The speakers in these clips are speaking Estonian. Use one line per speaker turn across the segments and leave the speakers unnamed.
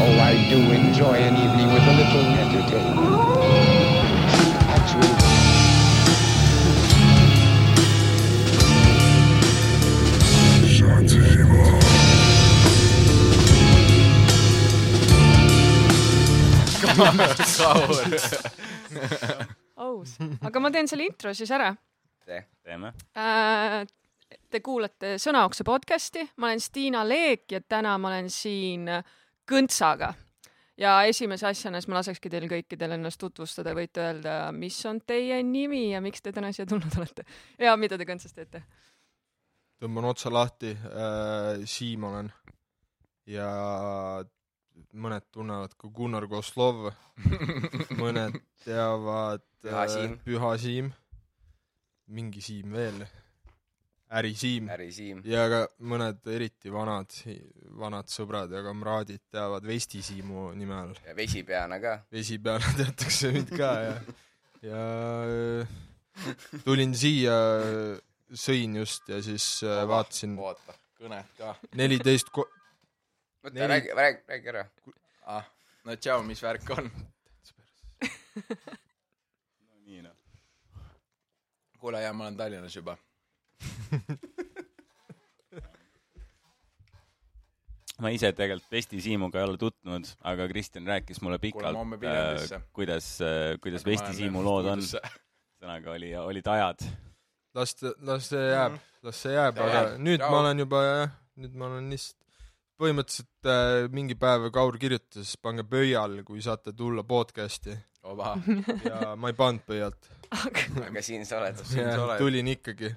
Oh, do enjoy an evening with a little entertainment. Actually,
aus , aga ma teen selle intro siis ära
teeme .
äh, . Te kuulate Sõnaokse podcasti , ma olen Stiina Leek ja täna ma olen siin Kõntsaga . ja esimese asjana siis ma lasekski teil kõikidel ennast tutvustada , võite öelda , mis on teie nimi ja miks te täna siia tulnud olete ja mida te Kõntsas teete .
tõmban otsa lahti äh, , Siim olen ja mõned tunnevad ka Gunnar Koslov , mõned teavad äh,
Püha Siim.
Püha Siim , mingi Siim veel , Äri Siim
äri Siim .
ja ka mõned eriti vanad , vanad sõbrad ja kamraadid teavad Vesti Siimu nime all .
ja vesipeana ka .
vesi peale teatakse mind ka ja , ja äh, tulin siia , sõin just ja siis äh, vaatasin
oota ,
kõnet ka .
neliteist ko- ,
oota
Neli-
räägi , räägi , räägi ära .
ah , no tšau , mis värk on ?
nii noh .
kuule jaa , ma olen Tallinnas juba .
ma ise tegelikult Vesti Siimuga ei ole tutvunud , aga Kristjan rääkis mulle
Kuule, ma homme
pikalt ,
Viljandisse.
kuidas , kuidas Vesti Siimu lood on . ühesõnaga oli , olid ajad .
las ta , las see jääb , las see jääb ,
Ta
aga
Mhm. jääb.
nüüd
Jaa.
ma olen juba jah , nüüd ma olen lihtsalt põhimõtteliselt äh, mingi päev Kaur kirjutas , pange pöial , kui saate tulla podcast'i
oba ,
ja ma ei pannud pöialt ,
aga siin sa oled .
oled.
tulin ikkagi .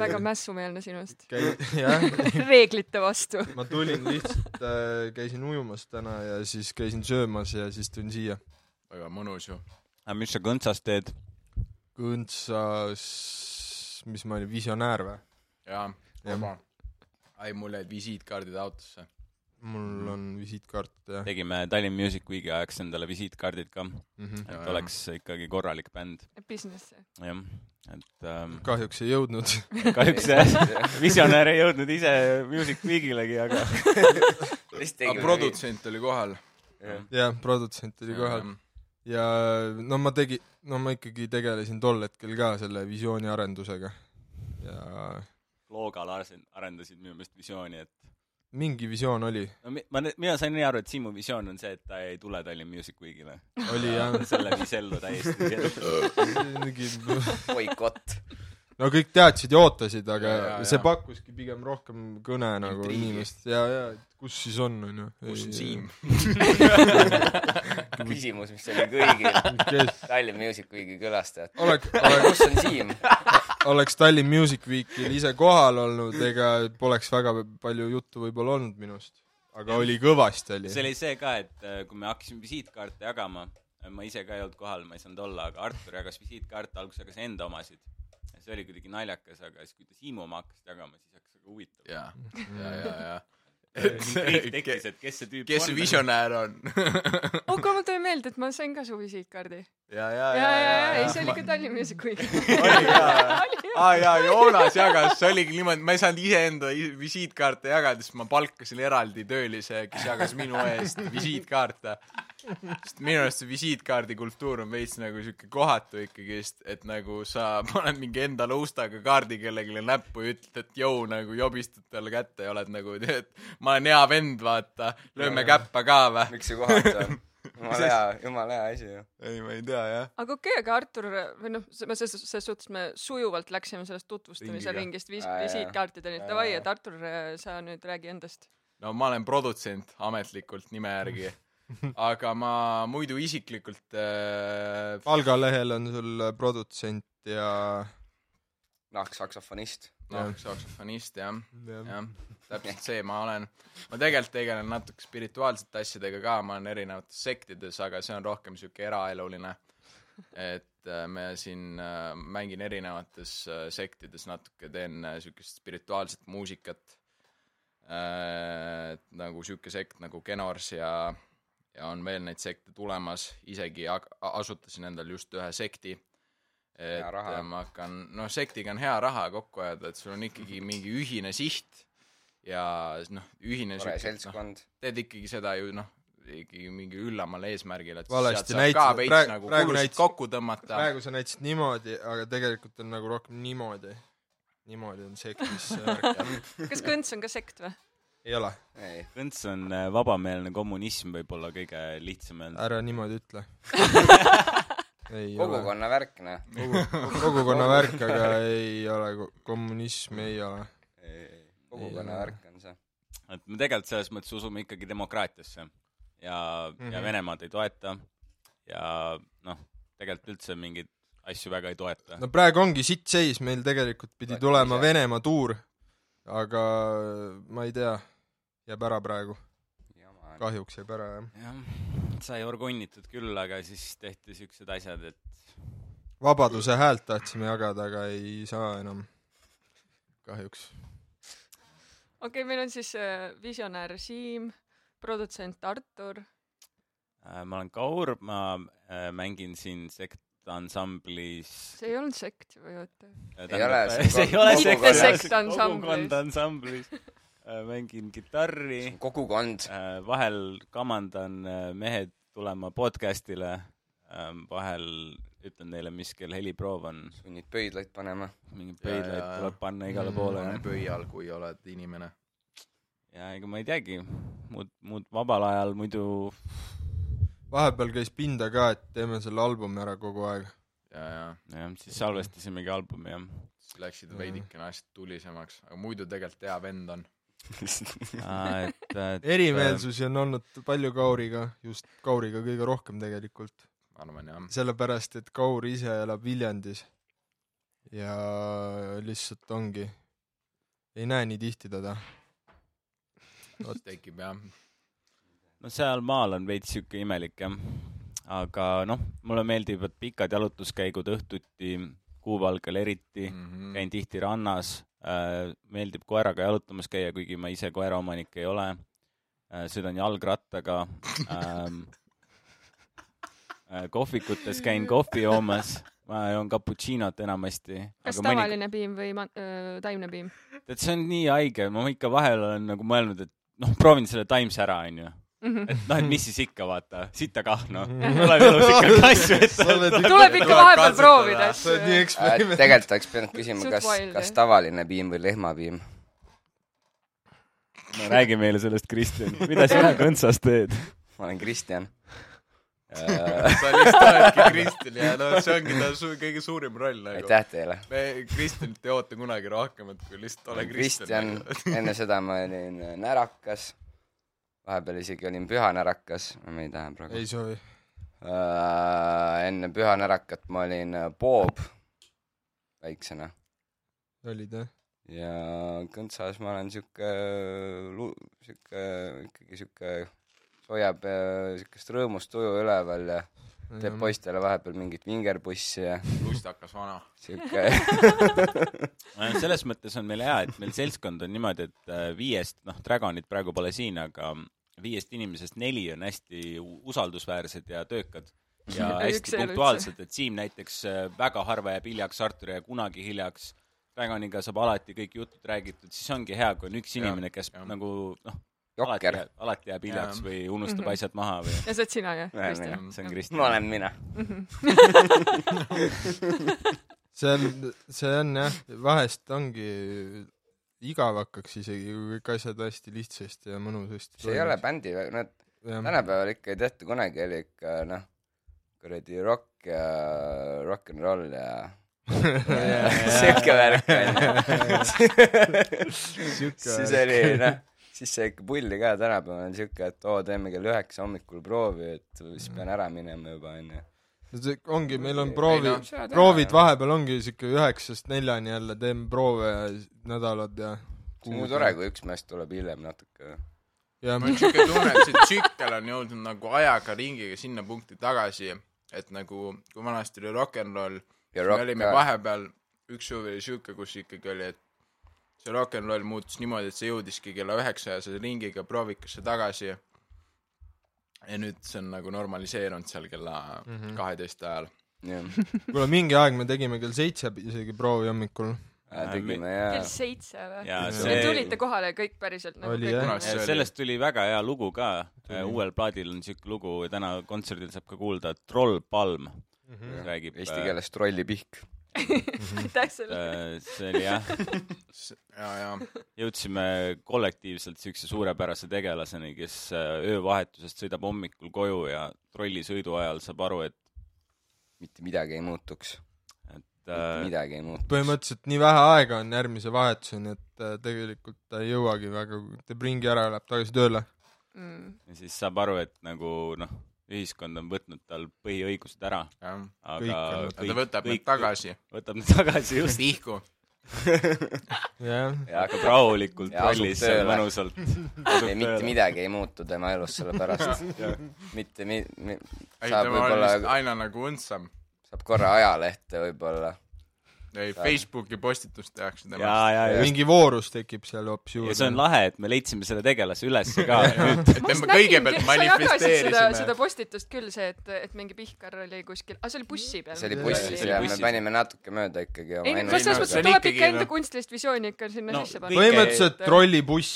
väga mässumeelne sinust ,
käi- , jah ,
reeglite vastu .
ma tulin lihtsalt äh, , käisin ujumas täna ja siis käisin söömas ja siis tulin siia .
väga mõnus ju .
aga Ah, mis sa kõntsas teed ?
Kõntsas , mis ma olin , visionäär või ?
jaa ,
Jah.
oba . ai , mul jäid visiitkaardid autosse . Mhm.
mul on visiitkaart jah .
tegime Tallinn Music Weeki ajaks endale visiitkaardid ka ,
Mhm.
et oleks ikkagi korralik bänd ,
Business'i .
jah . et ähm,
kahjuks ei jõudnud
kahjuks see visionäär ei jõudnud ise Music Weekilegi , aga
aga produtsent oli kohal .
jah , produtsent oli kohal . ja no ma tegi , no ma ikkagi tegelesin tol hetkel ka selle visiooni arendusega ja
Loogal arsen- arendasid minu meelest visiooni , et
mingi visioon oli ,
no mi- ma , mina sain nii aru , et Siimu visioon on see , et ta ei tule Tallinn Music Weekile .
oli jah ,
selle viis ellu täiesti .
mingi ,
boikott .
no kõik teadsid ja ootasid , aga
Ja, ja,
see
ja.
pakkuski pigem rohkem kõne nagu
Intriigi.
inimest ja , ja et kus siis on , onju .
kus on Siim ??
küsimus , mis oli kõigil
kes ,
Tallinn Music Weeki külastajatel .
oleks , oleks ,
kus on Siim ?
oleks Tallinn Music Weekil ise kohal olnud , ega poleks väga palju juttu võib-olla olnud minust , aga oli kõvasti oli .
see oli see ka , et äh, kui me hakkasime visiitkaarte jagama , ma ise ka ei olnud kohal , ma ei saanud olla , aga Artur jagas visiitkaarte , alguses jagas enda omasid . see oli kuidagi naljakas , aga siis , kui ta Siimu oma hakkas jagama , siis hakkas väga huvitav .
jaa , jaa , jaa , jaa .
kõik tekkis , et kes see tüüp
kes see
on .
visionäär on ?
oh , kui ma tulin meelde , et ma sain ka su visiitkaardi .
jaa , jaa ,
ja , ja , ja , ei , see
jaa .
oli ka Tallinn Music Week .
aa jaa , Joonas jagas , see oligi niimoodi , ma ei saanud iseenda i- visiitkaarte jagada , siis ma palkasin eraldi töölise , kes jagas minu eest visiitkaarte . sest minu arust see visiitkaardi kultuur on veits nagu siuke kohatu ikkagist , et nagu sa paned mingi enda luustaga kaardi kellelegi näppu ja ütled , et jõu nagu jobistad talle kätte ja oled nagu , et ma olen hea vend , vaata , lööme käppa ka vä ?
miks see kohatu on ? jumala hea , jumala hea asi ju .
ei , ma ei tea jah .
aga okei okay, , aga Artur või noh , me selles , selles suhtes me sujuvalt läksime sellest tutvustamise
Ringiga.
ringist vis-
Aa, jaa.
visiitkaartideni ,
Jaa,
davai ,
jaa.
et Artur , sa nüüd räägi endast .
no ma olen produtsent ametlikult nime järgi , aga ma muidu isiklikult äh,
Ah, palgalehel on sul äh, produtsent ja,
noh , saksofonist .
noh , saksofonist jah ,
ja. ,
jah , täpselt see ma olen . ma tegelikult tegelen natuke spirituaalsete asjadega ka , ma olen erinevates sektides , aga see on rohkem sihuke eraeluline . et äh, me siin äh, mängin erinevates äh, sektides natuke , teen äh, siukest spirituaalset muusikat . et nagu sihuke sekt nagu Genors ja , ja on veel neid sekte tulemas , isegi ag- asutasin endale just ühe sekti
Hea
et
raha.
äh, ma hakkan , noh , sektiga on hea raha kokku ajada , et sul on ikkagi mingi ühine siht ja s- noh , ühine
tore
sihuke- noh,
seltskond .
teed ikkagi seda ju noh , ikkagi mingil üllamal eesmärgil , et
Valesti
sealt saab ka
näitasid,
veits
praegu-
nagu
praegu
kulusid
näitasid.
kokku tõmmata .
praegu sa näitasid niimoodi , aga tegelikult on nagu rohkem niimoodi . niimoodi on sektis see värk .
kas kõnts on ka sekt või ?
ei ole ,
ei ,
kõnts on äh, vabameelne kommunism võib-olla kõige lihtsam öelda .
ära niimoodi ütle . ei ole .
kogukonna värk , noh .
kogukonna värk , aga ei ole , kommunism ei ole .
kogukonna värk on see .
et me tegelikult selles mõttes usume ikkagi demokraatiasse ja mm , -hmm. ja
Mhm.
Venemaad ei toeta ja noh , tegelikult üldse mingeid asju väga ei toeta no. .
no praegu ongi sitt seis , meil tegelikult pidi
Toetage
tulema
ise.
Venemaa tuur , aga ma ei tea , jääb ära praegu ,
jama on .
kahjuks jääb ära jah .
jah , sai orgunnitud küll , aga siis tehti siuksed asjad , et
vabaduse häält tahtsime jagada , aga ei saa enam . kahjuks .
okei okay, , meil on siis äh, visionäär Siim , produtsent Artur ,
äh, ma olen Kaur , ma äh, mängin siin sektansamblis
see ei olnud sekt ju või oota .
ole
see,
see
see ei ole
kogu-
sekt ,
Mitte
sektansamblis.
kogukond ansamblis äh, mängin kitarri
kogukond .
Äh, vahel kamandan äh, mehed tulema podcast'ile , vahel ütlen neile , mis kell heliproov on ,
sunnid pöidlaid panema .
mingeid
Jaa,
pöidlaid
jaa, jaa.
tuleb panna igale
Mm,
poole
pane
mm, .
pöial , kui oled inimene .
ja ega ma ei teagi , muud , muud vabal ajal muidu
vahepeal käis pinda ka , et teeme selle albumi ära kogu aeg .
ja , ja
jah , siis salvestasimegi albumi jah
siis läksid
Mhm.
veidikene asjad tulisemaks , aga muidu tegelikult hea vend on .
äh, , et äh,
erimeelsusi on olnud palju Kauriga , just Kauriga kõige rohkem tegelikult .
arvan jah .
sellepärast , et Kaur ise elab Viljandis ja lihtsalt ongi , ei näe nii tihti teda .
tekib jah .
no sealmaal on veits siuke imelik jah , aga noh , mulle meeldivad pikad jalutuskäigud õhtuti , kuupalgel eriti
Mm.
Mm.
Mhm.
käin tihti rannas , meeldib koeraga jalutamas käia , kuigi ma ise koeraomanik ei ole . sõidan jalgrattaga . äh, kohvikutes käin kohvi joomas , ma joon cappuccinot enamasti .
kas tavaline piim või man- , taimne piim ?
tead , see on nii haige , ma ikka vahel olen nagu mõelnud , et noh , proovin selle taimse ära , onju .
Mhm.
et noh , et mis siis ikka , vaata , sita kah , noh . tuleb elus ikka kasju ette .
tuleb ikka vahepeal
katsetada.
proovida
sa oled nii
asju .
eksperiment- .
Äh, tegelikult oleks pidanud küsima ,
Suht
kas ,
wild,
kas
jah.
tavaline piim või lehmapiim .
no räägi meile sellest , Kristjan , mida sina kõntsas teed ?
ma olen Kristjan .
sa lihtsalt oledki Kristel ja no see ongi ta su kõige suurim roll nagu .
aitäh teile .
me Kristjanit ei oota kunagi rohkemat , kui lihtsalt ole
Kristjan , enne seda ma olin närakas . vahepeal isegi olin pühanärakas , me ei taha praegu Äh,
ei . soovi .
enne pühanärakat ma olin äh, Bob väiksena
olid jah ?
ja kõntsas ma olen siuke , siuke ikkagi siuke hoiab äh, siukest rõõmust tuju üleval ja
Mhm.
teeb . poistele vahepeal mingit vingerpussi ja
lustakas nagu. vana .
siuke
Nojah, selles mõttes on meil hea , et meil seltskond on niimoodi , et äh, viiest , noh , Dragonit praegu pole siin , aga viiest inimesest neli on hästi u- usaldusväärsed ja töökad ja
Ja üks
hästi
ei ole
punktuaalsed , et Siim näiteks äh, väga harva jääb hiljaks , Artur jääb kunagi hiljaks , Dragoniga saab alati kõik jutud räägitud , siis ongi hea , kui on üks
Jah,
inimene , kes
jah.
nagu noh , alati
jokker .
jääb , alati jääb hiljaks
Jah.
või unustab asjad maha või
ja see oled sina jah ,
Näe,
Kristjan ?
mina.
see on
ma
Kristjan .
olen mina .
see on , see on jah , vahest ongi igav hakkaks isegi , kui kõik asjad hästi lihtsasti ja mõnusasti
see ei ole bändi , no
bänd .
tänapäeval ikka ei tehta kunagi , oli ikka noh , kuradi rock ja rock n roll ja siuke värk onju . siis oli noh , siis sai ikka pulli ka , tänapäeval on siuke , et oo , teeme kell üheksa hommikul proovi , et siis pean ära minema juba onju .
ongi , meil on
Ei,
proovi
no, ,
proovid . vahepeal ongi siuke üheksast neljani jälle teeme proove ja s- nädalad ja
see on ju tore , kui üks mees tuleb hiljem natuke .
ja
mul on siuke tunne , et see tsükkel on jõudnud nagu ajaga ringiga sinna punkti tagasi , et nagu , kui vanasti oli rock n roll ,
ja
me
rock
olime
ka ,
vahepeal , üks suvi oli siuke , kus ikkagi oli , et see rock n roll muutus niimoodi , et see jõudiski kella üheksajase ringiga proovikasse tagasi . ja nüüd see on nagu normaliseerunud seal kella
Mhm.
kaheteist ajal .
jah .
kuule , mingi aeg me tegime kell seitse isegi proovi hommikul .
tegime
kell
jaa .
seitse või ?
ja
Ja
Te
see
tulite kohale kõik päriselt nagu
Oli,
kõik
jah.
nagu-
See oli-
Äh, sellest tuli väga hea lugu ka Äh,
Tuli. ,
uuel plaadil on siuke lugu , täna kontserdil saab ka kuulda Troll Palm ,
Mhm.
mis räägib
Eesti keeles trollipihk .
aitäh selle ,
äh, see oli jah ,
ja , ja
jõudsime kollektiivselt siukse suurepärase tegelaseni , kes äh, öövahetusest sõidab hommikul koju ja trollisõidu ajal saab aru , et ,
mitte midagi ei muutuks .
et
mitte
äh,
midagi ei muutuks .
põhimõtteliselt nii vähe aega on järgmise vahetuseni , et äh, tegelikult ta ei jõuagi väga , teeb ringi ära ja läheb tagasi tööle .
Mm.
ja siis saab aru , et nagu noh , ühiskond on võtnud tal põhiõigused ära , aga
Kõik on-
kõik,
ta võtab
kõik,
need tagasi .
võtab need tagasi just
vihku .
jah ,
ja hakkab
hakkab rahulikult
Ja asub
rollis seal
tööle.
mõnusalt .
ei , mitte midagi ei muutu tema elus selle pärast
Jah. .
mitte mi- , mi- ,
ei ,
saab
tema on vist
võib-olla ,
aina nagu õndsam .
saab korra ajalehte võib-olla .
ei , Facebooki postitust tehakse
ja ,
temast .
ja , ja ,
mingi voorus tekib seal hoopis
ja see on
juurde .
lahe , et me leidsime selle tegelase ülesse ka nüüd .
et me
sa
kõigepealt
jagasid seda , seda
manifesteerisime .
postitust küll see , et , et mingi pihkar oli kuskil , aga see oli bussi peal .
see oli
Jah.
bussis
See oli
ja me
bussis.
panime natuke mööda ikkagi
ei
oma ,
no selles
no
mõttes
see on
tuleb
ikkagi,
ikka enda
noh.
kunstilist visiooni ikka sinna
No,
sisse
kõik-
panna .
põhimõtteliselt trollibuss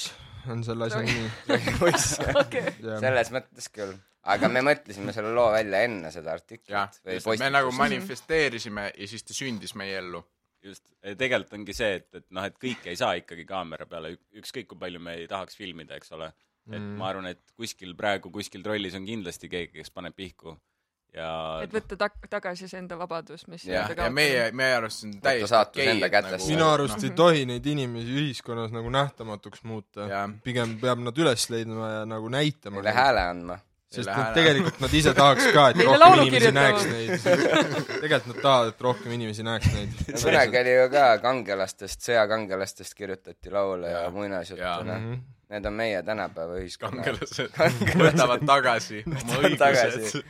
on selle asja
Trolli-
nimi .
ainuinnustusest .
jah ,
selles mõttes küll . aga me mõtlesime selle loo välja enne seda
jah
artiklit või ,
me nagu
postitust .
manifesteerisime ja siis ta sündis meie ellu .
just , tegelikult ongi see , et , et noh , et kõike ei saa ikkagi kaamera peale , ükskõik kui palju me ei tahaks filmida , eks ole . et mm. ma arvan , et kuskil praegu kuskil trollis on kindlasti keegi , kes paneb pihku ja
et võtta tak- , tagasi see enda vabadus , mis
Jah,
ja
enda ,
ja
kaotamine.
meie , meie arust see on täiesti
saatus
okei,
enda
et
kätesse.
nagu-
minu arust ei
Mhm.
tohi neid inimesi ühiskonnas nagu nähtamatuks muuta .
jah ,
pigem peab nad üles leidma ja nagu näitama
meile . hääle andma .
sest
Neile
nad
hääle.
tegelikult nad ise tahaks ka , et
Neile
rohkem
laulu
inimesi
kirjutama.
näeks neid . tegelikult nad tahavad , et rohkem inimesi näeks
kunagi
neid .
oli ju ka kangelastest , sõjakangelastest kirjutati laule ja
Jaa. Jaa.
muinasjutte , noh .
Mhm.
Need on meie tänapäeva ühiskonna
kangelased võtavad tagasi oma õigused
tagasi .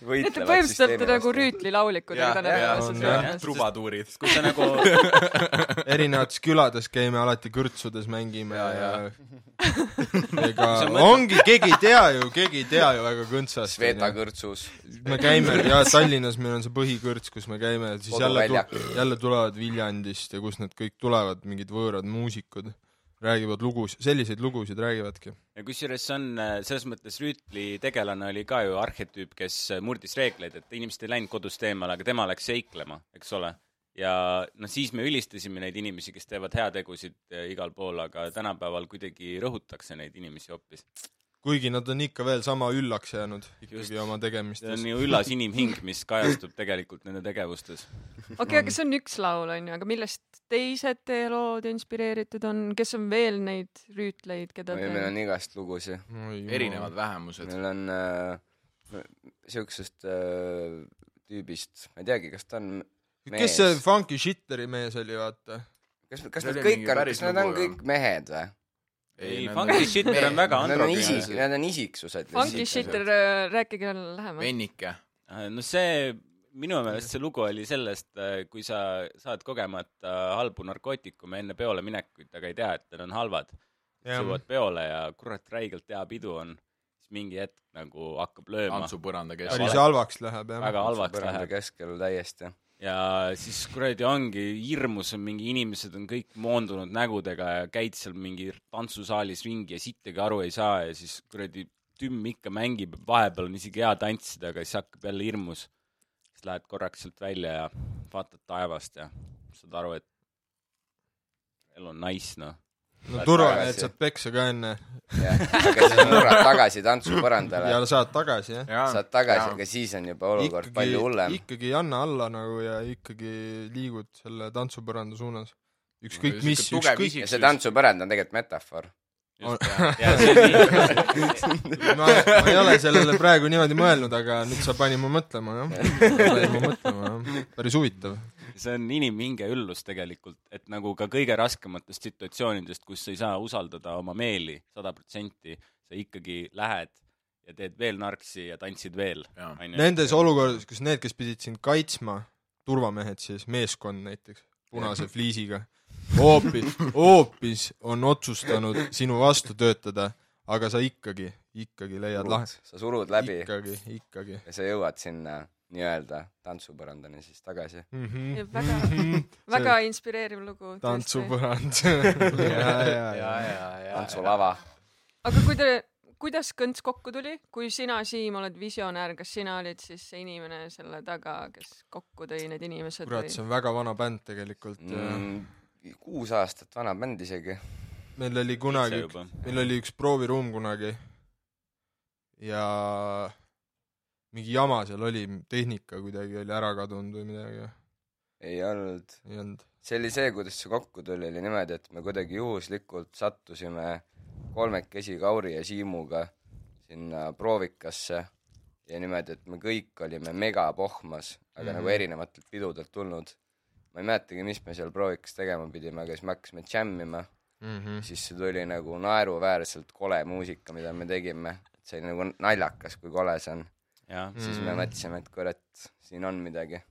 Need on põhimõtteliselt nagu . rüütlilaulikud , aga
ja , ja
on,
tänapäeval
jah.
on see .
trubaduurid .
kui sa nagu
erinevates külades käime alati kõrtsudes mängime ja,
Jaa,
ja.
jaa.
ega ongi , keegi ei tea ju , keegi ei tea ju väga kõntsast .
Sveta kõrtsus .
me käime ja Tallinnas meil on see põhikõrts , kus me käime , siis jälle
Koduväljak. ,
jälle tulevad Viljandist ja kust nad kõik tulevad , mingid võõrad muusikud , räägivad lugusid , selliseid lugusid räägivadki .
ja kusjuures see on äh, selles mõttes Rüütli tegelane oli ka ju arhetüüp , kes äh, murdis reegleid , et inimesed ei läinud kodust eemale , aga tema läks seiklema , eks ole . ja noh , siis me ülistasime neid inimesi , kes teevad heategusid äh, igal pool , aga tänapäeval kuidagi rõhutakse neid inimesi hoopis .
kuigi nad on ikka veel sama üllaks jäänud
Just.
ikkagi
see
oma
on
tegemistes .
ju üllas inimhing , mis kajastub tegelikult nende tegevustes .
okei , aga see on üks laul , on ju , aga millest teised teie lood inspireeritud on , kes on veel neid rüütleid , keda te
meil on igast lugusid .
erinevad vähemused .
meil on äh, siuksest äh, tüübist , ma ei teagi , kas ta on
kes see Funky Shitteri mees oli , vaata ?
kas , kas
See
nad
oli
kõik
mingi
on ,
päris
kas nad on
lugu, jah.
kõik mehed või ?
ei , Funky Shitter on väga
Nad on
androgeenne
isik ., nad on isiksused .
Funky Shitter , rääkige talle lähemalt .
vennike .
Äh, no see , minu meelest see lugu oli sellest , kui sa saad kogemata halbu narkootikume enne peole minekuid , aga ei tea , et need on halvad .
Jah.
jõuad peole ja kurat räigelt hea pidu on , siis mingi hetk nagu hakkab lööma ,
tantsupõranda
päris
keskel .
halvaks läheb , jah .
väga halvaks
põranda
läheb
keskel täiesti .
ja siis kuradi ongi hirmus on mingi inimesed on kõik moondunud nägudega ja käid seal mingi tantsusaalis ringi ja sittagi aru ei saa ja siis kuradi tümm ikka mängib , vahepeal on isegi hea tantsida , aga siis hakkab jälle hirmus . siis lähed korraks sealt välja ja vaatad taevast ja saad aru , et elu on nice noh .
no turvaline ,
tagasi.
et saad peksa ka enne
aga siis murrad tagasi tantsupõrandale
ja , saad tagasi , jah .
saad tagasi , aga siis on juba olukord
ikkagi
palju hullem .,
ikkagi ei anna alla nagu ja ikkagi liigud selle tantsupõranda suunas . ükskõik mis , ükskõik ,
ja see . tantsupõrand on tegelikult metafoor .
ma, ma ei ole sellele praegu niimoodi mõelnud , aga nüüd sa pani mu mõtlema , jah . pani mu mõtlema , jah . päris huvitav .
see on inimhinge üllus tegelikult , et nagu ka kõige raskematest situatsioonidest , kus sa ei saa usaldada oma meeli sada protsenti , sa ikkagi lähed ja teed veel narksi ja tantsid veel .
Nendes olukordades , kus need , kes pidid sind kaitsma , turvamehed siis , meeskond näiteks , punase fliisiga , hoopis , hoopis on otsustanud sinu vastu töötada , aga sa ikkagi , ikkagi leiad lahenduse .
sa surud läbi
ikkagi , ikkagi .
ja sa jõuad sinna nii-öelda tantsupõrandani siis tagasi .
Mhm.
väga ,
Mhm.
väga inspireeriv lugu .
tantsupõrand .
ja , ja , ja .
tantsulava .
aga kui te , kuidas kõnts kokku tuli , kui sina , Siim , oled visionäär , kas sina olid siis see inimene selle taga , kes kokku tõi need inimesed
kurat , see on väga vana bänd tegelikult mm. .
äh, kuus aastat vana bänd isegi .
meil oli kunagi , meil oli üks prooviruum kunagi ja mingi jama seal oli , tehnika kuidagi oli ära kadunud või midagi ,
ei olnud ,
ei olnud .
see oli see , kuidas see kokku tuli , oli niimoodi , et me kuidagi juhuslikult sattusime kolmekesi Kauri ja Siimuga sinna proovikasse ja niimoodi , et me kõik olime megapohmas , aga mm -hmm. nagu erinevatelt pidudelt tulnud . ma ei mäletagi , mis me seal proovikas tegema pidime , aga siis me hakkasime džämmima siis see tuli nagu naeruväärselt kole muusika , mida me tegime , et see oli nagu naljakas , kui kole see on mm. .
jah ,
siis me mõtlesime , et kurat , siin on midagi .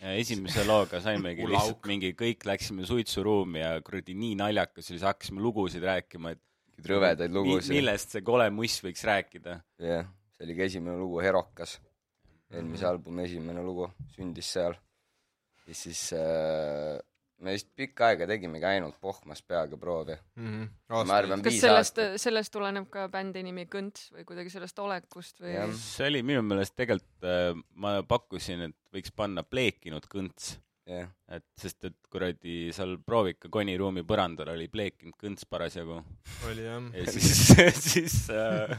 ja esimese looga saimegi
Kulauk.
lihtsalt mingi , kõik läksime suitsuruumi ja kuradi nii naljakas oli , siis hakkasime lugusid rääkima , et
rõvedaid
mi-
lugusid ,
millest see kole muss võiks rääkida .
jah , see oli ka esimene lugu , Herokas . eelmise albumi esimene lugu sündis seal . ja siis äh, me vist pikka aega tegimegi ainult pohmas peaga proovi .
Mhm.
ma arvan ,
kas
viis
sellest
aastat .,
sellest tuleneb ka bändi nimi Kõnts või kuidagi sellest olekust või ?
Jah.
see oli minu meelest tegelikult , ma pakkusin , et võiks panna pleekinud kõnts ,
jah ,
et sest et kuradi seal proovika koniruumi põrandal oli pleekinud kõnts parasjagu
oli jah .
ja siis , siis äh,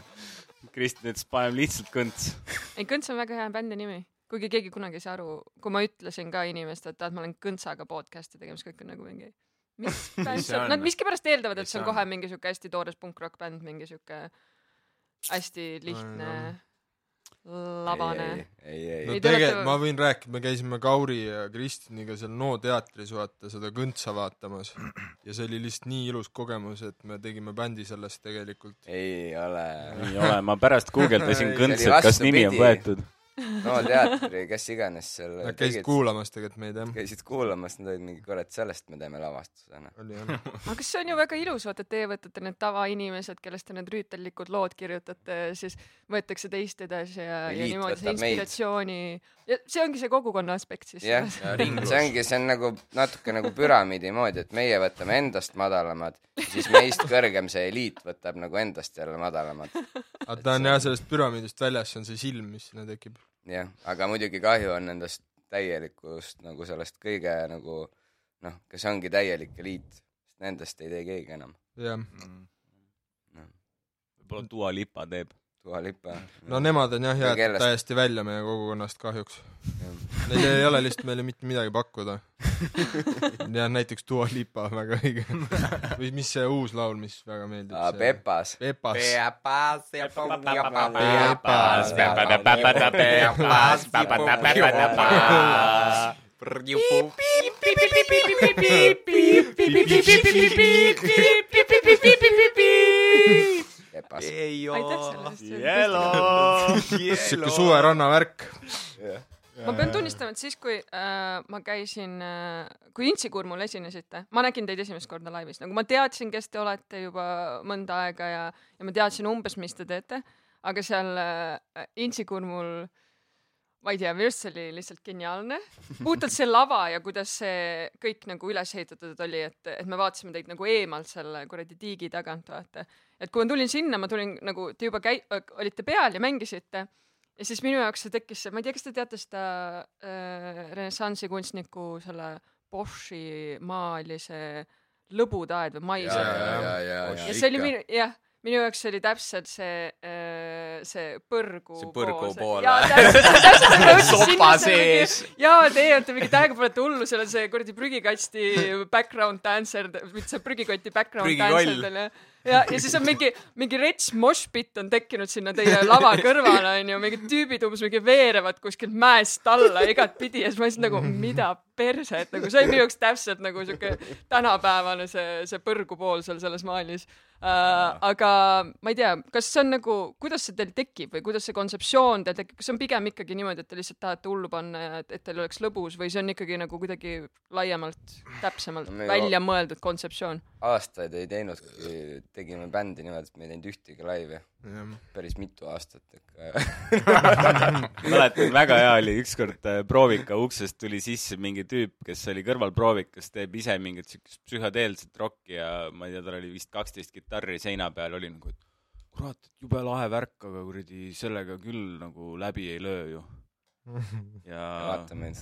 Kristjan ütles , paneme lihtsalt kõnts .
ei , Kõnts on väga hea bändi nimi , kuigi keegi kunagi ei saa aru , kui ma ütlesin ka inimestele , et ah, ma olen Kõntsaga podcast'i tegemas , kõik on nagu mingi mis bänd
Mis see
see on ,
on?
nad miskipärast eeldavad , et
Mis
see on
see on?
kohe mingi siuke hästi toores punk-rock bänd , mingi siuke hästi lihtne , labane .
ei , ei , ei ,
Ei,
no
ei ,
te olete-
tegelikult ma võin rääkida , me käisime Kauri ja Kristiniga seal NO teatris vaata seda kõntsa vaatamas ja see oli lihtsalt nii ilus kogemus , et me tegime bändi sellest tegelikult .
ei ole
ei ole , ma pärast guugeldasin
See oli
kõnts , et kas nimi on
vastupidi.
võetud .
no teatri , kes iganes seal
Nad käisid kuulamas tegelikult meid jah .
käisid kuulamas , nad olid mingi kurat , sellest me teeme lavastuse , noh .
oli jah .
aga kas see on ju väga ilus , vaata , teie võtate need tavainimesed , kellest te need rüütellikud lood kirjutate , siis võetakse teiste edasi ja,
Ja
ja
liit
niimoodi see
võtab meid.
inspiratsiooni ja see ongi see kogukonna aspekt siis
jah ,
selles-
see ongi , see on nagu natuke nagu püramiidi moodi , et meie võtame endast madalamad , siis meist kõrgem see eliit võtab nagu endast jälle madalamad .
aga ta on jah sellest püramiidist väljas , see on see silm , mis sinna tekib .
jah , aga muidugi kahju on nendest täielikust nagu sellest kõige nagu noh , kes ongi täielik eliit , sest nendest ei tee keegi enam .
jah .
võib-olla Dua Lipa teeb .
Tuha Lipa .
no nemad on jah jäetud
kellest-
täiesti välja meie kogukonnast kahjuks . Neil ei ole lihtsalt meile mitte midagi pakkuda . jah , näiteks Dua Lipa on väga õige . või mis see uus laul , mis väga meeldib
Aa ,. Pepas .
Pepas .
Pepas , Pepas .
aitäh selle eest , see on
Hello !
siuke suveranna värk .
ma pean tunnistama , et siis , kui äh, ma käisin äh, , kui Intsikuur mul esinesite , ma nägin teid esimest korda laivis , nagu ma teadsin , kes te olete juba mõnda aega ja , ja ma teadsin umbes , mis te teete , aga seal äh, Intsikuur mul ma ei tea , minu arust see oli lihtsalt geniaalne . puhtalt see lava ja kuidas see kõik nagu üles ehitatud oli , et , et me vaatasime teid nagu eemalt selle kuradi tiigi tagant , vaata . et kui ma tulin sinna , ma tulin nagu , te juba käi- , olite peal ja mängisite ja siis minu jaoks see tekkis see , ma ei tea , kas te teate seda äh, renessansi kunstniku selle Boschi maali see lõbudaed või mais .
Jaa, jaa, jaa.
ja see oli minu , jah , minu jaoks oli täpselt see , see põrgu .
See põrgu pool,
jaa ,
vä?
täpselt , täpselt , ma jõudsin
Sopa
sinna , see oli
sees.
mingi , jaa , teie olete mingi täiega , panete hullu , seal on see kuradi prügikasti background dancer , mitte see prügikoti background
Prügikoll.
dancer tal jah . ja , ja siis on mingi , mingi rets moshpit on tekkinud sinna teie lava kõrvale onju , mingid tüübid umbes mingi veerevad kuskilt mäest alla igatpidi ja siis ma lihtsalt nagu ,
Mm.
mida perset , nagu see oli minu jaoks täpselt nagu siuke tänapäevane see , Äh, see põrgu pool seal selles maalis . Uh, aga ma ei tea , kas see on nagu , kuidas see teil tekib või kuidas see kontseptsioon teil tekib, kas see on pigem ikkagi niimoodi, et te lihtsalt tahate hullu panna ja et, et teil oleks lõbus või see on ikkagi nagu kuidagi laiemalt , täpsemalt
No
no,
me ju-
välja mõeldud kontseptsioon ?
aastaid ei teinud , tegime bändi niimoodi , et me ei teinud ühtegi laivi ,
jah .
päris mitu aastat ikka .
mäletan , väga hea oli , ükskord äh, proovika uksest tuli sisse mingi tüüp , kes oli kõrvalproovikas , teeb ise mingit siukest psühhedeelset rokki ja ma ei tea , tal oli vist kaksteist kitarri seina peal , oli nagu , et kurat , et jube lahe värk , aga kuradi sellega küll nagu läbi ei löö ju . ja
vaata meid .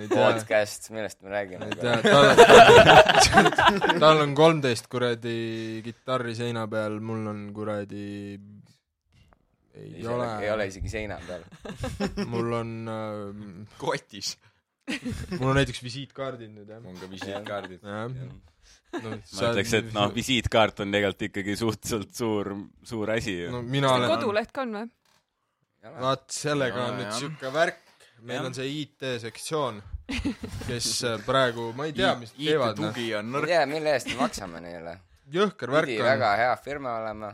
ei tea ,
podcast , millest me räägime
ei ? tea , tal on , tal on kolmteist kuradi kitarri seina peal , mul on kuradi ei ole ,
ei ole isegi seina peal .
mul on äh, ,
kotis .
mul on näiteks visiitkaardid nüüd jah .
on ka visiitkaardid .
jah . no,
ma ütleks , et noh ,. visiitkaart on tegelikult ikkagi suhteliselt suur , suur asi ju
no . mina
kas teil
olen ,
koduleht ka on või ?
vaat sellega on
Jaa,
nüüd
jah.
siuke värk , meil
Jah.
on see IT-sektsioon , kes äh, praegu , ma ei tea , mis nad teevad , noh ,
IT-tugi on
ma ei
nõrk .
tea , mille eest me maksame neile .
jõhker värk
pidi
on
väga . hea firma olema ,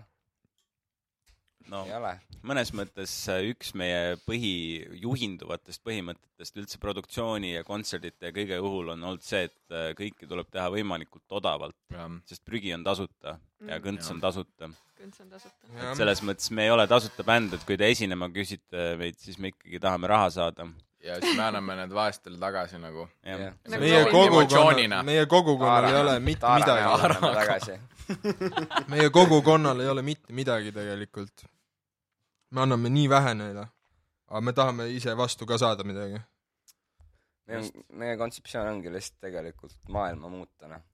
no
ei ole .
mõnes mõttes äh, üks meie põhi , juhinduvatest põhimõtetest üldse produktsiooni ja kontserdite ja kõige juhul on olnud see , et äh, kõike tuleb teha võimalikult odavalt , sest prügi on tasuta ja
Mm.
kõnts
Jah.
on tasuta .
kõnts on tasuta .
Jah.
et selles mõttes me ei ole tasuta bänd , et kui te esinema küsite meid , siis me ikkagi tahame raha saada .
ja siis me anname need vaestele tagasi nagu .
jah
Jah. ,
Nagu
meie
Rootsi
emotsioonina.
kogukonna , meie kogukonnal ei ole mitte midagi ,
midagi .
meie kogukonnal ei ole mitte midagi tegelikult . me anname nii vähe neile , aga me tahame ise vastu ka saada midagi .
meie , meie kontseptsioon ongi lihtsalt tegelikult maailma muuta , noh .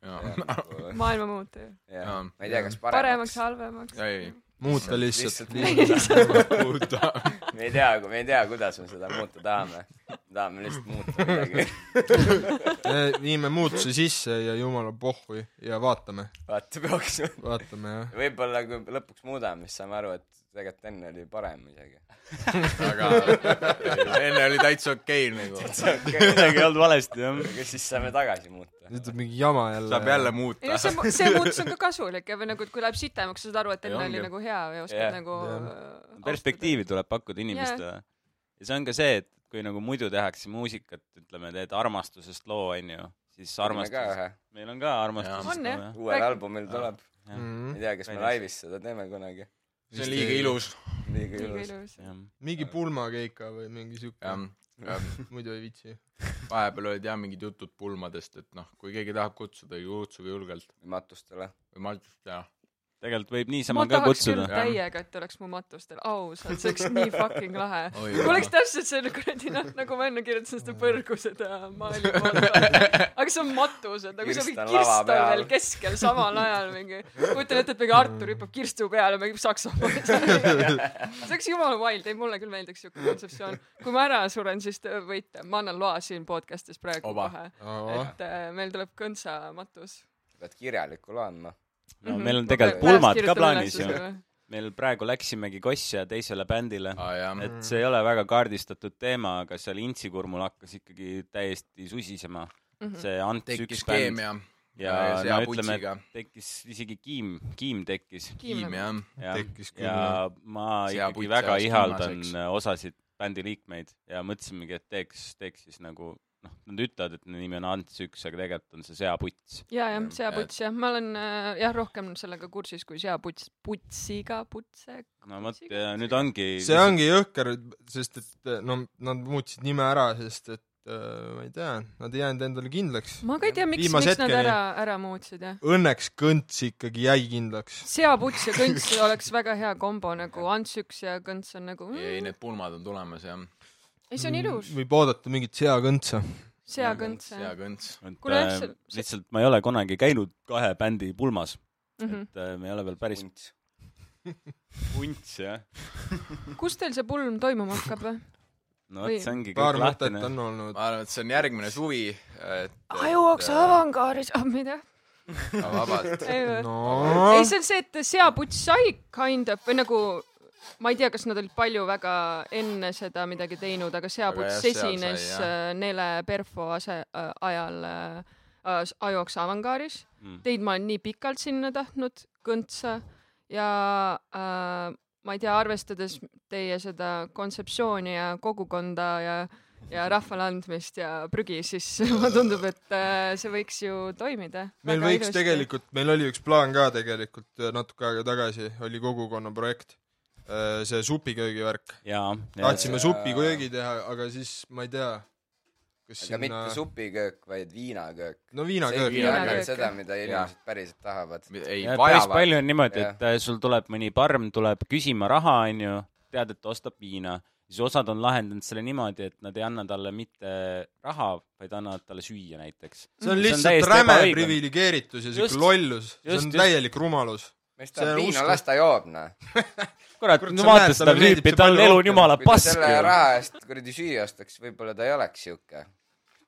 ma
maailma muuta ju .
Jaa.
ei tea , kas paremaks .
paremaks , halvemaks .
ei ,
muuta lihtsalt .
puuta .
me ei tea , me ei tea , kuidas me seda muuta tahame . tahame lihtsalt muuta midagi .
viime muutuse sisse ja jumala pohhui ja vaatame ,
vaata , peaksime .
vaatame jah .
võib-olla kui lõpuks muudame , siis saame aru , et tegelikult enne oli parem isegi .
aga enne oli täitsa okei nagu .
midagi ei olnud valesti jah .
aga siis saame tagasi muuta .
nüüd tuleb mingi jama jälle .
saab jälle
ei no
muuta .
see , see muutus on ka kasulik ja , või nagu , et kui läheb sitemaks , sa saad aru , et
Ei,
enne oli
ongi.
nagu hea ja oskad
Jah.
nagu
Jah.
äh,
perspektiivi tuleb pakkuda inimestele yeah. . ja see on ka see , et kui nagu muidu tehakse muusikat , ütleme , teed armastusest loo , onju , siis armastus , meil on ka
Jaa.
armastusest
On, jah.
loo ,
uuel albumil tuleb ,
Mhm.
ei tea , kas me
Väljas.
laivis seda teeme kunagi .
see on liiga ilus .
liiga
liiga
ilus .
ilus .
jah .
mingi pulmakeika või mingi siuke , muidu ei viitsi .
vahepeal olid jah mingid jutud pulmadest , et noh , kui keegi tahab kutsuda , kutsuge julgelt
matustele .
või matust ja
tegelikult võib niisama
ma
ka
tahaks küll
kutsuda .
täiega , et oleks mu matustel , ausalt , see oleks nii fucking lahe .
Oi,
kui
jaa.
oleks täpselt see kuradi noh , nagu ma enne kirjutasin ,
Mm.
seda põrgu , seda maali poolt . aga see on matus , et nagu see mingi
Kirst on lava
kirst on
peal.
veel keskel samal ajal mingi . kujutan ette , et mingi Artur hüppab kirstu peale , mängib saksofoni . see oleks jumala wild , ei mulle küll meeldiks siuke kontseptsioon . kui ma ära suren , siis te võite , ma annan loa siin podcast'is praegu
Oba.
kohe . et äh, meil tuleb kõntsa matus .
pead kirjaliku loo andma .
no
Mhm.
meil on tegelikult pulmad ka plaanis ju . meil praegu läksimegi Kossja teisele bändile .
Ah.
aa jaa
et see ei ole väga kaardistatud teema , aga seal Intsikurmul hakkas ikkagi täiesti susisema .
Mhm.
see Ants
tekkis
üks bänd
keemia
ja
sea
no ütleme ,
putsiga.
et tekkis isegi kiim , kiim Mm. tekkis .
tiim jah
jah ,
Tekkis küll,
ja ma
See
ikkagi
puit
väga
sajas
ihaldan
punaseks.
osasid bändi liikmeid ja mõtlesimegi , et teeks , teeks siis nagu noh , nad ütlevad , et nimi on Ants üks , aga tegelikult on see seaputs .
ja , jah ,
Jah,
seaputs jah , ma olen äh, jah rohkem sellega kursis kui seaputs , putsiga , putse .
no vot , ja nüüd ongi
see ongi jõhker , sest et no nad muutsid nime ära , sest et äh, ma ei tea , nad ei jäänud endale kindlaks .
ma ka ei tea , miks ,
Viimase
miks nad
hetkeni.
ära , ära muutsid jah .
Õnneks Kõnts ikkagi jäi kindlaks .
seaputs ja kõnts oleks väga hea kombo nagu Ants üks ja kõnts on nagu mm,
ei need pulmad on tulemas jah
ei , see on
Mm,
ilus ,
võib oodata mingit seakõntsa .
seakõnts jah
hea . kõnts
et
kuule, jah,
äh,
see- see-
lihtsalt ma ei ole kunagi käinud kahe bändi pulmas ,
Mhm.
et äh, me ei ole veel päris
punt .
punts jah .
kus teil see pulm toimuma hakkab või ?
no vot , see ongi
paar
kõik
mõtet
lahtine .
on olnud .
ma arvan et see on järgmine suvi et
Ah, ajuoksa avangaaris , ah ma ei tea ,
äh, vabalt
ei või ?
no
ei , see on see , et seaputs sai kind of või nagu ma ei tea , kas nad olid palju väga enne seda midagi teinud , aga seaputs
jah, seal sai,
esines
jah.
äh, Nele Perfo ase- äh, ajal äh, Ajoks avangaaris
mm. .
teid ma olen nii pikalt sinna tahtnud kõntsa ja äh, ma ei tea , arvestades teie seda kontseptsiooni ja kogukonda ja , ja rahvale andmist ja prügi , siis mulle tundub , et äh, see võiks ju toimida .
meil võiks ilusti. . tegelikult , meil oli üks plaan ka tegelikult äh, natuke aega tagasi , oli kogukonna projekt , see supiköögi värk .
jaa .
tahtsime
see-
supiköögi teha , aga siis ma ei tea , kas
aga
sinna
mitte , supiköök , vaid viinaköök .
no viinaköök
see on
viina.
viinaköök.
küll seda , mida inimesed päriselt tahavad .
ei
ja päris
vajavad .
palju on niimoodi ,
Jah.
et äh, sul tuleb mõni parm , tuleb küsima raha , onju , tead , et ta ostab viina , siis osad on lahendanud selle niimoodi , et nad ei anna talle mitte raha , vaid annavad talle süüa näiteks .
see on
Mm. on
lihtsalt
täiesti
räme
ebaõiglane.
priviligeeritus ja siuke
Just.
lollus , see
Just,
on
just.
täielik rumalus .
mis
see
ta
on
viina
usku-
las ta joob , noh .
kurat
Kurat, , sa
no vaata
näed,
seda
talle meeldib
tüüpi
see ,
tal
palju
elu on
rohkem.
jumala
kui ta
pask
selle . raha eest kuradi süüa ostaks , võib-olla ta ei oleks siuke ,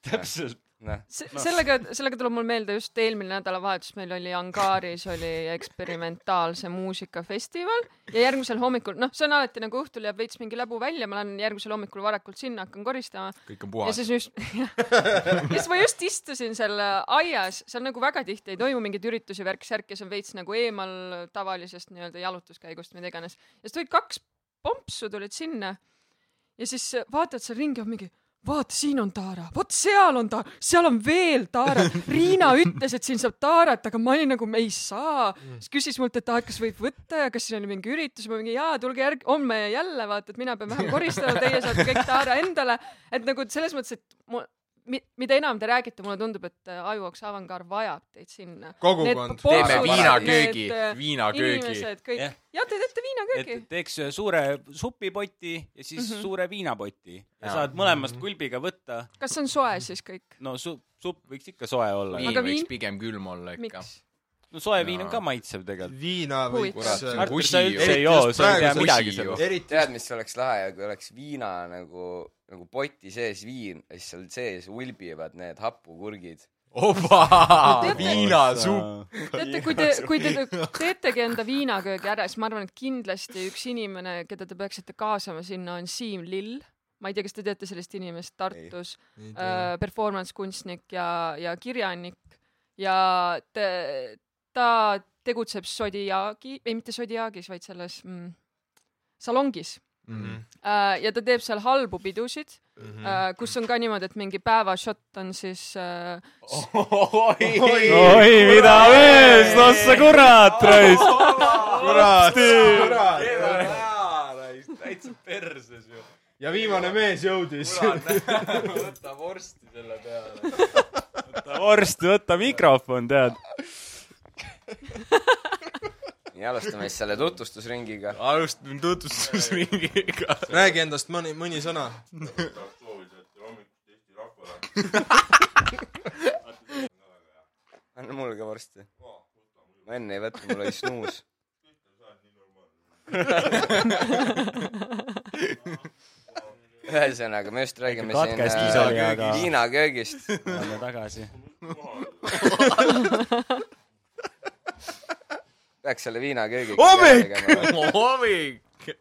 täpselt .
noh .
sellega , sellega tuleb mul meelde just eelmine nädalavahetus meil oli angaaris oli eksperimentaalse muusikafestival ja järgmisel hommikul , noh , see on alati nagu õhtul jääb veits mingi läbu välja , ma lähen järgmisel hommikul varakult sinna , hakkan koristama
kõik on
ja
puhas .
siis just , siis ma just istusin seal äh, aias , seal nagu väga tihti ei toimu mingeid üritusi , värk-särk ja see on veits nagu eemal tavalisest nii-öelda jalutuskäigust , mida iganes . ja siis tulid kaks pompsu tulid sinna ja siis vaatad seal ringi , on mingi vaata , siin on Taara , vot seal on Taara , seal on veel Taara . Riina ütles , et siin saab Taarat , aga ma olin nagu , me ei saa .
Mm.
siis küsis mult , et aa , et kas võib võtta ja kas siin oli mingi üritus , ma mingi jaa , tulge järg- , homme jälle vaata , et mina pean vähem koristama , teie saate kõik Taara endale . et nagu selles mõttes , et mu , mida enam te räägite , mulle tundub , et äh, Ajuoks Avangar vajab teid sinna .
kogukond .
teeme
Poksud,
viinaköögi
need, ,
viinaköögi .
äh, inimesed kõik
Jah.
yeah. , ja te teete viinaköögi
et . teeks ühe suure supipoti ja siis mm -hmm. suure viinapoti ja, ja
Jaa.
saad mõlemast kulbiga võtta .
kas see on soe siis kõik ?
no su- , supp võiks ikka soe olla .
viin
Aga
võiks
viin-
pigem külm olla ikka .
miks ?
no soe viin
Jaa.
on ka maitsev tegelikult .
viina
Huvitav.
võiks .
Kurat,
Artur , sa
Usi
üldse
ju.
ei joo , sa ei tea
Eriti just
praegu
midagi
see
sellest .
eriti
tead , mis oleks lahe , kui oleks viina nagu , nagu poti sees viin ja siis seal sees ulbivad need hapukurgid .
opa
Teate- ,
viinasupp .
teate , kui te , kui te te- teetegi enda viinaköögi ära , siis ma arvan , et kindlasti üks inimene , keda te peaksite kaasama sinna , on Siim Lill . ma ei tea , kas te teate sellist inimest Tartus , performance-kunstnik ja , ja kirjanik ja te, ta tegutseb Zodiagi , ei mitte Zodiagis , vaid selles mm, salongis Äh, ja ta teeb seal halbu pidusid , Mhm. kus on ka niimoodi , et mingi päevashot on siis äh,
oi , mida mees , no sa kurat , raisk .
kurat , kurat .
täitsa perses ju .
ja viimane mees jõudis .
võta vorsti selle peale .
vorst , võta mikrofon , tead .
nii , alustame siis selle tutvustusringiga .
alustame tutvustusringiga .
räägi endast mõni , mõni sõna .
anna mulle ka vorsti . ma enne ei võtnud , mul oli snuus . ühesõnaga , me just räägime siin
katkestus oli,
äh,
aga-
viinaköögist .
anna tagasi .
peaks selle viinaköögi .
Oh,
Hommik!
hommik .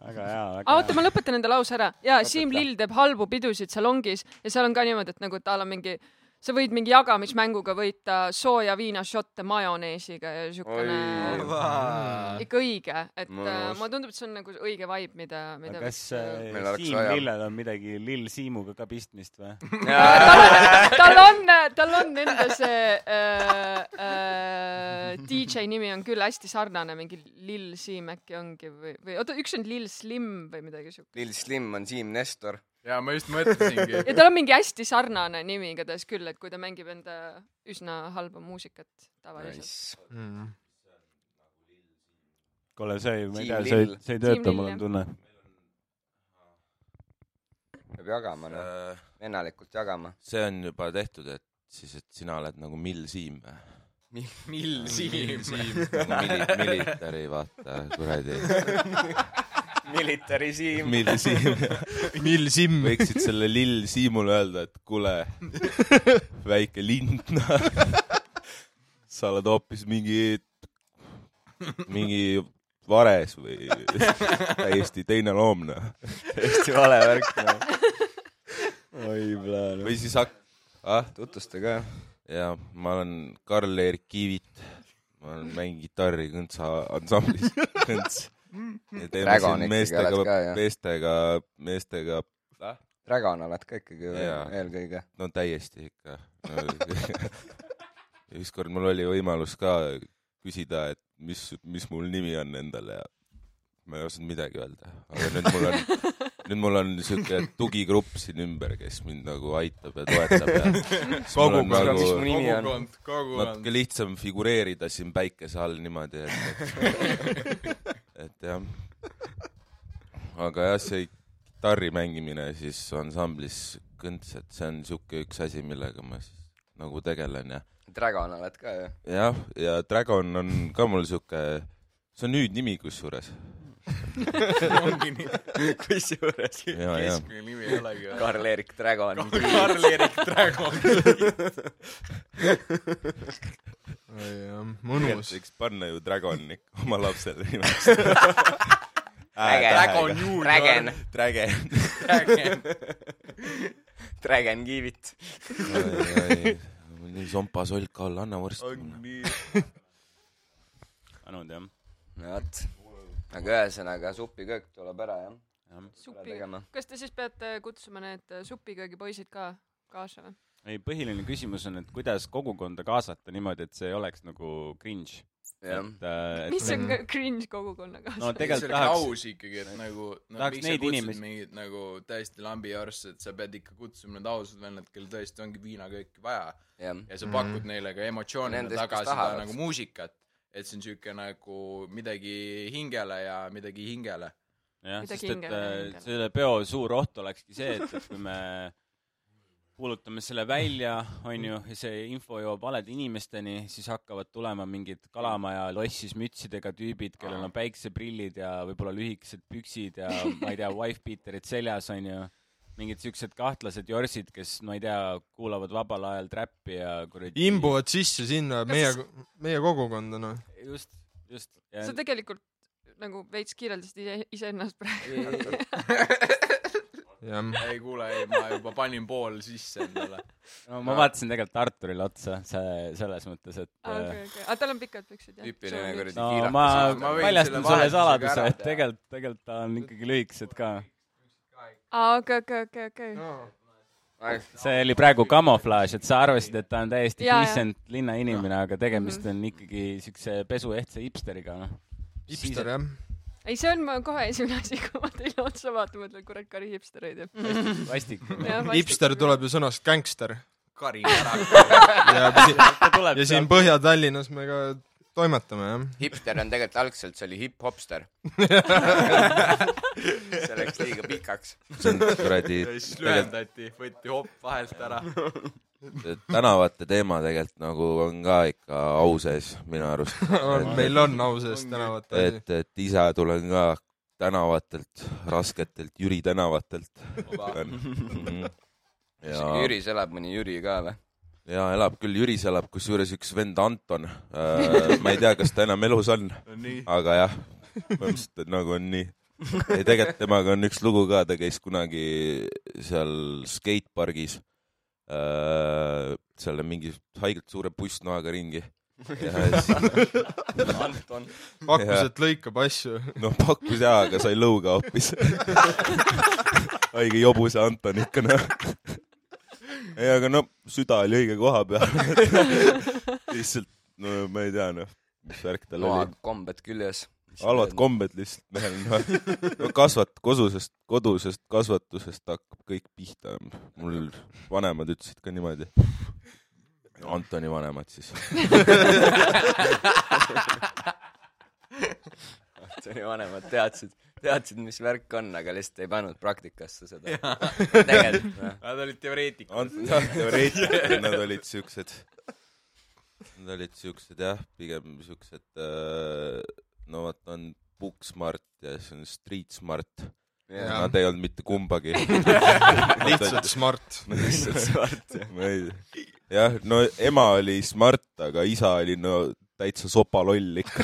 väga hea ,
aa ,
väga
oota , ma lõpetan enda lause ära . jaa , Siim Lill teeb halbu pidusid salongis ja seal on ka niimoodi , et nagu tal on mingi , sa võid mingi jagamismänguga võita sooja viinašotte majoneesiga ja siukene ikka õige , et
Ma-
äh, mulle tundub , et see on nagu õige vibe , mida , mida äh,
hea . kas äh,
võiks-
Meil oleks
Siim
vaja.
Lillel on midagi Lill Siimuga ka pistmist või ?
tal on , tal on enda see äh, äh, DJ nimi on küll hästi sarnane , mingi Lill Siim äkki ongi või , või oota , üks on Lill Slim või midagi siukest .
Lil Slim on Siim Nestor .
ja ma just mõtlesingi .
ja tal on mingi hästi sarnane nimi igatahes küll , et kui ta mängib enda üsna halba muusikat tavaliselt .
kuule , see ei , ma ei
Siim
tea , see
Lill.
ei , see ei tööta ,
Siim
mul
Lill,
on tunne .
peab jagama , noh , vennalikult jagama .
Äh, see on juba tehtud , et siis , et sina oled nagu Mill Siim või ?
Mill Siim .
nagu mili- , militari , vaata , kuradi .
military Siim .
Mill Siim .
Mill Simm .
võiksid selle lill Siimule öelda , et kuule , väike lind , sa oled hoopis mingi , mingi vares või täiesti teine loom , noh .
täiesti vale värk , noh .
oi , plaan .
või siis hak- , ah ,
tutvusta ka .
ja ma olen Karl-Erik Kiivit . ma olen- mängin kitarri Kõntsa ansamblis . Kõnts . ja teeme
Räga on
siin
ikkagi, oled
meestega
ka, jah? ,
meestega , meestega ,
rägan oled ka ikkagi veel
Jaa.
eelkõige .
no täiesti ikka . ükskord mul oli võimalus ka küsida , et mis , mis mul nimi on endale ja ma ei osanud midagi öelda , aga nüüd mul on , nüüd mul on siuke tugigrupp siin ümber , kes mind nagu aitab ja toetab ja siis mul
mis
Kogukond.
on
mu
nagu
nimi on ?
kogukond , kogukond .
natuke lihtsam figureerida siin päikese all niimoodi , et , et , et jah . aga jah , see kitarri mängimine siis ansamblis kõnts , et see on siuke üks asi , millega ma siis nagu tegelen ja
rägan oled ka ju .
jah , ja Dragon on ka mul siuke , see on hüüdnimi kusjuures .
ongi nii .
kusjuures
ja , ja
keskmine nimi ei olegi või ?
Karl-Erik Dragon .
Karl-Erik Dragon .
mõnus .
võiks panna ju Dragon ikka oma lapsele nimeks .
Dragon
Juunior.
Dragon ,
Äh, Dragon .
Dragon Kiivit .
nii sompa solk all , anna vorst mulle .
anud jah .
no vot . aga ühesõnaga supiköök tuleb ära jah , ära
supi ,
tegema .
kas te siis peate kutsuma need äh, supiköögipoisid ka kaasa või ?
ei , põhiline küsimus on , et kuidas kogukonda kaasata niimoodi , et see ei oleks nagu cringe .
jah ,
et , et
mis on kõ- cringe kogukonna
no
kaasa ?
tegelikult
tahaks
tahaks ,
aus ikkagi , et nagu no,
tahaks
miks sa
neid
kutsud
inimesi-
mingid nagu täiesti lambiarsse , et sa pead ikka kutsuma need ausad vennad , kel tõesti ongi viinakööki vaja
jah .
ja sa pakud neile ka emotsioone
Mhm. Nendest, kes
taga seda
tahavad.
nagu muusikat , et see on siuke nagu midagi hingele ja midagi hingele .
jah ,
Midagi
sest et
hingele
äh,
hingele.
selle peo suur oht olekski see , et , et kui me kuulutame selle välja , onju , ja see info jõuab valede inimesteni , siis hakkavad tulema mingid kalamaja lossis mütsidega tüübid , kellel on päikseprillid ja võib-olla lühikesed püksid ja ma ei tea , wife-beaterid seljas , onju . mingid siuksed kahtlased jorsid , kes , ma ei tea , kuulavad vabal ajal trappi ja kuradi .
imbuvad sisse sinna meie , meie kogukonda , noh .
just , just .
sa tegelikult nagu veits kirjeldasid ise , iseennast praegu .
jah .
ei kuule , ei ma juba panin pool sisse endale .
no ma vaatasin tegelikult Arturile otsa , see , selles mõttes , et äh,
aa , Ah, okei , okei . aa , tal on pikad püksid , jah ?
tüüpiline kuradi
no
kiirakas .
ma
ma võin
väljastan
selle
sulle
vahetusega
saladuse
ära ,
et
teha.
tegelikult , tegelikult ta on ikkagi lühikesed ka .
aa , okei , okei , okei , okei .
see oli praegu kamuflaaž , et sa arvasid , et ta on täiesti
Jaa, Mhm. jah.
decent linnainimene , aga tegemist on ikkagi siukse pesuehtse hipsteriga , noh .
hipster , jah .
ei , see on mu kohe esimene asi , kui ma teile otsa vaatan , mõtlen , kurat , kari hipstereid ju .
vastik .
hipster . tuleb ju sõnast gängster .
kari ära .
ja ,
ta tuleb
ja siin
sealt ,
Põhja-Tallinnas me ka toimetame , jah .
hipster on tegelikult algselt , see oli hip-hopster . see läks liiga pikaks .
see on kuradi
ja siis lühendati , võeti hopp vahelt ära .
tegelikult tänavate teema tegelikult nagu on ka ikka au sees minu arust .
meil on au sees tänavat asi .
et , et ise tulen ka tänavatelt , rasketelt Jüri tänavatelt . ja ,
Jüris elab mõni Jüri ka või ?
ja elab küll , Jüris elab , kusjuures üks vend Anton , ma ei tea , kas ta enam elus on ,
nii .
aga jah , põhimõtteliselt et nagu on nii . ei , tegelikult temaga on üks lugu ka , ta käis kunagi seal skatepargis äh, , seal on mingi haigelt suure pussnoaga ringi . ja siis ,
Anton .
pakkus , et lõikab asju .
no pakkus jaa , aga sai lõuga hoopis . haige jobu see Anton ikka , noh . ei , aga no süda oli õige koha peal . lihtsalt , no ma ei tea , noh , mis värk tal oli
load , kombed küljes .
halvad . kombed lihtsalt mehel on . no kasvat- , kodusest , kodusest kasvatusest hakkab kõik pihta . mul vanemad ütlesid ka niimoodi . Antoni vanemad siis .
Antoni vanemad teadsid , teadsid , mis värk on , aga lihtsalt ei pannud praktikasse seda . tegelikult , noh .
Nad olid teoreetikud .
Anton ja Reet , nad olid siuksed , nad olid siuksed jah , pigem siuksed , no vot on Book Smart ja siis on Street Smart .
Jah.
Nad ei olnud mitte kumbagi .
lihtsalt smart .
lihtsalt smart jah . jah , no ema oli smart , aga isa oli no täitsa sopaloll ikka .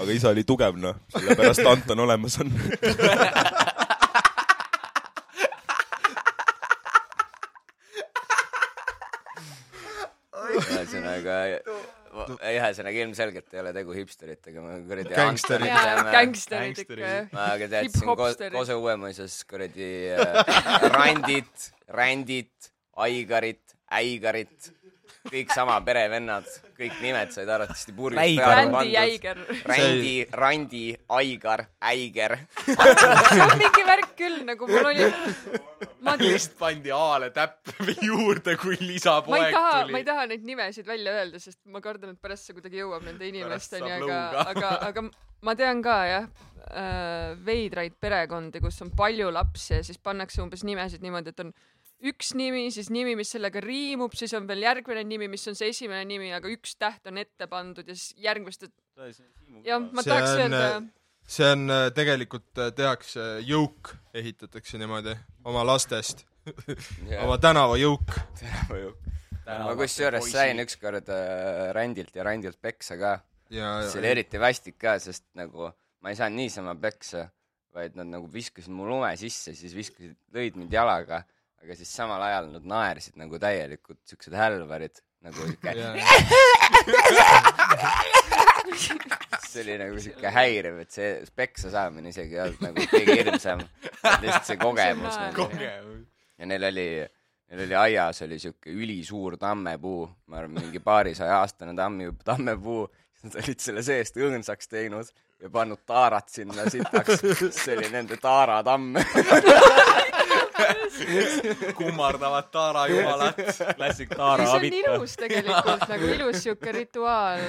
aga isa oli tugev noh , sellepärast Anton olemas on .
aga ühesõnaga ilmselgelt ei ole tegu hipsteritega , ma kuradi
Gängsterid.
jaa , gängsterid
Gängsterid.
ikka jah .
ma aga teadsin ko-
Hip-hopsterid. ,
Kose Uuemuises kuradi äh, Randit , Rändit , Aigarit , Äigarit , kõik sama perevennad , kõik nimed said arvatavasti purjus
Läigar.
peale
Brändi
pandud .
jäiger .
Rändi , Randi , Aigar , Äiger .
see on mingi värk küll , nagu mul oli , ma
vist pandi A-le täpp juurde , kui
ma ei
lisapoeg
taha , ma
tuli
ei . taha neid nimesid välja öelda , sest ma kardan , et pärast see kuidagi jõuab nende inimesteni ,
saab
aga
lõuga. ,
aga , aga ma tean ka jah äh, veidraid perekondi , kus on palju lapsi ja siis pannakse umbes nimesid niimoodi , et on üks nimi , siis nimi , mis sellega riimub , siis on veel järgmine nimi , mis on see esimene nimi , aga üks täht on ette pandud ja siis järgmist , jah , ma
See
tahaks
on,
öelda
äh, see on äh, tegelikult äh, tehakse jõuk , ehitatakse niimoodi oma lastest , oma tänavajõuk .
ma kusjuures sain ükskord äh, Randilt ja Randilt peksa ka
ja ,
see oli eriti vastik ka , sest nagu ma ei saanud niisama peksa , vaid nad nagu viskasid mu lume sisse , siis viskasid , lõid mind jalaga , aga siis samal ajal nad naersid nagu täielikult , siuksed hälvarid , nagu siuke ,
ja ,
see oli nagu siuke häiriv , et see peksa saamine isegi ei olnud nagu kõige hirmsam , lihtsalt see kogemus
See on
nagu . ja neil oli , neil oli aias oli siuke ülisuur tammepuu , ma arvan , mingi paarisaja aastane tammi , tammepuu , siis nad olid selle seest õõnsaks teinud ja pannud taarat sinna sitaks , see oli nende taaratamm .
kummardavad Taara jumalat .
klassik
Ei,
Taara
see on
Avita .
ilus tegelikult , nagu ilus siuke rituaal ,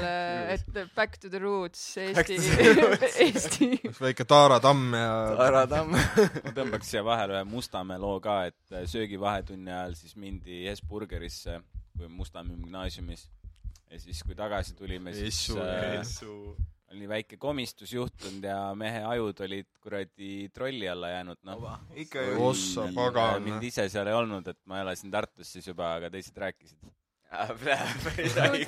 et back to the roots Eesti , Eesti
üks väike Taara tamm ja
taaratamm .
ma tõmbaks siia vahele ühe Mustamäe loo ka , et söögivahetunni ajal siis mindi Hesburgerisse , kui Mustamäe gümnaasiumis . ja siis , kui tagasi tulime , siis
Issu,
äh,
su
oli väike komistus juhtunud ja mehe ajud olid kuradi trolli alla jäänud , noh .
ikka
ju. Ossa pagan.
mind ise seal ei olnud , et ma elasin Tartus siis juba , aga teised rääkisid .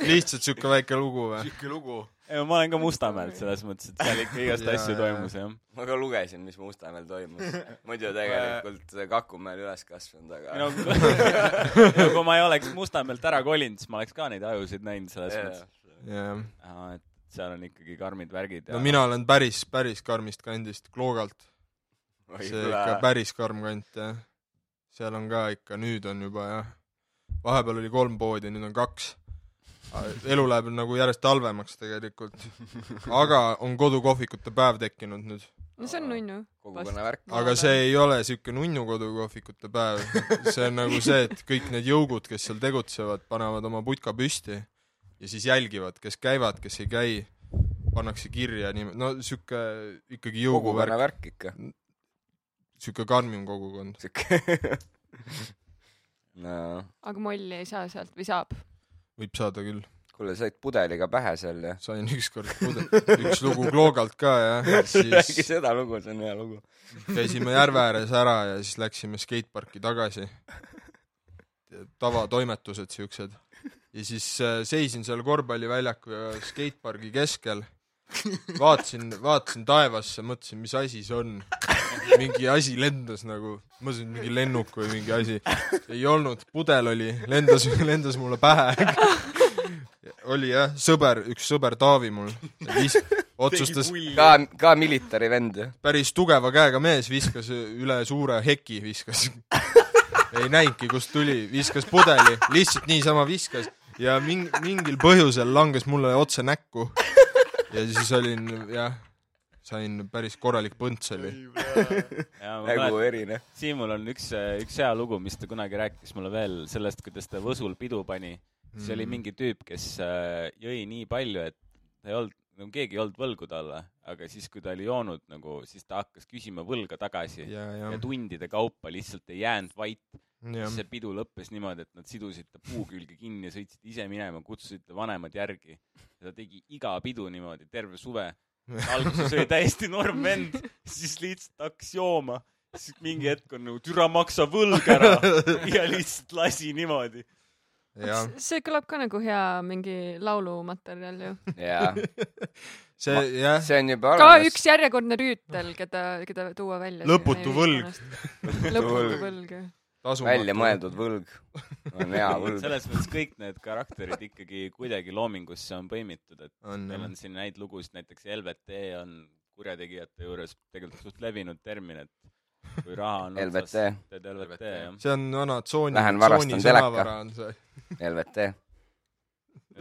lihtsalt siuke väike lugu või ?
siuke lugu .
ei , ma olen ka Mustamäelt selles mõttes , et seal ikka igast
Jaa,
asju
jaa.
toimus , jah .
ma ka lugesin , mis Mustamäel toimus . muidu tegelikult Kakumäel üles kasvanud ,
no
aga .
kui kui ma ei oleks Mustamäelt ära kolinud , siis ma oleks ka neid ajusid näinud selles mõttes .
jah .
et seal on ikkagi karmid värgid ja
no mina olen päris , päris karmist kandist , Kloogalt . see ikka päris karm kant jah . seal on ka ikka , nüüd on juba jah . vahepeal oli kolm poodi , nüüd on kaks . elu läheb nagu järjest halvemaks tegelikult . aga on kodukohvikute päev tekkinud nüüd .
no see on nunnu .
kogukonna värk .
aga see ei ole siuke nunnu kodukohvikute päev , see on nagu see , et kõik need jõugud , kes seal tegutsevad , panevad oma putka püsti ja siis jälgivad , kes käivad , kes ei käi , pannakse kirja nii , no siuke
kogukonna
ikkagi jõuguvärk ,
värk ikka .
siuke karmim kogukond .
sihuke . nojah .
aga molli ei saa sealt või saab ?
võib saada küll ,
kuule , said pudeliga pähe seal ja ?
sain ükskord pude- , üks lugu Kloogalt ka ja
räägi
siis
seda lugu , see on hea lugu .
käisime järve ääres ära ja siis läksime skateparki tagasi . tavatoimetused siuksed . ja siis äh, seisin seal korvpalliväljaku ja skatepargi keskel , vaatasin , vaatasin taevasse , mõtlesin , mis asi see on . mingi asi lendas nagu , mõtlesin , et mingi lennuk või mingi asi . ei olnud , pudel oli , lendas , lendas mulle pähe . oli jah , sõber , üks sõber Taavi mul vis- otsustas ,
ka , ka militari vend ju .
päris tugeva käega mees viskas üle suure heki , viskas . ei näinudki , kust tuli , viskas pudeli , lihtsalt niisama viskas ja ming- , mingil põhjusel langes mulle otse näkku . ja siis olin jah , sain päris korralik põnts oli .
ja ma
nägu
mäletan ,
erinev .
Siimul on üks , üks hea lugu , mis ta kunagi rääkis mulle veel sellest , kuidas ta Võsul pidu pani . siis mm. oli mingi tüüp , kes äh, jõi nii palju , et ta ei olnud , nagu keegi ei olnud võlgu talle , aga siis , kui ta oli joonud nagu , siis ta hakkas küsima võlga tagasi ja,
ja , ja
ja , tundide kaupa lihtsalt ei jäänud vait .
jah
siis , see pidu lõppes niimoodi , et nad sidusid ta puu külge kinni ja sõitsid ise minema , kutsusid ta vanemad järgi . ja ta tegi iga pidu niimoodi terve suve . alguses oli täiesti norm vend , siis lihtsalt hakkas jooma , siis mingi hetk on nagu türa maksa võlg ära ja lihtsalt lasi niimoodi .
jah .
see kõlab ka nagu hea mingi laulumaterjal ju .
jaa ,
see jah ,
see on juba
ka
olemas .
üks järjekordne rüütel , keda , keda tuua välja .
Lõputu võlg. .
lõputu võlg , jah .
väljamõeldud võlg on hea võlg .
selles mõttes kõik need karakterid ikkagi kuidagi loomingusse on põimitud , et
on
meil
jah
on . siin neid lugusid , näiteks LVT on kurjategijate juures tegelikult suht levinud termin , et kui raha on otsas ,
LVT ,
teed LVT jah .
see on vana tsooni ,
Lähen varastan
tsooni
teleka.
sõnavara on see .
LVT .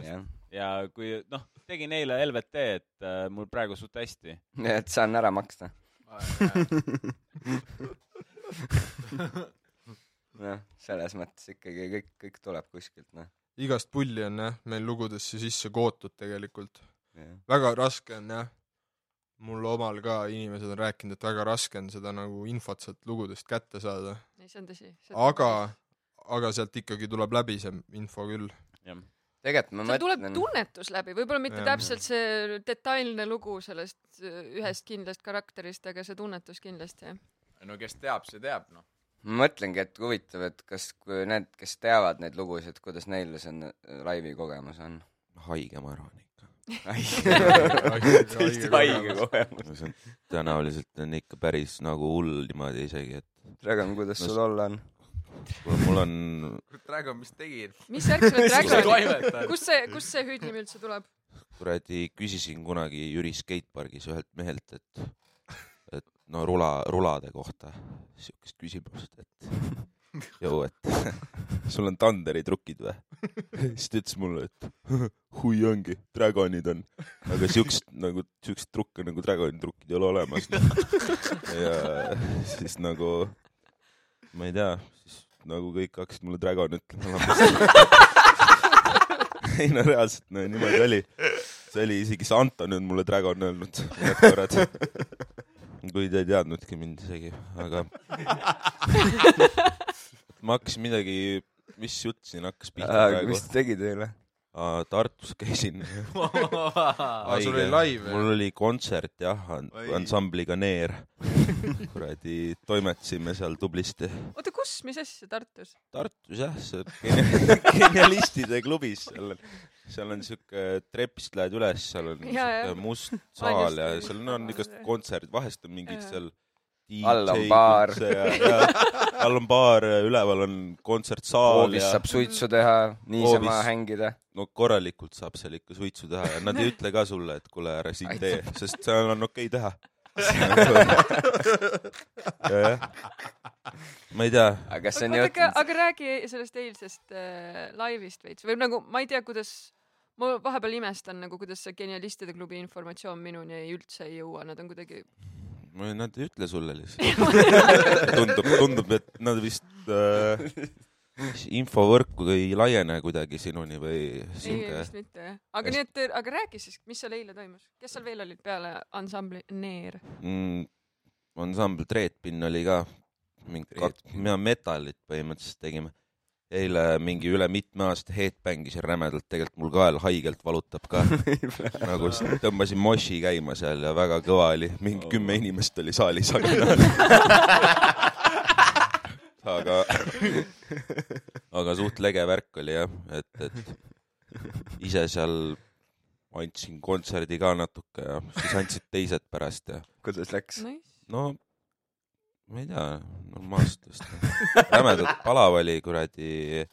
jah ,
ja kui noh , tegin eile LVT , et äh, mul praegu suht hästi .
et saan ära maksta . noh , selles mõttes ikkagi kõik , kõik tuleb kuskilt , noh .
igast pulli on jah , meil lugudesse sisse kootud tegelikult . väga raske on jah , mul omal ka inimesed on rääkinud , et väga raske on seda nagu infot sealt lugudest kätte saada ,
ei , see on tõsi .
aga , aga sealt ikkagi tuleb läbi see info küll .
jah ,
tegelikult ma
seal tuleb
mõtlen ,
tunnetus läbi , võib-olla mitte
Jah.
täpselt see detailne lugu sellest äh, ühest kindlast karakterist , aga see tunnetus kindlasti jah .
no kes teab , see teab , noh .
ma mõtlengi , et huvitav , et kas , kui need , kes teavad neid lugusid , kuidas neil see n- laivi kogemus on ?
haige , ma arvan ikka .
täiesti haige . kogemus .
no see on , tõenäoliselt on ikka päris nagu hull niimoodi isegi , et
Dragan , kuidas sul olla on ?
mul- mul on ,
kurat , Dragon , mis tegid ?
mis värk selle Dragoni ,
toimetad ?
kust see , kust see hüüdnimi üldse tuleb ?
kuradi , küsisin kunagi Jüri skatepargis ühelt mehelt , et , et no rula , rulade kohta siukest küsimust , et jõu , et sul on Thunderi trukid või ? siis ta ütles mulle , et hui ongi , dragonid on , aga siukest nagu , siukest trukke nagu dragoni trukkid ei ole olemas . ja siis nagu , ma ei tea , siis nagu kõik hakkasid mulle dragon ütlema . ei no reaalselt , no niimoodi oli . see oli isegi see Anton on mulle dragon öelnud , need korrad . kui te ei teadnudki mind isegi , aga ma hakkasin midagi , mis jutt siin hakkas pihta praegu
mis ? ta tegi teile ?
Aa, Äh, Tartus käisin .
sul oli live, jah?
mul oli kontsert jah , ansambliga Neer . kuradi , toimetasime seal tublisti .
oota , kus , mis asja , Tartus ?
Tartus jah , seal geni- genialistide klubis , seal on , seal on siuke trepist lähed üles , seal on
Ja, ja.
siuke must saal ja
Valjusti-
seal on- on igast kontserdid , vahest on mingid seal
All on baar.
DJ-d ja- all on baar , üleval on kontsertsaal
hoovis
ja
saab suitsu teha , niisama
Hoovis.
hängida .
no korralikult saab seal ikka suitsu teha ja nad ei ütle ka sulle , et kuule , ära siin tee , sest seal on okei teha . ma ei tea ,
aga kas see on
oota , aga ,
juhtunud ?
aga räägi sellest eilsest äh, laivist veits või nagu ma ei tea , kuidas , ma vahepeal imestan nagu , kuidas see Genialistide klubi informatsioon minuni ei üldse ei jõua , nad on kuidagi ,
nad ei ütle sulle lihtsalt . tundub , tundub , et nad vist äh, infovõrku ei laiene kuidagi sinuni või
ei
siuke
vist mitte jah . aga nii , et , aga räägi siis , mis seal eile toimus , kes seal veel olid peale ansambli Neer ?
mm, ansambel Treetpinn oli ka mingi kaks , mina metallit põhimõtteliselt tegime . eile mingi üle mitme aasta headbangisin rämedalt , tegelikult mul kael haigelt valutab ka . nagu s- tõmbasin moshi käima seal ja väga kõva oli , mingi kümme inimest oli saalis , aga aga , aga suht lege värk oli jah , et , et ise seal andsin kontserdi ka natuke ja siis andsid teised pärast ja
kuidas läks ?
Nice .
no ma ei tea , normaalselt vist . rämedalt palav oli kuradi ,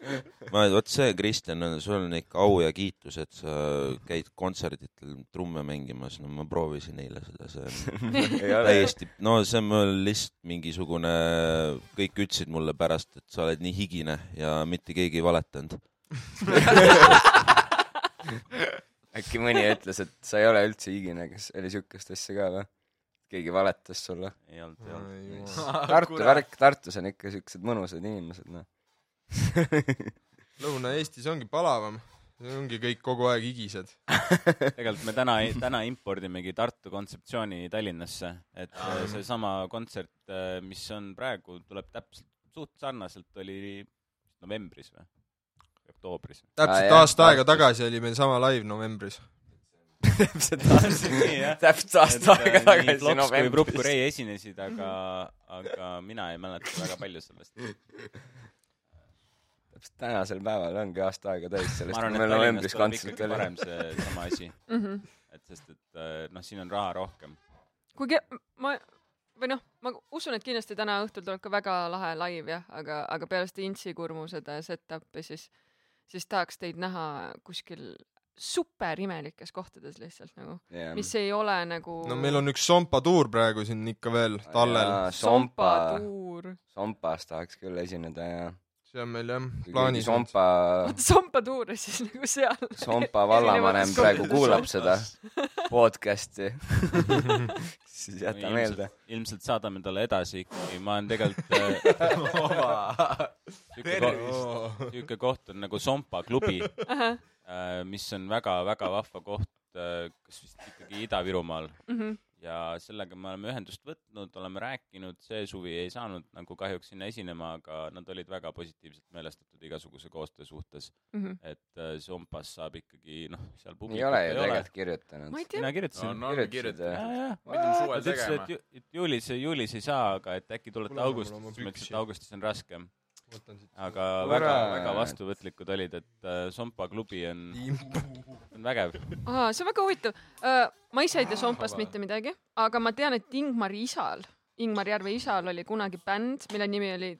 ma , vot see , Kristjan , sul on ikka au ja kiitus , et sa käid kontserditel trumme mängimas , no ma proovisin eile seda , see on
ei ole .
täiesti , no see on mul lihtsalt mingisugune , kõik ütlesid mulle pärast , et sa oled nii higine ja mitte keegi ei valetanud .
äkki mõni ütles , et sa ei ole üldse higine , kas oli siukest asja ka või ? keegi valetas sulle ?
ei olnud , ei olnud . Ah,
Tartu värk , Tartus on ikka siuksed mõnusad inimesed , noh .
Lõuna-Eestis ongi palavam , ongi kõik kogu aeg higised .
tegelikult me täna , täna impordimegi Tartu kontseptsiooni Tallinnasse , et
Ah.
äh, seesama kontsert , mis on praegu , tuleb täpselt suht sarnaselt , oli novembris või ? oktoobris või ?
Aa,
täpselt
jah,
aasta aega
Tartus.
tagasi oli meil sama live novembris .
täpselt aasta ,
nii jah .
täpselt aasta aega tagasi
Flops kui Prukk
novembris .
Rei esinesid , aga , aga mina ei mäleta väga palju sellest .
täpselt tänasel päeval ongi aasta aega täis
ma
sellest ,
arvan , et
kui meil
Tallinnas
novembris
tuleb
kontsert
ikkagi
oli .
parem see sama asi ,
Mm -hmm.
et sest , et äh, noh , siin on raha rohkem .
kuigi ma , või noh , ma usun , et kindlasti täna õhtul tuleb ka väga lahe laiv jah , aga , aga peale seda Intsi kurmu seda set-up'i siis , siis tahaks teid näha kuskil superimelikes kohtades lihtsalt nagu , mis ei ole nagu
no meil on üks sompatuur praegu siin ikka veel tallel .
Sompa ,
tuur .
Sompas tahaks küll esineda ja .
see on meil jah plaanis .
Sompa ,
Sompa tuur ja siis nagu seal .
Sompa vallavanem
Erinevates
praegu
kohtades
kuulab seda podcast'i . siis jäta meelde .
ilmselt saadame talle edasi ikkagi , ma olen tegelikult äh, sihuke ko- sihuke koht on nagu Sompa klubi , mis on väga-väga vahva koht , kas vist ikkagi Ida-Virumaal ja sellega me oleme ühendust võtnud , oleme rääkinud , see suvi ei saanud nagu kahjuks sinna esinema , aga nad olid väga positiivselt meelestatud igasuguse koostöö suhtes ,
Mhm.
et äh, Sompas saab ikkagi noh , seal
ei ole ju
ole.
tegelikult kirjutanud
ma . ei tea ,
mina kirjutasin .
no
Kirjutasid,
kirjutada .
jah.
jaa , jaa .
ma pidin
Nad
suvel
ütlesid ,
tegema
et . ju- et juulis , juulis ei saa , aga et äkki tulete
Kuule, mul
augustis ,
on oma
siis ma ütlesin ,
püksid.
et augustis on raskem . aga
Kurat.
väga , väga vastuvõtlikud olid , et äh, Sompa klubi on , on vägev .
see on väga huvitav . ma ise ei tea Sompast mitte midagi , aga ma tean , et Ingmari isal , Ingmar Järve isal oli kunagi bänd , mille nimi oli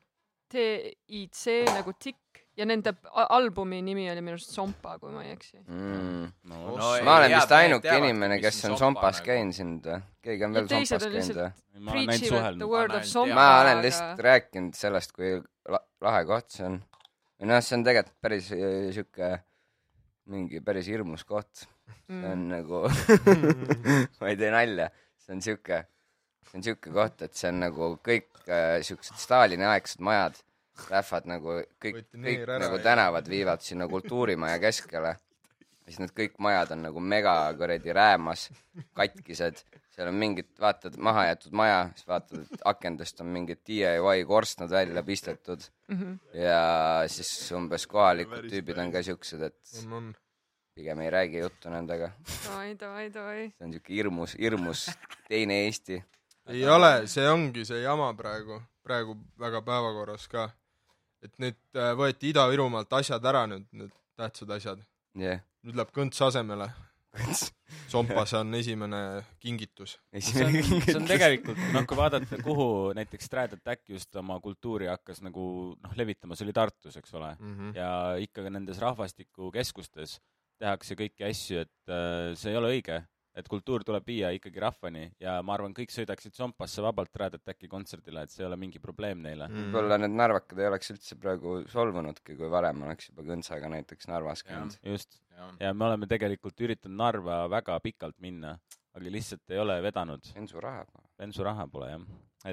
TIC nagu tikk ja nende a- albumi nimi oli minu arust Sompa , kui ma ei eksi .
Mm.
no
Oh,
no
Ei,
ma olen
jaa,
vist
teavad,
ainuke
teavad,
inimene ,
mis
kes
on
on
Sompa
Sompas
nagu.
käinud siin või ? keegi on veel
Ja teised
Sompas
on
käinud
ma olen ainult
või ?
Preacher at the
suhelnud .
word
Ma
of
olen
Sompa .
ma olen lihtsalt rääkinud sellest , kui la- lahe koht see on . või noh , see on tegelikult päris äh, sihuke mingi päris hirmus koht . see on
Mm.
nagu , ma ei tee nalja , see on sihuke , see on sihuke koht , et see on nagu kõik äh, siuksed Stalini aegsed majad lähevad nagu kõik ,
Võeti neer
kõik
ära
nagu
ja-
tänavad viivad sinna kultuurimaja keskele . ja siis need kõik majad on nagu mega kuradi räämas , katkised , seal on mingid , vaatad mahajäetud maja , siis vaatad , et akendest on mingid DIY korstnad välja pistetud
Mhm.
ja siis umbes kohalikud tüübid on ka siuksed , et
on , on .
pigem ei räägi juttu nendega .
davai , davai , davai .
see on siuke hirmus , hirmus teine Eesti .
ei ole , see ongi see jama praegu , praegu väga päevakorras ka . et nüüd äh, võeti Ida-Virumaalt asjad ära nüüd , need tähtsad asjad .
jah ,
nüüd läheb kõnts asemele . sompas on esimene kingitus .
esimene
see on tegelikult , noh , kui vaadata , kuhu näiteks Strad Attack just oma kultuuri hakkas nagu noh , levitama , see oli Tartus , eks ole mm ,
Mhm.
-hmm. ja ikka ka nendes rahvastikukeskustes tehakse kõiki asju , et äh, see ei ole õige , et kultuur tuleb viia ikkagi rahvani ja ma arvan , kõik sõidaksid Sompasse vabalt Strad Attacki kontserdile , et see ei ole mingi probleem neile mm. .
võib-olla need narvakad ei oleks üldse praegu solvunudki , kui varem oleks juba kõntsaga näiteks Narvas käinud .
just , ja me oleme tegelikult üritanud Narva väga pikalt minna , aga lihtsalt ei ole vedanud .
bensuraha .
bensuraha pole jah ,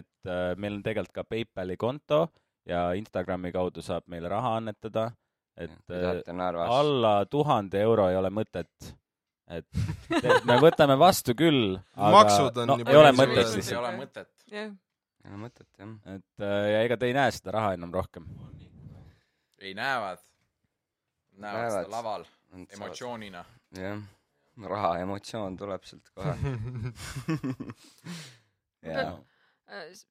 et äh, meil on tegelikult ka PayPali konto ja Instagrami kaudu saab meile raha annetada , et
Te
äh,
saate Narvas .
alla tuhande euro ei ole mõtet , et et me võtame vastu küll ,
Maksud
aga
on
no,
juba
ei ole
nii suured.
mõtet
ei
lihtsalt ,
ole mõtet .
jah ,
ei ole mõtet jah .
et äh, ja ega te ei näe seda raha enam rohkem .
ei näevad . näevad
Näevad.
seda laval emotsioonina .
jah , raha emotsioon tuleb sealt kohe . jaa ,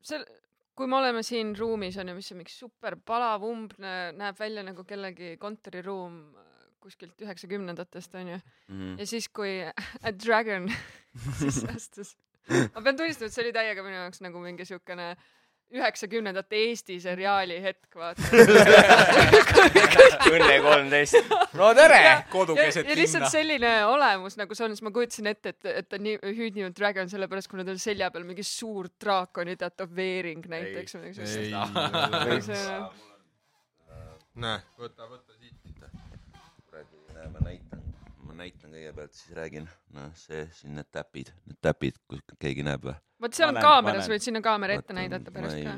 seal , Äh, kui me oleme siin ruumis on ju , mis on mingi super palav umbne , näeb välja nagu kellegi kontoriruum äh, kuskilt üheksakümnendatest onju .
Mhm.
ja siis , kui A Dragon sisse astus , ma pean tunnistama , et see oli täiega minu jaoks nagu mingi siukene üheksakümnendate Eesti seriaali hetk , vaata .
Õnne kolmteist . no tere !
kodukeset
ja, ja lihtsalt
linna .
selline olemus , nagu see on , siis ma kujutasin ette , et , et ta nii hüüdni on Dragon sellepärast , kuna tal selja peal mingi suur draakoni tätoveering näiteks või midagi sellist .
ei
Ei,
ole .
see-
näe , võta , võta siit .
kuradi , näe , ma näitan , ma näitan kõigepealt , siis räägin . noh , see siin need täpid , need täpid , kus keegi näeb või ?
vot seal on
Panen,
kaameras ,
panen.
võid sinna kaamera ette
Vaatan,
näidata
ma
pärast
ei-
ka .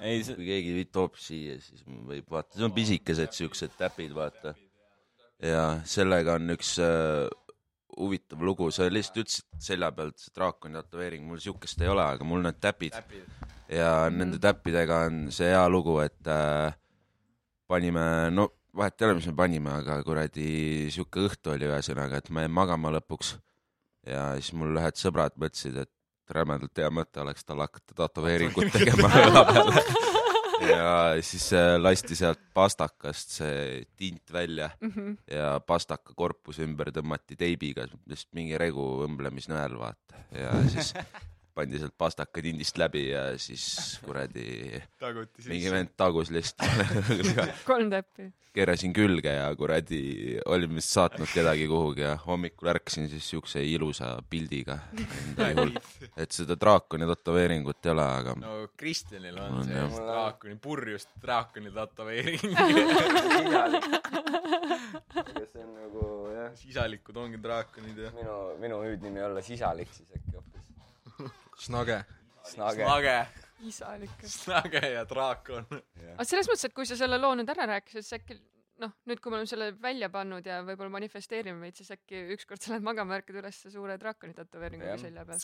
ei ,
kui keegi toob siia , siis võib vaata , see on pisikesed siuksed täpid , vaata . ja sellega on üks äh, huvitav lugu , sa lihtsalt ütlesid selja pealt see draakoni tätoveering , mul siukest ei ole , aga mul need täpid ja nende täppidega on see hea lugu , et äh, panime , no vahet ei ole , mis me panime , aga kuradi sihuke õhtu oli ühesõnaga , et ma jäin magama lõpuks . ja siis mul ühed sõbrad mõtlesid , et rämedalt hea mõte oleks tal hakata tätoveeringut tegema õla peale . ja siis äh, lasti sealt pastakast see tint välja ja pastaka korpus ümber tõmmati teibiga , lihtsalt mingi regu õmblemisnõel , vaata . ja siis pandi sealt pastakad indist läbi ja siis kuradi
taguti
mingi vend tagus lihtsalt
kolm täppi .
keerasin külge ja kuradi olin vist saatnud kedagi kuhugi ja hommikul ärkasin siis siukse ilusa pildiga enda juhul , et seda draakoni tätoveeringut ei ole , aga no.
no Kristjanil on
On,
see
jah.
draakoni , purjust draakoni tätoveering .
aga see on nagu jah ,
sisalikud ongi draakonid ja .
minu , minu hüüdnimi olla sisalik siis äkki hoopis .
snage .
Snage .
Snage ,
isalik .
Snage ja draakon .
aga selles mõttes , et kui sa selle loo nüüd ära rääkisid , siis äkki noh , nüüd kui me oleme selle välja pannud ja võib-olla manifesteerime veid , siis äkki ükskord sa lähed magama , ärkad üles suure draakoni tätoveeringuga
Jah.
selja peal .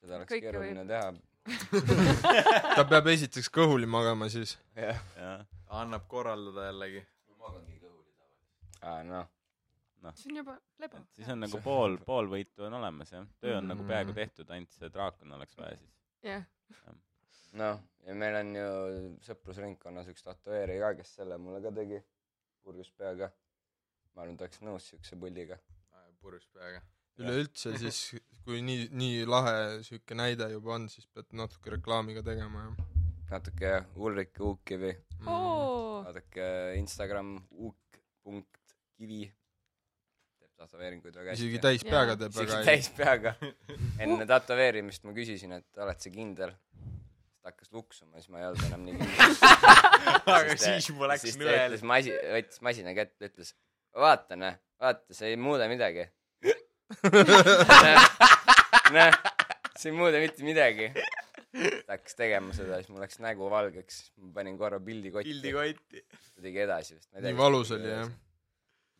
seda oleks
Kõike
keeruline teha .
ta peab esiteks kõhuli magama siis .
jah .
jah ,
annab korraldada jällegi .
aa noh ,
see on juba lebo .
siis on nagu pool , pool võitu on olemas jah , töö on nagu
Mhm.
peaaegu tehtud , ainult see draakon oleks vaja siis .
jah ,
noh , ja meil on ju sõprusringkonnas üks tatueerija ka , kes selle mulle ka tegi , purjus peaga . ma arvan , ta oleks nõus siukse puldiga .
purjus peaga .
üleüldse siis , kui nii , nii lahe siuke näide juba on , siis pead natuke reklaami ka tegema ja
natuke jah , Ulrik Uukkivi ,
mm. .
oo ,
vaadake äh, Instagram uuk.kivi teeb tatoveeringuid väga hästi .
isegi täis
Jaa.
peaga teeb
isegi
väga hästi .
täis peaga . enne tätoveerimist ma küsisin , et oled sa kindel ? siis ta hakkas luksuma , siis ma ei olnud enam nii kindel .
aga siis juba läks
siis ta
nõel .
ütles masi- , võttis masina kätte , ütles vaata näe , vaata , see ei muuda midagi . näe , see ei muuda mitte midagi . ta hakkas tegema seda , siis mul läks nägu valgeks , ma panin korra pildi kotti .
pildi kotti .
ta tegi edasi vist .
nii valus oli jah .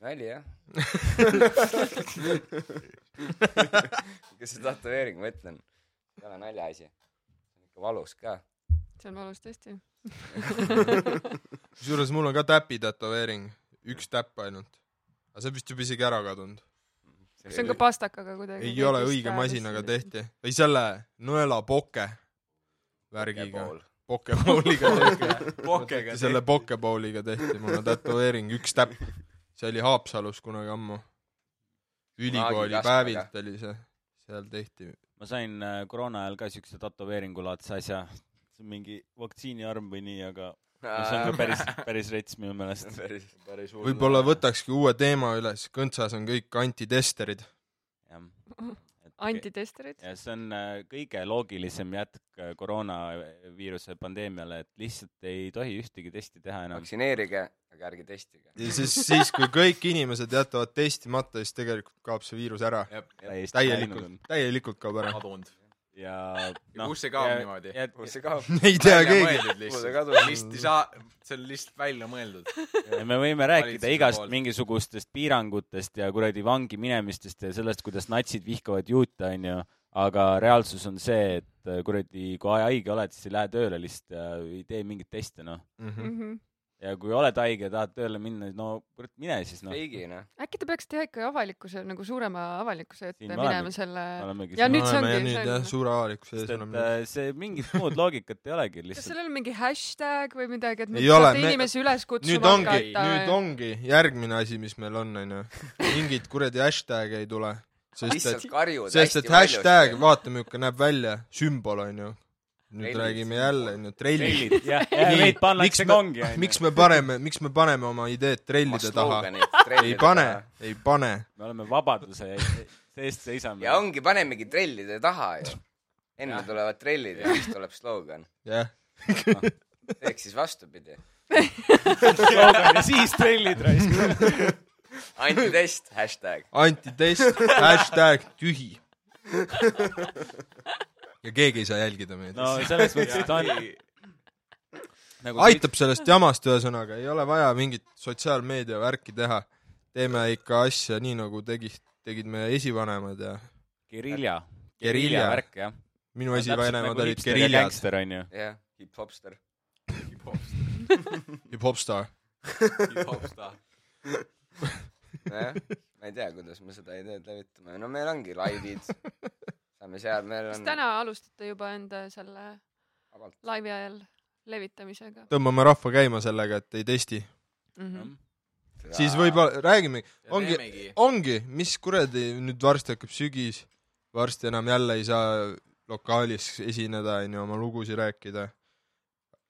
nali jah kas see tätoveering , ma ütlen , ei ole naljaasi . ikka valus ka .
see on valus tõesti .
kusjuures mul on ka täpi tätoveering , üks täpp ainult . aga see on vist juba isegi ära kadunud .
see on ka pastakaga kuidagi .
ei ole õige masinaga . tehti . või selle nõelapoke värgiga , pokebowliga tehti .
pokega
selle . pokebowliga tehti mulle tätoveering , üks täpp . see oli Haapsalus kunagi ammu . ülikooli
Maagikastmega.
päevilt oli see , seal tehti .
ma sain äh, koroona ajal ka siukse tätoveeringulaadse asja , see on mingi vaktsiiniarm või nii , aga no see on ka päris ,
Äh.
päris rets minu meelest .
päris .
päris hull .
võib-olla võtakski uue teema üles , kõntsas on kõik antitesterid .
jah .
antitesterid .
ja see on äh, kõige loogilisem jätk äh, koroonaviiruse pandeemiale , et lihtsalt ei tohi ühtegi testi teha enam .
vaktsineerige , aga ärge testige .
ja siis , siis kui kõik inimesed jätavad testimata , siis tegelikult kaob see viirus ära . täielikult , täielikult kaob ära .
kadunud .
ja noh,
Ja kus see kaob niimoodi?
ja,
kuhu
ja,
see kaob ?
ei tea
välja
keegi .
mõeldud
Kuule,
lihtsalt .
kadunud.
lihtsalt ei saa , see on lihtsalt välja mõeldud .
ja me võime rääkida
Valitsuse
igast
poolt.
mingisugustest piirangutest ja kuradi vangi minemistest ja sellest , kuidas natsid vihkavad juute , onju , aga reaalsus on see , et äh, kuradi , kui haige oled , siis ei lähe tööle lihtsalt ja ei tee mingeid teste , noh .
Mhm.
Mhm.
ja kui oled haige ja tahad tööle minna , no kurat , mine siis , noh .
feigina .
äkki te peaksite ikka avalikkuse nagu suurema avalikkuse ette
Siin me
minema
olemegi.
selle ,
olemegi
Ja
siin
nüüd see ongi-
oleme
see
nüüd
on-
jah , suure avalikkuse ees
sest et
oleme .
äh, see mingit muud loogikat ei olegi
kas
lihtsalt .
sellel on mingi hashtag või midagi , et
Ei
nüüd
ole,
saate
me-
inimesi üles
nüüd
kutsuma
ongi , nüüd ongi järgmine asi , mis meil on , onju . mingit kuradi hashtag'e ei tule . sest
lihtsalt
et ,
karjud
sest et hashtag ,. vaata , milline näeb välja , sümbol , onju . nüüd
Trellid.
räägime jälle , onju , trellid .
trellid , jah , ja
Nii,
neid
miks
pannakse
me-
kongi , onju .
miks me paneme , miks me paneme oma ideed trellide taha ? ei pane , ei pane .
me oleme vabaduse e-, eest seisame .
ja ongi , panemegi trellide taha ju . enne tulevad trellid ja siis tuleb slogan .
jah ,
ehk siis vastupidi .
slogan ja siis trellid raisk .
antitest , hashtag .
antitest , hashtag tühi . ja keegi ei saa jälgida meid
no selles mõttes , et on nagu
aitab sellest jamast , ühesõnaga , ei ole vaja mingit sotsiaalmeedia värki teha . teeme ikka asja nii , nagu tegid , tegid meie esivanemad ja
Gerilja .
Guerilla.
värk jah .
minu esivanemad nagu olid geriljad ,
gangster onju .
jah , hip-hopster .
hip-hopstaar .
nojah , ma ei tea , kuidas me seda ideed levitame , no meil ongi laivid , saame seal , meil
kas
on
täna alustate juba enda selle
Avalt.
laivi ajal levitamisega
tõmbame rahva käima sellega , et ei testi .
mm ? -hmm.
siis võib-olla , räägime , ongi , ongi , mis kuradi , nüüd varsti hakkab sügis , varsti enam jälle ei saa lokaalis esineda , onju , oma lugusid rääkida .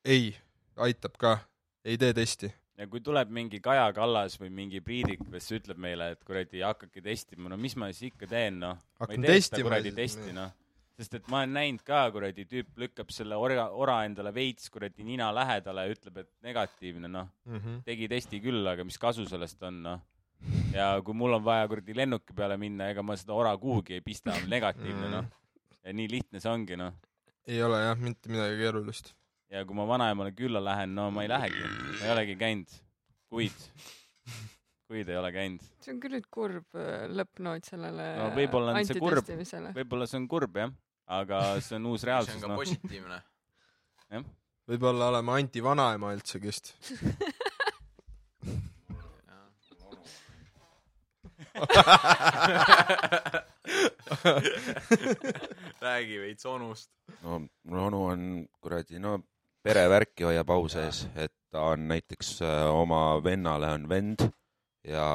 ei , aitab ka , ei tee testi .
ja kui tuleb mingi Kaja Kallas või mingi Priidik , kes ütleb meile , et kuradi hakake testima , no mis ma siis ikka teen , noh . ma ei
Hakkan
tee seda
testima
kuradi
siis,
testi ,
nii.
noh . sest et ma olen näinud ka kuradi tüüp lükkab selle ora , ora endale veits kuradi nina lähedale , ütleb , et negatiivne , noh .
Mhm.
tegi testi küll , aga mis kasu sellest on , noh . ja kui mul on vaja kuradi lennuki peale minna , ega ma seda ora kuhugi ei pista , on
Mm.
negatiivne , noh . ja nii lihtne see ongi , noh .
ei ole jah , mitte midagi keerulist .
ja kui ma vanaemale külla lähen , no ma ei lähegi , ma ei olegi käinud , kuid , kuid ei ole käinud .
see on küll nüüd kurb äh, lõppnoot sellele
No võib-olla on see kurb.
antitestimisele .
võib-olla see on kurb jah , aga see on uus
see
reaalsus
on , ka
noh .
positiivne .
võib-olla oleme anti-vanaema üldsegist .
räägi veits onust .
no mul onu on kuradi no perevärki hoiab au sees , et ta on näiteks äh, oma vennale on vend ja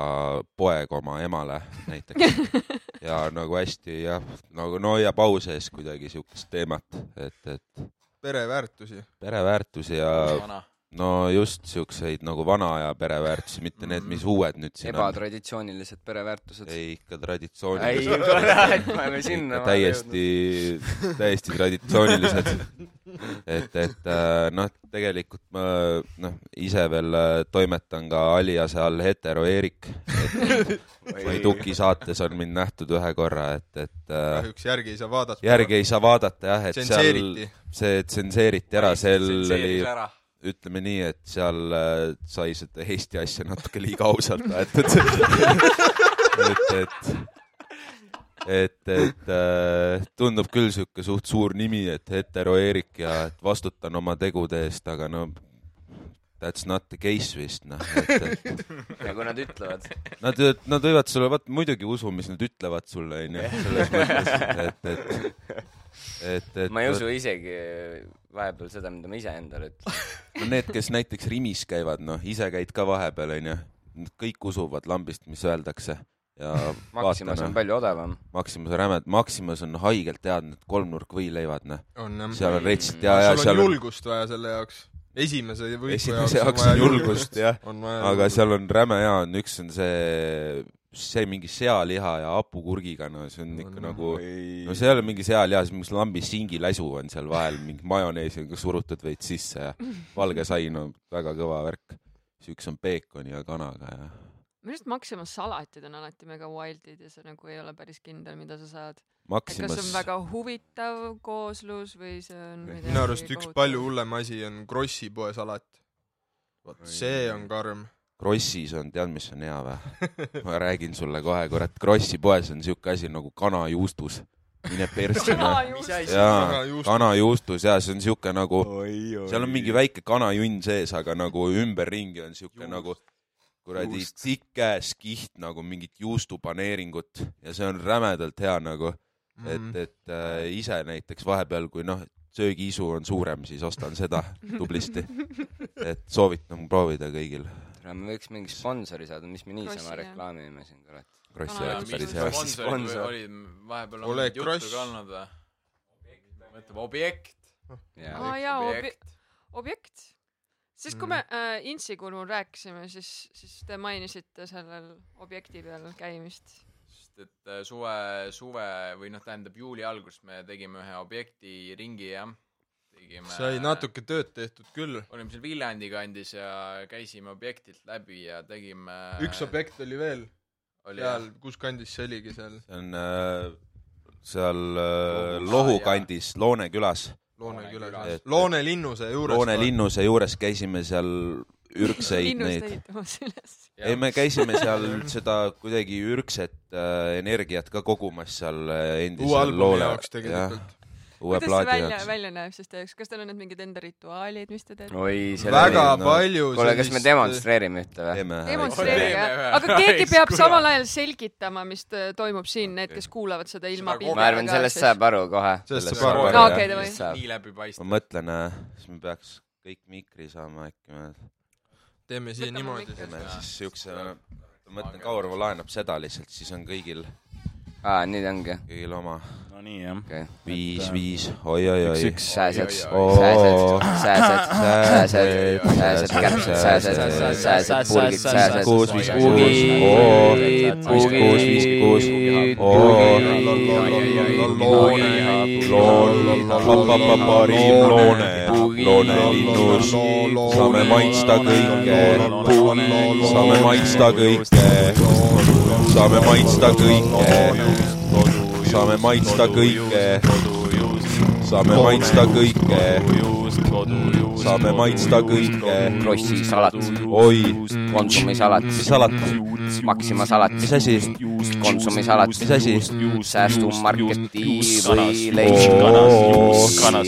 poeg oma emale näiteks ja nagu hästi jah , nagu no hoiab au sees kuidagi siukest teemat , et , et
pereväärtusi .
pereväärtusi ja
vana .
no just siukseid nagu vana aja pereväärtusi , mitte need , mis uued nüüd siin on .
ebatraditsioonilised pereväärtused .
ei ikka
ei
traditsioonilised .,
kurat , me oleme
ikka
sinna .
täiesti , täiesti traditsioonilised . et , et äh, noh , tegelikult ma noh , ise veel äh, toimetan ka aliase all hetero Eerik . või Tuki saates on mind nähtud ühe korra , et , et äh,
kahjuks järgi ei saa vaadata .
järgi ei saa vaadata jah , et seal
Tsenseeriti.
see tsenseeriti ära , seal oli
tsenseeris ära .
ütleme nii , et seal äh, sai seda Eesti asja natuke liiga ausalt aetud . et , et , et , et äh, tundub küll sihuke suht suur nimi , et hetero Eerik ja et vastutan oma tegude eest , aga no that's not the case vist noh , et , et
nagu nad ütlevad .
Nad , nad võivad sulle , vaat muidugi usu , mis nad ütlevad sulle , onju , selles mõttes , et , et , et , et
ma ei usu isegi vahepeal seda , mida ma iseendale ütlen .
no need , kes näiteks Rimis käivad , noh , ise käid ka vahepeal , onju , kõik usuvad lambist , mis öeldakse ja
Maximas on
vaata ,
palju odavam .
Maximas on rämed , Maximas on haigelt head need kolmnurkvõileivad , noh ,
on jah .
seal on retsid ja , ja
Mm. sul on
seal on
julgust vaja selle jaoks . esimese võiku
esimese jaoks on julgust , jah ,
on vaja
aga seal on räme hea , on üks on see , see mingi sealiha ja hapukurgiga , no see on ikka nagu no see ei ole mingi sealiha , see on mingi lambi singiläsu on seal vahel , mingi majoneesi on ka surutud veits sisse ja valge sai , no väga kõva värk . siis üks on peekoni ja kanaga ja
minu arust Maxima salatid on alati mega wildid ja sa nagu ei ole päris kindel , mida sa saad . kas see on
Maximas ,
väga huvitav kooslus või see on midagi
minu arust üks palju hullem asi on Krossi poes alati . vot see on karm .
Krossis on , tead , mis on hea või ? ma räägin sulle kohe , kurat , Krossi poes on siuke asi nagu kanajuustus . mine persse , noh .
hullem .
jaa ,
Kanajuustus.
kanajuustus jaa , see on siuke nagu , seal on mingi väike kanajunn sees , aga nagu ümberringi on siuke nagu kuradi tikes kiht nagu mingit juustupaneeringut ja see on rämedalt hea nagu , et , et äh, ise näiteks vahepeal , kui noh , söögiisu on suurem , siis ostan seda tublisti . et soovitan proovida kõigil .
me võiks mingi sponsori saada , mis me
Krossi,
niisama
jah.
reklaamime siin , kurat .
Krossi
Jaa,
oleks
mis
päris hea .
sponsorid
Sponsor.
või olid vahepeal
Oleg
olnud juttu
Kross.
ka olnud või ? mõtleb objekt .
jaa ,
aa jaa , objekt , objekt . siis , kui me äh, Intsikulul rääkisime , siis , siis te mainisite sellel objekti peal käimist .
sest et äh, suve , suve või noh , tähendab juuli alguses me tegime ühe objekti ringi jah . tegime .
sai . natuke tööd tehtud küll .
olime seal Viljandi kandis ja käisime objektilt läbi ja tegime .
üks objekt oli veel
oli jah
seal , kus kandis see oligi seal
see on äh, seal äh,
Lohus.
Lohu
Aa, jaa.
kandis , Loone külas .
Loone külas
külas. .
Loone linnuse juures .
Loone . linnuse juures käisime seal ürgseid
linnust
neid
ehitamas üles .
Jah.
ei , me käisime seal seda kuidagi ürgset äh, energiat ka kogumas seal äh,
uue
endisel
albumi
loole ,
jaoks tegelikult .
uue
kuidas see
plaadi
välja ,
jaoks .
välja näeb siis teie jaoks , kas teil on need mingid enda rituaalid , mis te teete ?
oi , see
väga
no-
palju
oli . kuule , kas me demonstreerime ühte või ?
teeme
demonstreeri
Teeme
jah
ühe. ,
aga keegi
Päris
peab
kurat.
samal ajal selgitama , mis t- toimub siin , need , kes kuulavad seda ilma
Seda kogu-
ma arvan , sellest saab aru kohe .
sellest
Sellest
saab
saab
aru
aru.
no
Jah.
okei , davai .
Just saab.
nii läbipaistev
ma . mõtlen , siis me peaks kõik mikri saama äkki , me
teeme siia
Võtame
niimoodi
mikri.
teeme siis siukse , ma mõtlen , Kaur laenab seda lihtsalt , siis on kõigil ,
aa , nüüd ongi .
kõigil oma .
no nii jah .
okei .
viis , viis , oi , oi , oi .
üks.
sääsed ,
Oi, oi, oi.
sääsed , sääsed , sääsed , sääsed , käpsed , sääsed , sääsed , purgid , sääsed .
kuus , viis , kuus ,
Kuugid,
kuus , kuus , viis , kuus ,
kuugid,
kuus . loon , papapapari , loone , loone linnus , saame maitsta kõike , saame maitsta kõike , saame maitsta kõike , saame maitsta kõike , saame maitsta kõike ,
Mm.
saame maitsta kõike ,
krossisalat ,
oi ,
konsumisalat ,
mis alati
Mm. Maxima salat ,
mis asi ?
konsumisalat ,
mis asi ?
säästu marketi või
Juust
leib , juust , kana ,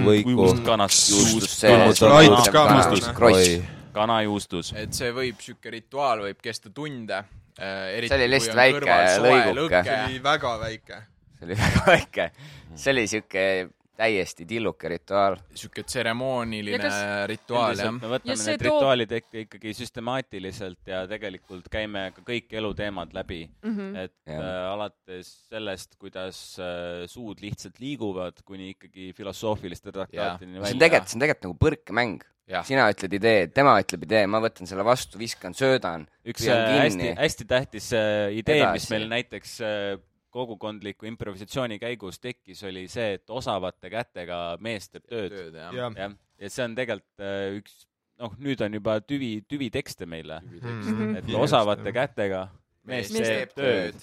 võiku .
juustus ,
Laitus ka.
kross .
kanajuustus .
et see võib , sihuke rituaal võib kesta tunde . äh, see
See oli lihtsalt väike lõiguke.
see oli väga väike .
see oli väga väike , see oli siuke täiesti tilluke rituaal .
sihuke
Ja
tseremooniline
kas-
rituaal jah .
me
Ja
võtame
see
need
toob-
rituaalid ikka ikkagi süstemaatiliselt ja tegelikult käime ka kõik eluteemad läbi mm ,
Mhm.
-hmm. et
Jah.
äh, alates sellest , kuidas äh, suud lihtsalt liiguvad , kuni ikkagi filosoofiliste traktaatideni
see on
välja
tegelikult ,. see on tegelikult nagu põrkemäng
Jah. .
sina ütled idee , tema ütleb idee , ma võtan selle vastu , viskan , söödan ,
üks
püüan
äh, hästi
kinni ,.
hästi tähtis äh, idee , mis
Edasi.
meil näiteks äh, kogukondliku improvisatsiooni käigus tekkis , oli see , et osavate kätega mees teeb tööd .
tööd jah .
jah .
jah , ja see on tegelikult äh, üks , noh , nüüd on juba tüvi , tüvitekste meile ,
Hmm. Mhm.
et
Tüvitekste,
osavate
jah.
kätega mees teeb tööd ..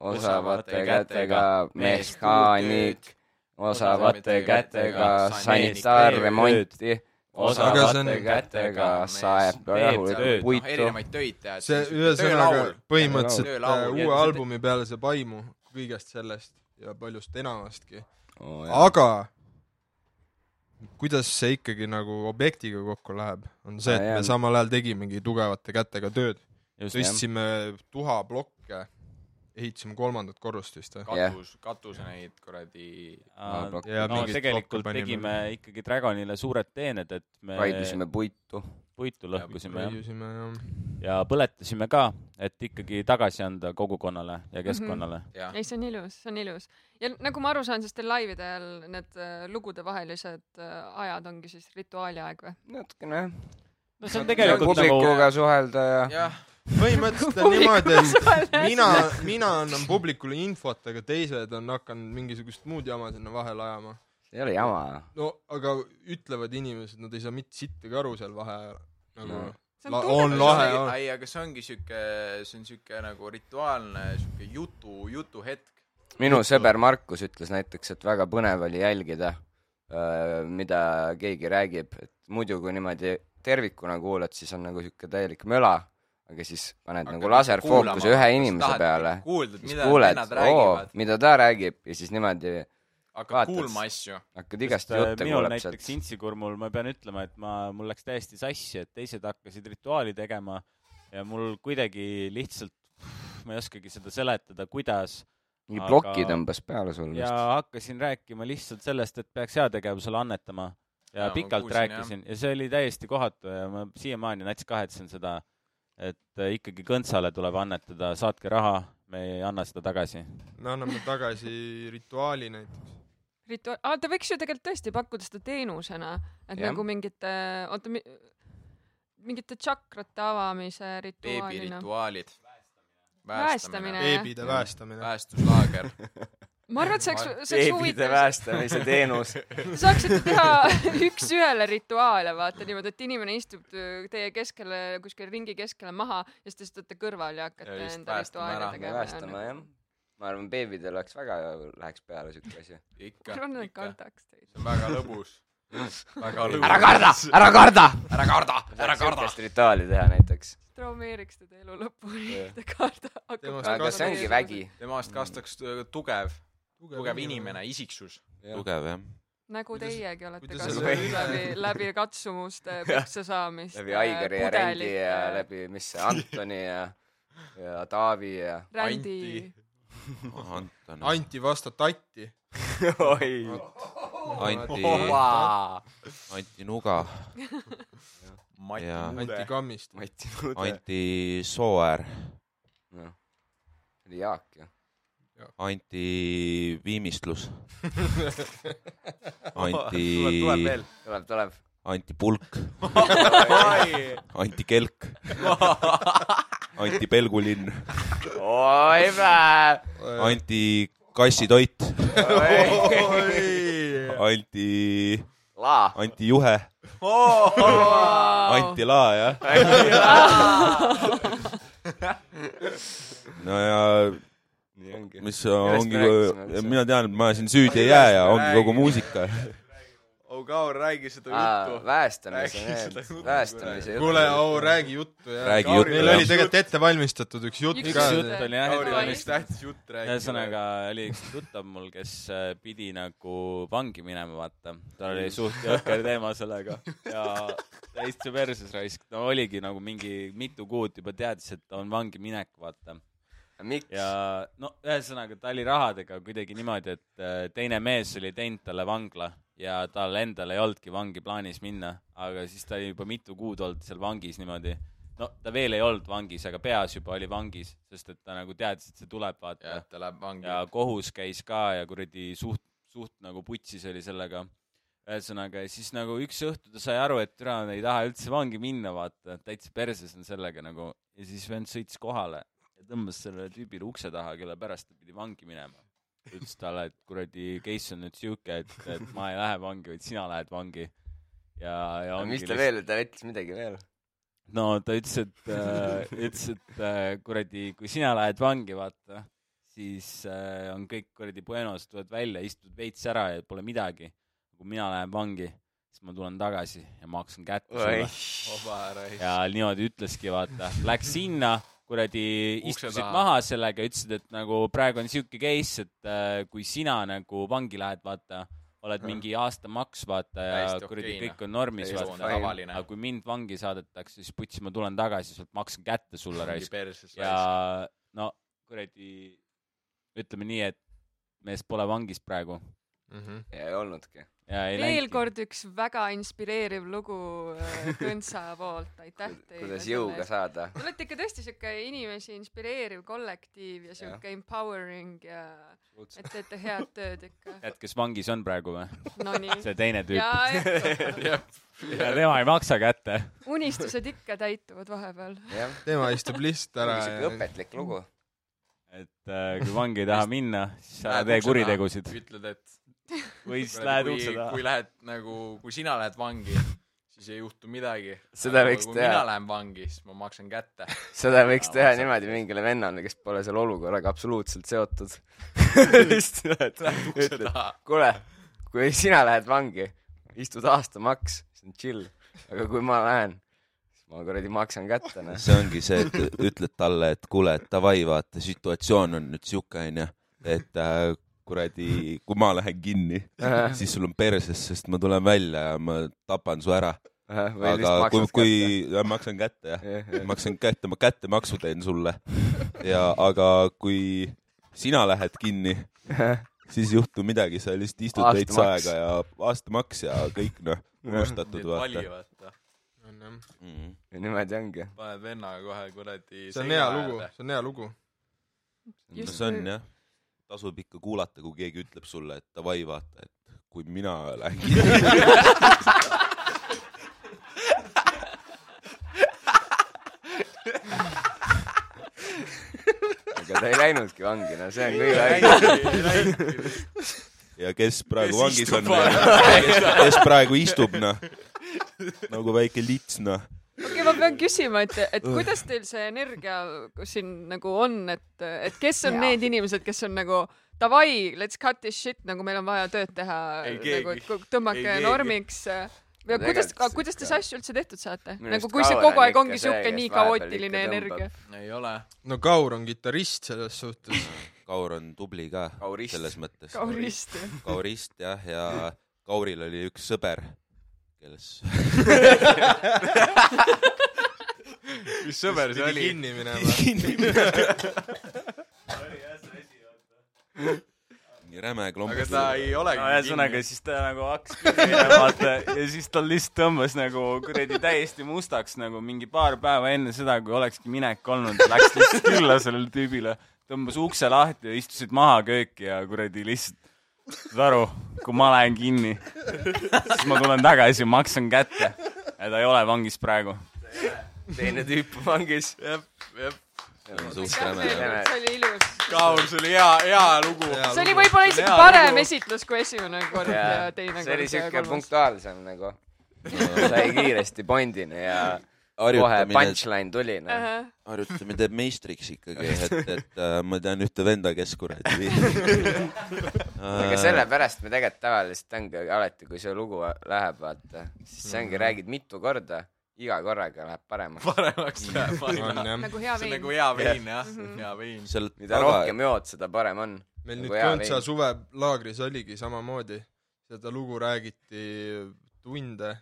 osavate kätega mehaanik , osavate kätega sanitaarremonti ,
Aga see on-
osavate kätega saeb
tööd.
puitu .
Noh, erinevaid töid teha .
see ühesõnaga põhimõtteliselt
Töölaul.
äh, uue albumi peale saab aimu kõigest sellest ja paljust enamastki ,
aga
aga kuidas see ikkagi nagu objektiga kokku läheb , on see , et
Aa,
me
jah.
samal ajal tegimegi tugevate kätega tööd ,
Just,
tõstsime tuhaplokke , ehitasime kolmandat korrust vist või ?
Jah.
katus , katuse neid kuradi .
no
Aa,
ja mingid
tegelikult
plokke panime.
tegime ikkagi Dragonile suured teened , et me
raidusime puitu .
puitu lõhkusime ja,
raiusime jah .
ja põletasime ka , et ikkagi tagasi anda kogukonnale ja keskkonnale mm .
jah ,
ei , see on ilus , see on ilus . ja nagu ma aru saan , siis teil laivide ajal need äh, lugudevahelised äh, ajad ongi siis rituaali aeg või ?
natukene jah .
-hmm. no see on tegelikult nagu
publikuga suhelda ja
jah ,
põhimõtteliselt on niimoodi , et mina , mina annan publikule infot , aga teised on hakanud mingisugust muud jama sinna vahele ajama .
see ei ole jama .
no aga ütlevad inimesed , nad ei saa mitte sittagi aru seal vaheajal . nagu
No.
See on
La,
tunne-
on lahe , on .
ei , aga see ongi siuke , see on siuke nagu rituaalne siuke jutu , jutuhetk .
minu sõber Markus ütles näiteks , et väga põnev oli jälgida , mida keegi räägib , et muidu kui niimoodi tervikuna kuulad , siis on nagu siuke täielik möla , aga siis paned aga nagu laserfookuse ühe inimese peale ,
kuuldad ,
siis
mida kuuled,
kuuled
nad ,
oo
räägivad ,,
mida ta räägib ja siis niimoodi
hakkad
vaatad.
kuulma asju .
hakkad igast
Sest, äh,
jutte
minul
kuuleb
näiteks
sealt .
Intsikurmul ma pean ütlema , et ma , mul läks täiesti sassi , et teised hakkasid rituaali tegema ja mul kuidagi lihtsalt , ma ei oskagi seda seletada , kuidas ,
mingi
aga-
ploki tõmbas peale sul
ja
vist .
hakkasin rääkima lihtsalt sellest , et peaks heategevusele annetama ja,
Jaa,
ja
ma
pikalt
kuulsin,
kuulsin, rääkisin ja. ja see oli täiesti kohatu ja ma siiamaani nats kahetsen seda , et äh, ikkagi Kõntsale tuleb annetada , saatke raha , me ei anna seda tagasi .
me anname tagasi rituaali näiteks .
rituaal , aa ta võiks ju tegelikult tõesti pakkuda seda teenusena , et
Jah.
ja. nagu mingite , oota , mingite tsakrate avamise rituaalina .
beebirituaalid .
Päästamine.
beebide päästamine .
päästuslaager .
ma arvan , et see oleks , see oleks
beebide
huvitav ,
päästamise teenus .
saaksite teha üks-ühele rituaale , vaata niimoodi , et inimene istub öö, teie keskele , kuskil ringi keskele maha ja siis te istute kõrval ja hakkate
Ja
ja
just
enda
päästame ära.
rituaale
me
tegema . noh.
päästame jah . ma arvan , beebidel oleks väga , läheks peale siuke asi .
ikka
ma , arvan , et nad
ikka .
kardaks teid .
see on väga lõbus . väga lõbus .
ära karda , ära karda ,
ära karda , ära
saaks
karda .
siukest rituaali teha näiteks .
traumeeriks teda elu lõpuni , ta karda- hakkab
Temast
aga see ongi vägi .
temast kastaks tu- tugev , tugev inimene , isiksus .
tugev jah .
nagu
Kuidas-
teiegi olete
kuidas
selle
kasvanud läbi , läbi katsumuste peksa saamist . äh,
läbi Aigari ja Rändi ja . läbi , mis see Antoni ja , ja Taavi ja
Rändi .
Anton ,
Anti vasta tatti .
oi ,
Anti , Anti Nuga , Jaa.
Anti
Mati ,
Kammist .
Mati Nude .
Anti Sooäär ,
see oli Jaak ju .
antiviimistlus ,
tuleb , tuleb
anti ,
veel .
tuleb , tuleb .
antipulk , antikelk , antipelgulinn ,
oi , vä .
antikassitoit , anti ,
laa .
antijuhe , antilaa , jah . no ja
nii ongi .
mis
Millest
ongi
me rääkisime üldse? ,
mina tean , et ma siin süüdi ei jää ja ongi kogu muusika .
Ogaur , räägi seda juttu .
väestamise
Räägi seda juttu.
need , väestamise juttu .
kuule , au , räägi juttu ja
Räägi
Kauril
juttu,
meil oli
jah.
tegelikult ette valmistatud üks jutt
Üks
ka .
jutt
oli jah ,
Kauril on
Oli.
üks tähtis jutt rääkida .
ühesõnaga oli üks tuttav mul , kes äh, pidi nagu vangi minema , vaata . tal oli suht jõhker teema sellega ja täitsa perses raisk . ta oligi nagu mingi mitu kuud juba teadis , et on vangi minek , vaata .
miks ?
ja no ühesõnaga , ta oli rahadega kuidagi niimoodi , et äh, teine mees oli teinud talle vangla ja tal endal ei olnudki vangi plaanis minna , aga siis ta oli juba mitu kuud olnud seal vangis niimoodi no ta veel ei olnud vangis , aga peas juba oli vangis , sest et ta nagu teadis , et see tuleb , vaata
jah , ta läheb vangi .
ja kohus käis ka ja kuradi suht , suht nagu putsis oli sellega . ühesõnaga , ja siis nagu üks õhtu ta sai aru , et türa ei taha üldse vangi minna , vaata , täitsa perses on sellega nagu ja siis vend sõitis kohale ja tõmbas sellele tüübile ukse taha , kelle pärast ta pidi vangi minema . ütles talle , et kuradi case on nüüd siuke , et , et ma ei lähe vangi , vaid sina lähed vangi . ja , ja ongi
mis ta veel , ta ütles midagi veel .
no ta ütles , et äh, , ütles , et äh, kuradi , kui sina lähed vangi , vaata , siis äh, on kõik kuradi Buenos , tuled välja , istud veits ära ja pole midagi . kui mina lähen vangi , siis ma tulen tagasi ja maksan kätte
oi
sulle .,
oba ära ei .
ja niimoodi ütleski , vaata , läks sinna , kuradi
Ukse
istusid
taha.
maha sellega , ütlesid , et nagu praegu on siuke case , et äh, kui sina nagu vangi lähed , vaata , oled mingi aasta maks , vaata ja
Täiesti
kuradi
okei, noh.
kõik on normis ,
Täiesti
vaata
fine.
tavaline
aga . kui mind vangi saadetakse , siis putsi , ma tulen tagasi , sealt maksan kätte sulle raisk .
perses
ja no kuradi , ütleme nii , et mees pole vangis praegu .
Mhm.
ei olnudki .
ja ei
veel
läinudki.
kord üks väga inspireeriv lugu äh, Kõntsa poolt , aitäh teile .
kuidas jõuga . saada .
Te olete ikka tõesti siuke inimesi inspireeriv kollektiiv ja siuke empowering ja et teete head tööd ikka .
tead , kes vangis on praegu või ?
Nonii .
see teine tüüp
ja .
ja tema ei maksa kätte .
unistused ikka täituvad vahepeal .
jah ,
tema istub lihtsalt ära
siuke
ja
õpetlik lugu .
et äh, kui vangi ei taha minna , siis ära
Lähed
tee
ukse
kuritegusid
ütled , et
või siis lähed
kuradi,
ukse
kui ,
taha .
kui lähed nagu , kui sina lähed vangi , siis ei juhtu midagi .
Seda võiks
kui
teha.
mina lähen vangi , siis ma maksan kätte .
seda võiks
Aa,
teha
ma saan
niimoodi mingile vennale , kes pole selle olukorraga absoluutselt seotud . lihtsalt
Lähed ukse
ütled ,
taha .
kuule , kui sina lähed vangi , istud aasta maks , see on chill , aga kui ma lähen , siis ma kuradi maksan kätte , noh .
see ongi see , et ütled talle , et kuule , et davai , vaata , situatsioon on nüüd siuke , onju , et äh, kuradi , kui ma lähen kinni , siis sul on perses , sest ma tulen välja ja ma tapan su ära . aga kui , kui ja, maksan kätte , jah , maksan kätte , ma kättemaksu teen sulle . ja aga kui sina lähed kinni , siis ei juhtu midagi , sa lihtsalt istud
Aastamaks.
veits aega ja aastamaks ja kõik , noh , unustatud , vaata
vali . vaata .
Mm.
niimoodi ongi .
paned vennaga kohe kuradi .
see on hea lugu , see on hea lugu .
no see on jah , tasub ikka kuulata , kui keegi ütleb sulle , et davai , vaata , et kui mina lähen kinni ,
aga ta ei läinudki vangi , no see on kõige haigem .
lugu .
ja kes praegu
Kes
vangis
istub
on ,
vangis?
kes, kes praegu istub , noh , nagu väike lits , noh .
okei , ma pean küsima , et , et kuidas teil see energia siin nagu on , et , et kes on
Jaa.
need inimesed , kes on nagu davai , let's cut this shit , nagu meil on vaja tööd teha
Ei ,
nagu
keegi.
et ku- tõmmake
Ei keegi.
normiks . või
No
kuidas
tegelikult ,
kuidas te
ikka-
seda asja üldse tehtud saate ?
Minu
nagu
arust
kui see
Kaur
kogu
on
aeg ongi
ikka see,
siuke
kes
nii
vahepeal
kaootiline
ikka tõmbab.
energia .
ei ole .
no Kaur on kitarrist selles suhtes .
Kaur on tubli ka ,
Kaurist.
selles mõttes .
kaurist .
Kaurist jah , ja Kauril oli üks sõber , kes
mis sõber see oli ?
kinni minema .
mingi räme
aga
klombus
ta ei olegi
no . ühesõnaga ,. siis ta nagu hakkas minema , vaata , ja siis tal lihtsalt tõmbas nagu kuradi täiesti mustaks nagu mingi paar päeva enne seda , kui olekski minek olnud , läks lihtsalt külla sellele tüübile , tõmbas ukse lahti ja istusid maha kööki ja kuradi lihtsalt , saad aru , kui ma lähen kinni , siis ma tulen tagasi , maksan kätte ja ta ei ole vangis praegu .
teine tüüp on vangis .
jah , jah .
räme .
see oli ilus .
Kaur , see oli hea , hea lugu .
see oli võib-olla isegi parem esitlus kui esimene kord ja teine kord .
see oli siuke . punktuaalsem nagu . sai kiiresti pointini ja kohe
harjutamine ,
punchline tuli noh .
harjutamine teeb meistriks ikkagi , et , et äh, ma tean ühte venda , Äh, kes kuradi .
aga sellepärast me tegelikult tavaliselt ongi alati , kui see lugu läheb , vaata , siis see ongi , räägid mitu korda , iga korraga läheb paremaks .
paremaks läheb
on
aina .
jah ,
nagu hea
see on
vein
nagu . hea vein jah , hea vein .
seal
mida rohkem jood , seda parem on .
meil nüüd
Nagu hea
Kõntsa
vein.
suvelaagris oligi samamoodi , seda lugu räägiti tunde ,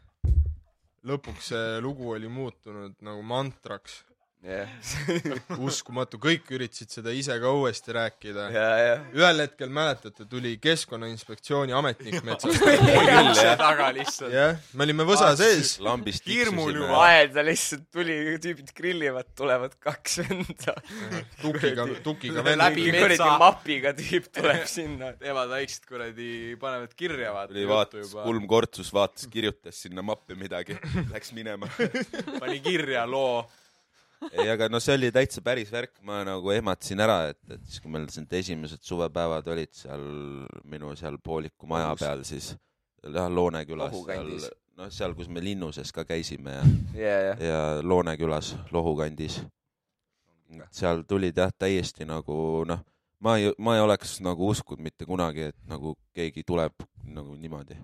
lõpuks see lugu oli muutunud nagu mantraks ,
jah ,
uskumatu , kõik üritasid seda ise ka uuesti rääkida .
ja , ja .
ühel hetkel mäletate , tuli Keskkonnainspektsiooni ametnik metsast ,
ukse taga lihtsalt .
jah , me olime
Ah,
võsa sees ,
lambist
Hirmul
tiksusime.
juba.
aeda lihtsalt tuli , tüübid grillivad , tulevad kaks venda .
tukiga , tukiga
Läbi
vend ,
metsa.
kuradi mapiga tüüp tuleb sinna .
teevad väiksed kuradi , panevad kirja vaata .
tuli vaatas , kulm kortsus , vaatas , kirjutas sinna mappi midagi , läks minema .
pani kirja loo .
ei , aga no see oli täitsa päris värk , ma nagu ehmatasin ära , et , et siis kui meil siin need esimesed suvepäevad olid seal minu seal pooliku maja peal , siis jah , Loonekülas
Lohu
seal
kandis. ,
noh , seal , kus me linnuses ka käisime ja ,
ja , ja .
ja Loonekülas , Lohu kandis . seal tulid jah , täiesti nagu noh , ma ei , ma ei oleks nagu uskunud mitte kunagi , et nagu keegi tuleb nagu niimoodi .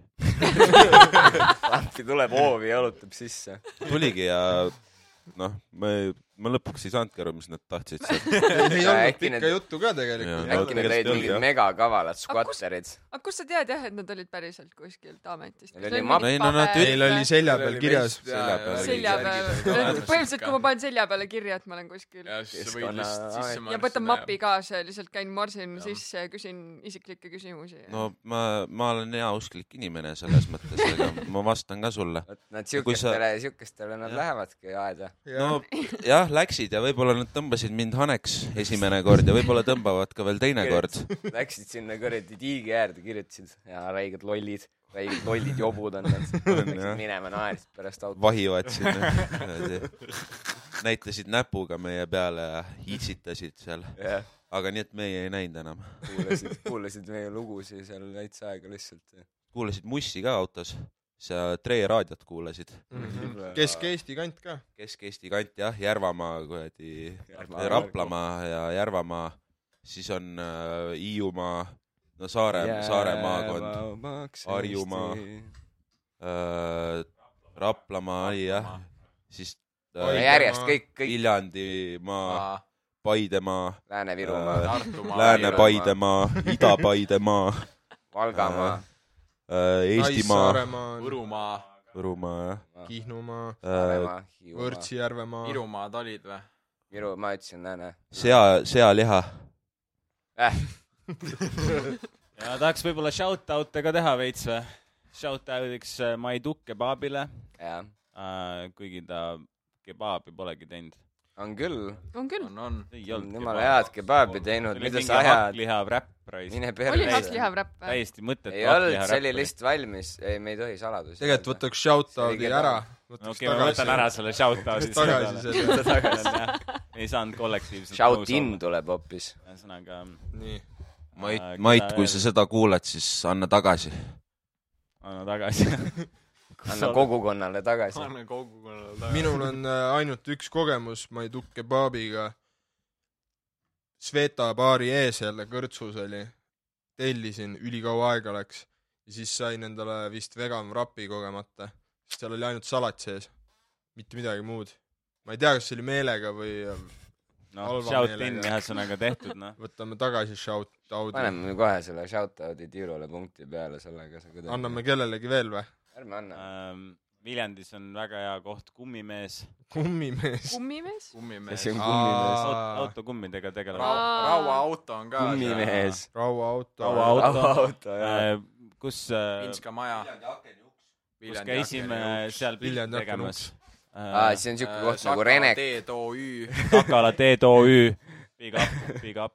Lampi tuleb hoovi , jalutab sisse .
tuligi ja noh , ma ei , ma lõpuks ei saanudki aru , mis nad tahtsid sealt .
ei olnud
äkki need-
pikka juttu ka tegelikult .
Jaa.
äkki nad olid
tegelikult ei olnud,
mingid
jah.
megakavalad
Aga kus-
skvatterid .
aga kust sa tead jah , et nad olid päriselt kuskilt ametist ?
Neil oli mapp-
Ei, no nad
Neil oli selja peal kirjas ,
Selja peal.
selja peal , põhimõtteliselt kui ma panen selja peale kirja , et ma olen kuskil
ja siis sa võid lihtsalt sisse
ja võtan mapi . kaasa ja lihtsalt käin morsin sisse ja küsin isiklikke küsimusi .
no ma , ma olen heausklik inimene selles mõttes , aga ma vastan ka sulle .
vot nad
Ja kui sa-
siukestele , siukestele nad
Jah.
lähevadki aeda .
no jah , läksid ja võib-olla nad tõmbasid mind haneks esimene kord ja võib-olla tõmbavad ka veel teine kord .
Läksid sinna kuradi tiigi äärde , kirjutasid ja räiged lollid , räiged lollid jobud on nad . Läksid
jah.
minema naersid pärast autot .
vahivad sinna . näitasid näpuga meie peale ja iitsitasid seal ,
jah ,
aga nii , et meie ei näinud enam .
kuulasid , kuulasid meie lugusid seal täitsa aega lihtsalt .
kuulasid Mussi ka autos , sa Tre raadiot kuulasid .
Kesk-Eesti kant ka .
Kesk-Eesti kant jah , Järvamaa kuradi ,
Järvamaa.
Raplamaa ja Järvamaa , siis on äh, Hiiumaa , no Saare yeah, , Saare maakond . Harjumaa. . äh, Raplamaa oli jah , siis
Oi,
äh,
järjest kõik , kõik
Viljandimaa , Paidemaa ,
Lääne-Virumaa ,
Tartumaa .
Lääne-Paidemaa , Ida-Paidemaa
Valgamaa ,
äh, , Eestimaa ,
Saaremaal ,
Võrumaa ,
Võrumaa jah
Kihnumaa ,
äh, ,
Saaremaa , Hiiumaa ,
Võrtsijärvemaa ,
Virumaad olid või ?
Viru , ma ütlesin Lääne .
sea , sealiha .
ja tahaks võib-olla shout out'e ka teha veits või ? Shout out'iks äh, Maidu kebaabile ,
jah ,
Äh, kuigi ta kebaabi polegi teinud .
on küll ,
on küll ,
on , on .
ei olnud .
jumala head kebaabi teinud , mida sa ajad ,
hakklihav räpp raisk ,
mine
oli
perse .
hakklihav räpp või ?
täiesti mõttetu
ei olnud , see oli . lihtsalt valmis , ei , me ei tohi saladusi .
tegelikult võtaks
See oli
shout-out'i
keda-
ära ,
okei
võtaks
okay, , ma võtan ära
tagasi ,
selle shout out'i .
tagasi selle ,
ei saanud kollektiivselt .
Shout in . tuleb hoopis .
ühesõnaga , äh,
nii .
Mait , Mait , kui sa seda kuulad , siis anna tagasi .
anna tagasi .
anna . kogukonnale tagasi .
anna kogukonnale tagasi .
minul on äh, ainult üks kogemus , ma ei tukke paabiga . Sveta baari ees jälle kõrtsus oli , tellisin , ülikaua aega läks ja siis sain endale vist vegan wrapi kogemata , sest seal oli ainult salat sees , mitte midagi muud . ma ei tea , kas see oli meelega või
noh ,
Halva
shout in
meelega.
ühesõnaga tehtud , noh .
võtame tagasi shout-out'i ,
paneme kohe selle shout-out'i Tiirule punkti peale sellega sa kuidagi .
anname kellelegi veel või ?
ärme
Äh,
anna .
Ähm, Viljandis on väga hea koht Kummimees .
kummimees .
kummimees ?
kummimees
see . on kummimees .
Ah.
rauaauto ,
autokummidega tegeleb .
Aa.
rauaauto on ka .
kummimees .
Rauaauto.
auto , jah .
Äh, kus ,
Pinska maja .
kus käisime seal pilti
Viljandi
tegemas Äh, Ah,
akenuks ..
Äh,
nagu aa , see on siuke koht nagu Renek .
TOÜ .
Sakala Teed OÜ , Big up , big up .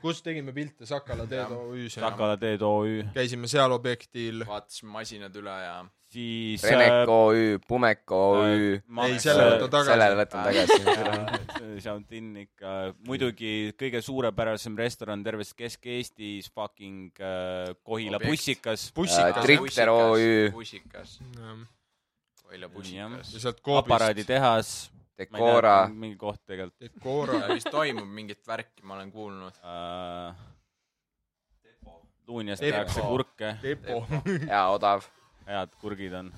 kus tegime pilte Sakala teed OÜ-s enam .
Sakala teed OÜ ,
käisime seal objektil .
vaatasime masinad üle ja
siis . äh,
Remek OÜ , Pumek OÜ ,
ei , selle võta
sellele
tagasi .
võtan tagasi .
Šautin ikka , muidugi kõige suurepärasem restoran terves Kesk-Eestis , fucking äh, Kohila
Objekt.
bussikas .
Äh,
bussikas
tri- Tripter OÜ.
bussikas ,
jah.
Jah.
ja
Koila bussikas .
sealt Koobist .
aparaaditehas .
Decora ,
mingi koht tegelikult
Koora
seal vist toimub mingit värki , ma olen kuulnud .
äh, . Luunjas
Depo.
tehakse kurke ,
Depo .
jaa , odav .
head kurgid on .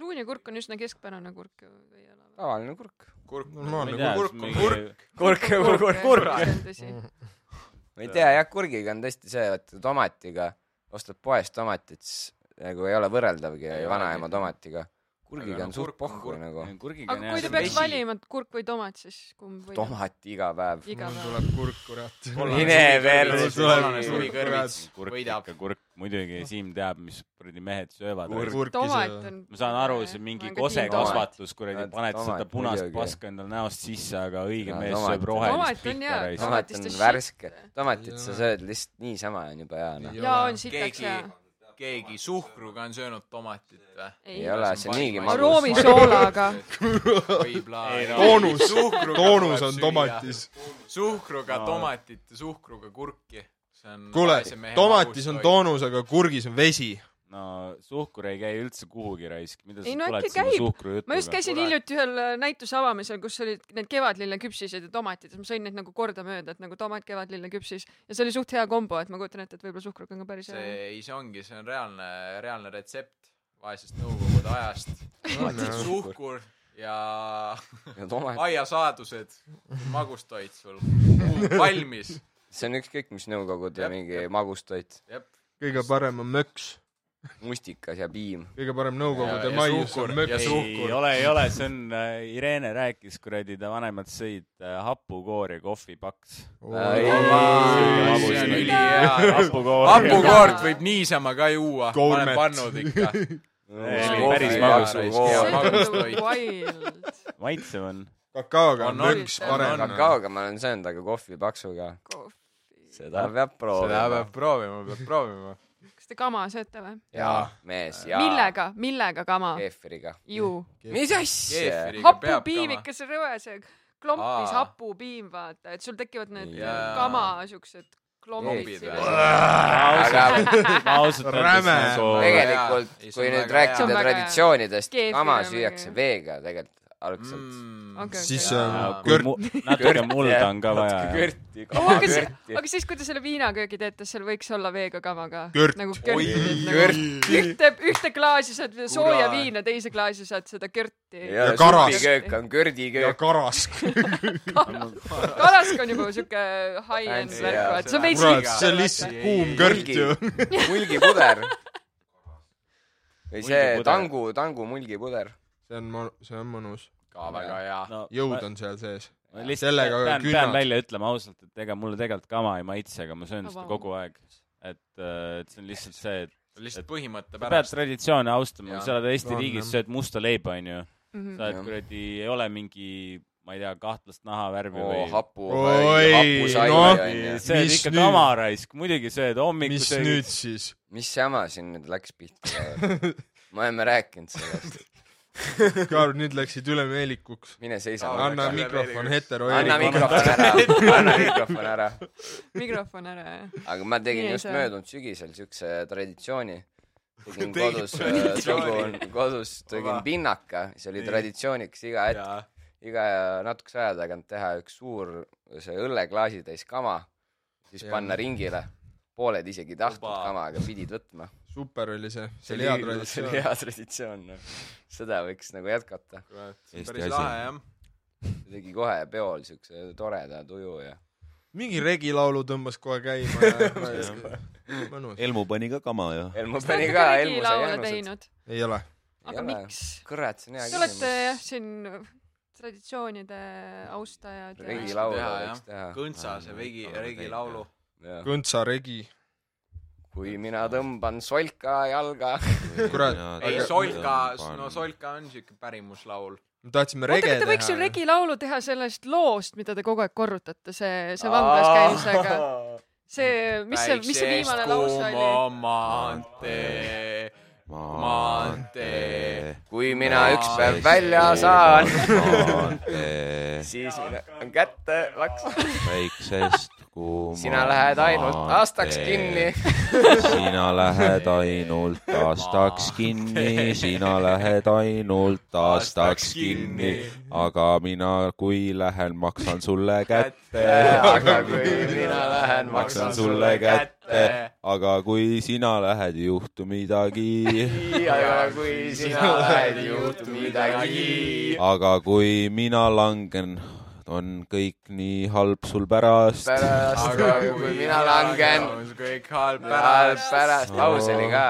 luunikurk on üsna keskpärane kurk ju või ei ole ?
tavaline kurk .
kurk ,
Normaalne
kurk on kurk ..
kurk , kurk , kurk , kurk .
kurk .
ma ei tea jah , kurgiga on tõesti see , et tomatiga , ostad poest tomatit , siis nagu ei ole võrreldavgi
Ei
vanaema
olegi.
tomatiga .
Aga
kurgiga
no
on suur
kurk on
pohhu
kurk.
nagu .
kurgiga
aga kui te peaks . valima et kurk või tomat , siis kumb või ? noh,
tomat iga päev .
iga
mul
päev .
tuleb kurk , kurat .
mine
Mul
versus .
tuleb
Kollane
kurk , kurat .
suvikõrvits
kurk
võidab.
ikka kurk , muidugi Siim teab , mis kuradi mehed söövad .
kurk
tomat on .
ise .
nagu
ma saan aru , see mingi kosekasvatus , kuradi
Tomat. ,
paned seda
Tomat,
punast
muidugi.
paska endale näost sisse , aga õige
Jaa,
mees
tomat.
sööb rohelist pihta
Tomat on hea.
raisk .
tomat on
Tomatist on
värske
shit. .
tomatit sa
Jaa.
sööd lihtsalt niisama on juba hea noh .
jaa , on sitaks
keegi
hea .,
keegi suhkruga on söönud tomatit või ?
ei
ei ole , see on niigi
Ma
aroomi
magus .
soolaga .
Ei, no.
toonus , toonus on tomatis .
suhkruga
No.
tomatit ja suhkruga kurki . see on
kuule
vaese mehe ,
tomatis on
magustoit.
toonus , aga kurgis on vesi .
no suhkur ei käi üldse kuhugi raisk , mida sa
Ei, no
tuled
äkki
sinna
käib.
suhkrujutuga .
ma just käisin
kurat.
hiljuti ühel äh, näituse avamisel , kus olid need kevadlilleküpsised ja tomatid , siis ma sõin neid nagu kordamööda , et nagu tomat , kevadlilleküpsis ja see oli suht hea kombo , et ma kujutan ette , et võib-olla suhkruga on ka päris
see
hea .
ei , see ongi , see on reaalne , reaalne retsept vaesest Nõukogude ajast .
no.
suhkur ja
ja tomat ,
aiasaadused , magustoit sul , valmis .
see on ükskõik mis Nõukogude
Jep,
mingi
jep.
magustoit .
jep ,
kõige parem on möks .
mustikas ja piim .
kõige parem Nõukogude
Ja- ja
maius
suhkur.
on
Ja
möks .
ei ole , ei ole , see on äh, , Irene rääkis , kuradi , ta vanemad sõid äh, hapukoori ja kohvipaks .
see on ülihea .
hapukoor .
hapukoort võib niisama ka juua , ma olen
Gourmet.
pannud ikka .
päris magus.
magustoit .
wild .
maitsev on .
kakaoga on
On, on.
möks parem .
kakaoga ma olen söönud , aga kohvi paksuga . seda peab
seda
proovima .
peab proovima , peab proovima .
kas te kama sööte või ?
jaa , mees , jaa .
millega , millega kama ?
keefiriga .
ju .
mis asja ?
keefiriga peab
hapupiim
kama .
ikka , see rõve , see klompis
Aa.
hapupiim , vaata , et sul tekivad need
Jaa.
kama siuksed
Klombid
klombid .
ma ausalt öeldes
Räme.
nagu
tegelikult
Jaa, ei, , see
kui
on
nüüd
hea.
väga
rääkida
See on väga
traditsioonidest
hea. ,
kama
Keefir on
süüakse
väga
veega tegelikult algselt .
Mm.
Okei.
siis
Jaa.
on
Jaa, kui
kõrt .
mu- natuke mulda on ka vaja .
kõrti ,
aga siis ,
kamakõrti .
aga siis , kui te selle viinaköögi teete , seal võiks olla veega kama ka .
Kört.
nagu körti teed nagu
kõrti .
ühte , ühte klaasi saad sooja
Kurat.
viina , teise klaasi saad seda körti .
ja
karas.
supiköök on
ja
kördiköök .
karask .
kalask on juba siuke high-end
Fancy,
värk ,
jaa.
vaata , see on veits
kurat
liiga ,.
see on lihtsalt
Ei,
kuum kõrt ju .
mulgipuder . või see
Mulgipuder.
tangu , tangu mulgipuder .
see on mon- , see on mõnus .
ka väga hea .
jõud on seal sees .
Ma lihtsalt
Sellega
Sellega pean ,
künnad.
pean välja ütlema ausalt , et ega mulle tegelikult kama ei maitse , aga ma söön seda
Vau.
kogu aeg . et , et see on lihtsalt see , et
lihtsalt põhimõtte
sa pead
pärast .
traditsioone austama ,
Jaa.
kui sa oled Eesti
On,
riigis ,
jah.
sööd musta leiba , onju . sa oled
Jah.
kuradi , ei ole mingi , ma ei tea , kahtlast nahavärvi või
hapu ,
Oi,
hapusai
noh.
onju .
sööd
Mis
ikka
nüüd?
kamaraisk , muidugi sööd
mis
hommikusöögi
nüüd . siis ?
mis jama siin nüüd läks pihta ? me oleme rääkinud sellest .
Kaar , nüüd läksid ülemeelikuks .
mine seisa
Aa,
anna
läks
mikrofon
ülemeelikuks.
hetero
anna
Eerikule.
mikrofon ära , anna mikrofon ära .
mikrofon ära , jah .
aga ma tegin
Nii ei
just
saa.
möödunud sügisel siukse traditsiooni . tegin
Tegid
kodus ,
traditsiooni.
tegin kodus , tegin
Oma.
pinnaka , see oli
Nii.
traditsiooniks iga hetk ,
jaa ,
iga natukese aja tagant teha üks suur , see õlleklaasitäis kama , siis
Jah.
panna ringile . pooled isegi ei tahtnud
Oba.
kama , aga pidid võtma .
super oli see , see oli hea
see oli
traditsioon .
hea traditsioon , noh . seda võiks nagu jätkata .
kurat , see on
Eesti
päris
asi.
lahe jah .
tegi kohe peol siukse toreda tuju ja .
mingi regilaulu tõmbas kohe käima ja mõnus .
Elmu pani ka kama ju .
Elmo
Te
pani
olete
ka
ka ,
Elmo sai
regilaule
jäänused .
teinud ,
ei ole .
aga miks ?
kurat , see on hea
Te olete jah , siin traditsioonide austajad ja
Regi-
regilaule
teha, jah.
võiks teha .
kõntsa see regi ,
Laulu
regi
täitja.
laulu .
kõntsa regi .
kui mina tõmban solka jalga .
Kurat.
ei , Solka , no . Solka on siuke pärimuslaul .
me tahtsime
oota ,
rege
aga te võiks ju
teha .
regilaulu teha sellest loost , mida te kogu aeg korrutate , see , see vanglas käimisega . see , mis see , mis see viimane lause oli ?
maantee , maantee .
kui mina ükspäev välja saan ,
maantee
siis mina on kätte laks ,
väiksest kuuma .
sina lähed ainult aastaks kinni .
sina lähed ainult aastaks kinni , sina lähed ainult aastaks kinni , aga mina , kui lähen , maksan sulle kätte .
aga kui mina lähen , maksan sulle kätte .
aga kui sina lähed , ei juhtu midagi .
aga kui sina lähed , juhtub midagi .
aga kui mina langen , on kõik nii halb sul pärast .
pärast , aga kui mina langen ,
kõik halb
pärast , pärast ,
pärast .
aus oli ka .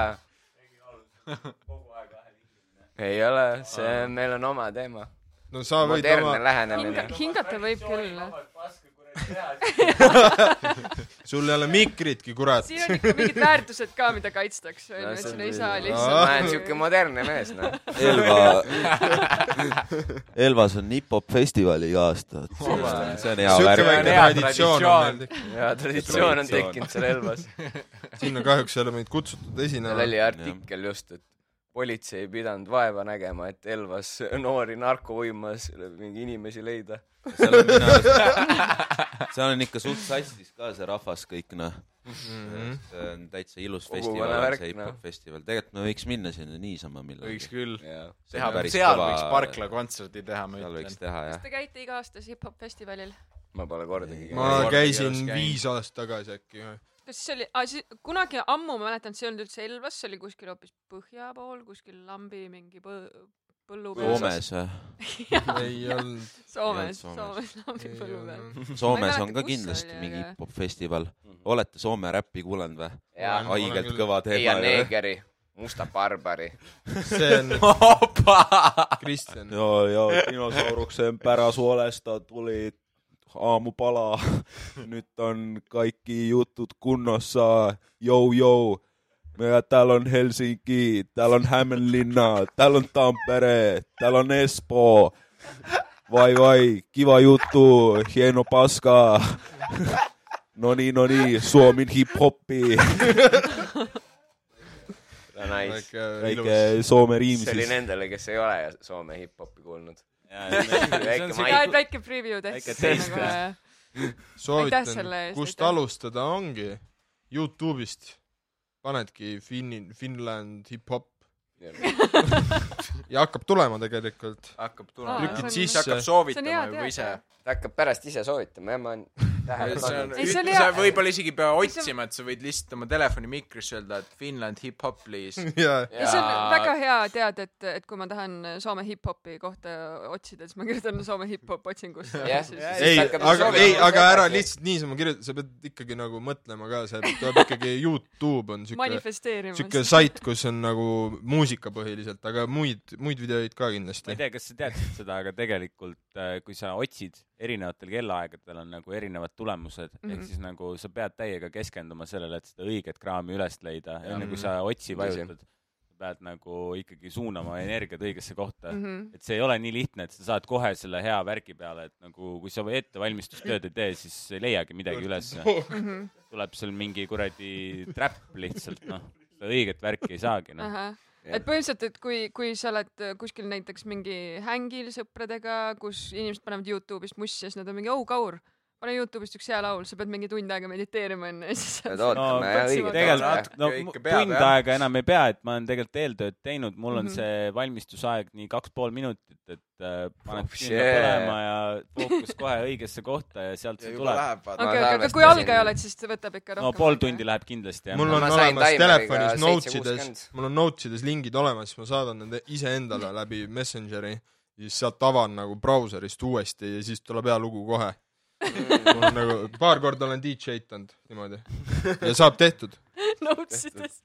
ei ole , see , meil on oma teema .
no sa võid
modernne
oma ,
lähenemine
hinga ,. hingata võib küll . noh.
sul ei ole mikritki , kurat .
siin on ikka mingid väärtused ka , mida kaitstakse , onju , et siin ei saa
ma olen siuke
lihtsalt .
modernne mees , noh .
Elva , Elvas on hip-hop festival iga aasta , et see on- see on hea
siuke
värk .
väike
Hea
traditsioon on
traditsioon.
meil tekkinud .
ja traditsioon on tekkinud seal Elvas .
sinna kahjuks ei ole meid kutsutud
seal
esinema .
oli artikkel just , et politsei ei pidanud vaeva nägema , et Elvas noori narkouimas mingi inimesi leida .
seal on minu arust , seal on ikka suht sassis ka see rahvas kõik noh mm . -hmm. see on täitsa ilus festival
Kogukonna , värk,
see hip-hop
noh.
festival , tegelikult me võiks minna sinna niisama
võiks
millalgi .
küll
See on
teha ,
päris
seal
kõva-
võiks Parkla kontserdi teha , ma
seal
ütlen
võiks . teha jah .
Te käite iga-aastas hip-hop festivalil ?
ma pole kordagi
ma
käinud .
Kordagi ei
käisin
oleks käinud.
viis aastat tagasi äkki või ?
kas siis oli , kunagi ammu ma mäletan , see ei olnud üldse Elvas , see oli kuskil hoopis põhja pool , kuskil lambi mingi põ- põllu peal .
Soomes või ?
ei olnud .
Soomes ,
Ei olnud
Soomes lambi põllu peal . Ma ei
Soomes
mäleta,
on ka
kus
kindlasti
oli,
mingi
aga-
hip-hop festival . olete Soome räppi kuulanud või ?
jaa ,
Olen
haigelt
küll.
kõva
Eia
teema .
Neegeri , Musta Barbari .
see on Kristjan .
ja , ja dinosauruksen päräsuolesta tuli aamupala . Nyt on kaikki jutut kunnossa. Jou, jou. Meillä täällä on Helsinki, täällä on Hämeenlinna, täällä on Tampere, täällä on Espoo. Vai vai, kiva juttu, hieno paska. No niin, no niin, Suomen hip-hoppi.
Nice .
väike
Eikä Suomen
see oli
riimisis.
nendele , kes ei ole Soome hip-hopi kuulnud . väike
see
ja , et
maik .
väike preview
Väike
tehti
taste.
nagu äh,
soovitan
Aitäh selle eest, ,
kust
aitäh.
alustada ongi Youtube'ist . panedki Finni , Finland hip-hop ja hakkab tulema tegelikult .
hakkab
Aa,
tulema
see .
lükkad
on-
sisse
hakkab .
See on hea
soovitama juba
teada.
ise .
ta hakkab pärast ise soovitama , jah , ma olen tähele
see on
pannud .
Ei, see , oli
sa
hea-
võib-olla isegi ei pea
see on-
otsima , et sa võid lihtsalt oma telefoni mikrisse öelda , et Finland hip-hop please .
jaa ,
ja see on väga hea teada , et , et kui ma tahan Soome hip-hopi kohta otsida , siis ma kirjutan Soome hip-hop otsingusse
Jah.
ja siis
ei ,
siis hakkab
aga ,
soovitama
ei , aga ära
edasi.
lihtsalt niisama kirjuta , sa pead ikkagi nagu mõtlema ka , see peab ikkagi , Youtube on siuke , siuke
manifesteerima .
sait , kus on nagu muusika põhiliselt , aga muid , muid videoid ka
ma ei
kindlasti .
tea , kas sa teadsid seda , aga tegelikult äh, kui sa otsid erinevatel kellaaegadel on nagu erinevad tulemused mm , -hmm.
Mhm.
ehk siis nagu sa pead täiega keskenduma sellele , et seda õiget kraami üles leida , enne kui sa otsi
Tõsi.
vajutad , pead nagu ikkagi suunama energiat õigesse kohta mm .
Mhm.
-hmm. et see ei ole nii lihtne , et sa saad kohe selle hea värgi peale , et nagu kui sa ettevalmistustööd ei tee , siis ei leiagi midagi üles .
mhm,
tuleb seal mingi kuradi trap lihtsalt noh , õiget värki ei saagi noh .
et põhimõtteliselt , et kui , kui sa oled äh, kuskil näiteks mingi hängil sõpradega , kus inimesed panevad Youtube'ist mussi ja siis nad on mingi , oh kaur , pane Youtube'ist üks hea laul , sa pead mingi tund aega mediteerima enne ja siis
pead
saad
ootama jah ,
otsima.
õiget
tegelikult
aega .
natuke no,
ikka
mu-
peab,
tund
jah.
aega enam ei pea , et ma olen tegelikult eeltööd teinud , mul on
Mhm.
mm -hmm. see valmistusaeg nii kaks pool minutit , et äh, paned oh,
Oh,
kinni
shit.
põlema ja fookus kohe õigesse kohta ja sealt see tuleb .
vaata .
okei ,
Ma
aga kui
arvestasin-
algaja oled , siis ta võtab ikka
no
rohkem .
pool tundi läheb kindlasti jah .
mul on
Ma sain
olemas
taimeriga
telefonis
7.60.
notes ides , mul on notes ides lingid olemas , siis ma saadan need iseendale läbi Messengeri ja siis sealt avan nagu brauserist uuesti ja siis tuleb hea lugu kohe . mul on nagu , paar korda olen DJ tanud niimoodi ja saab tehtud .
notes idest .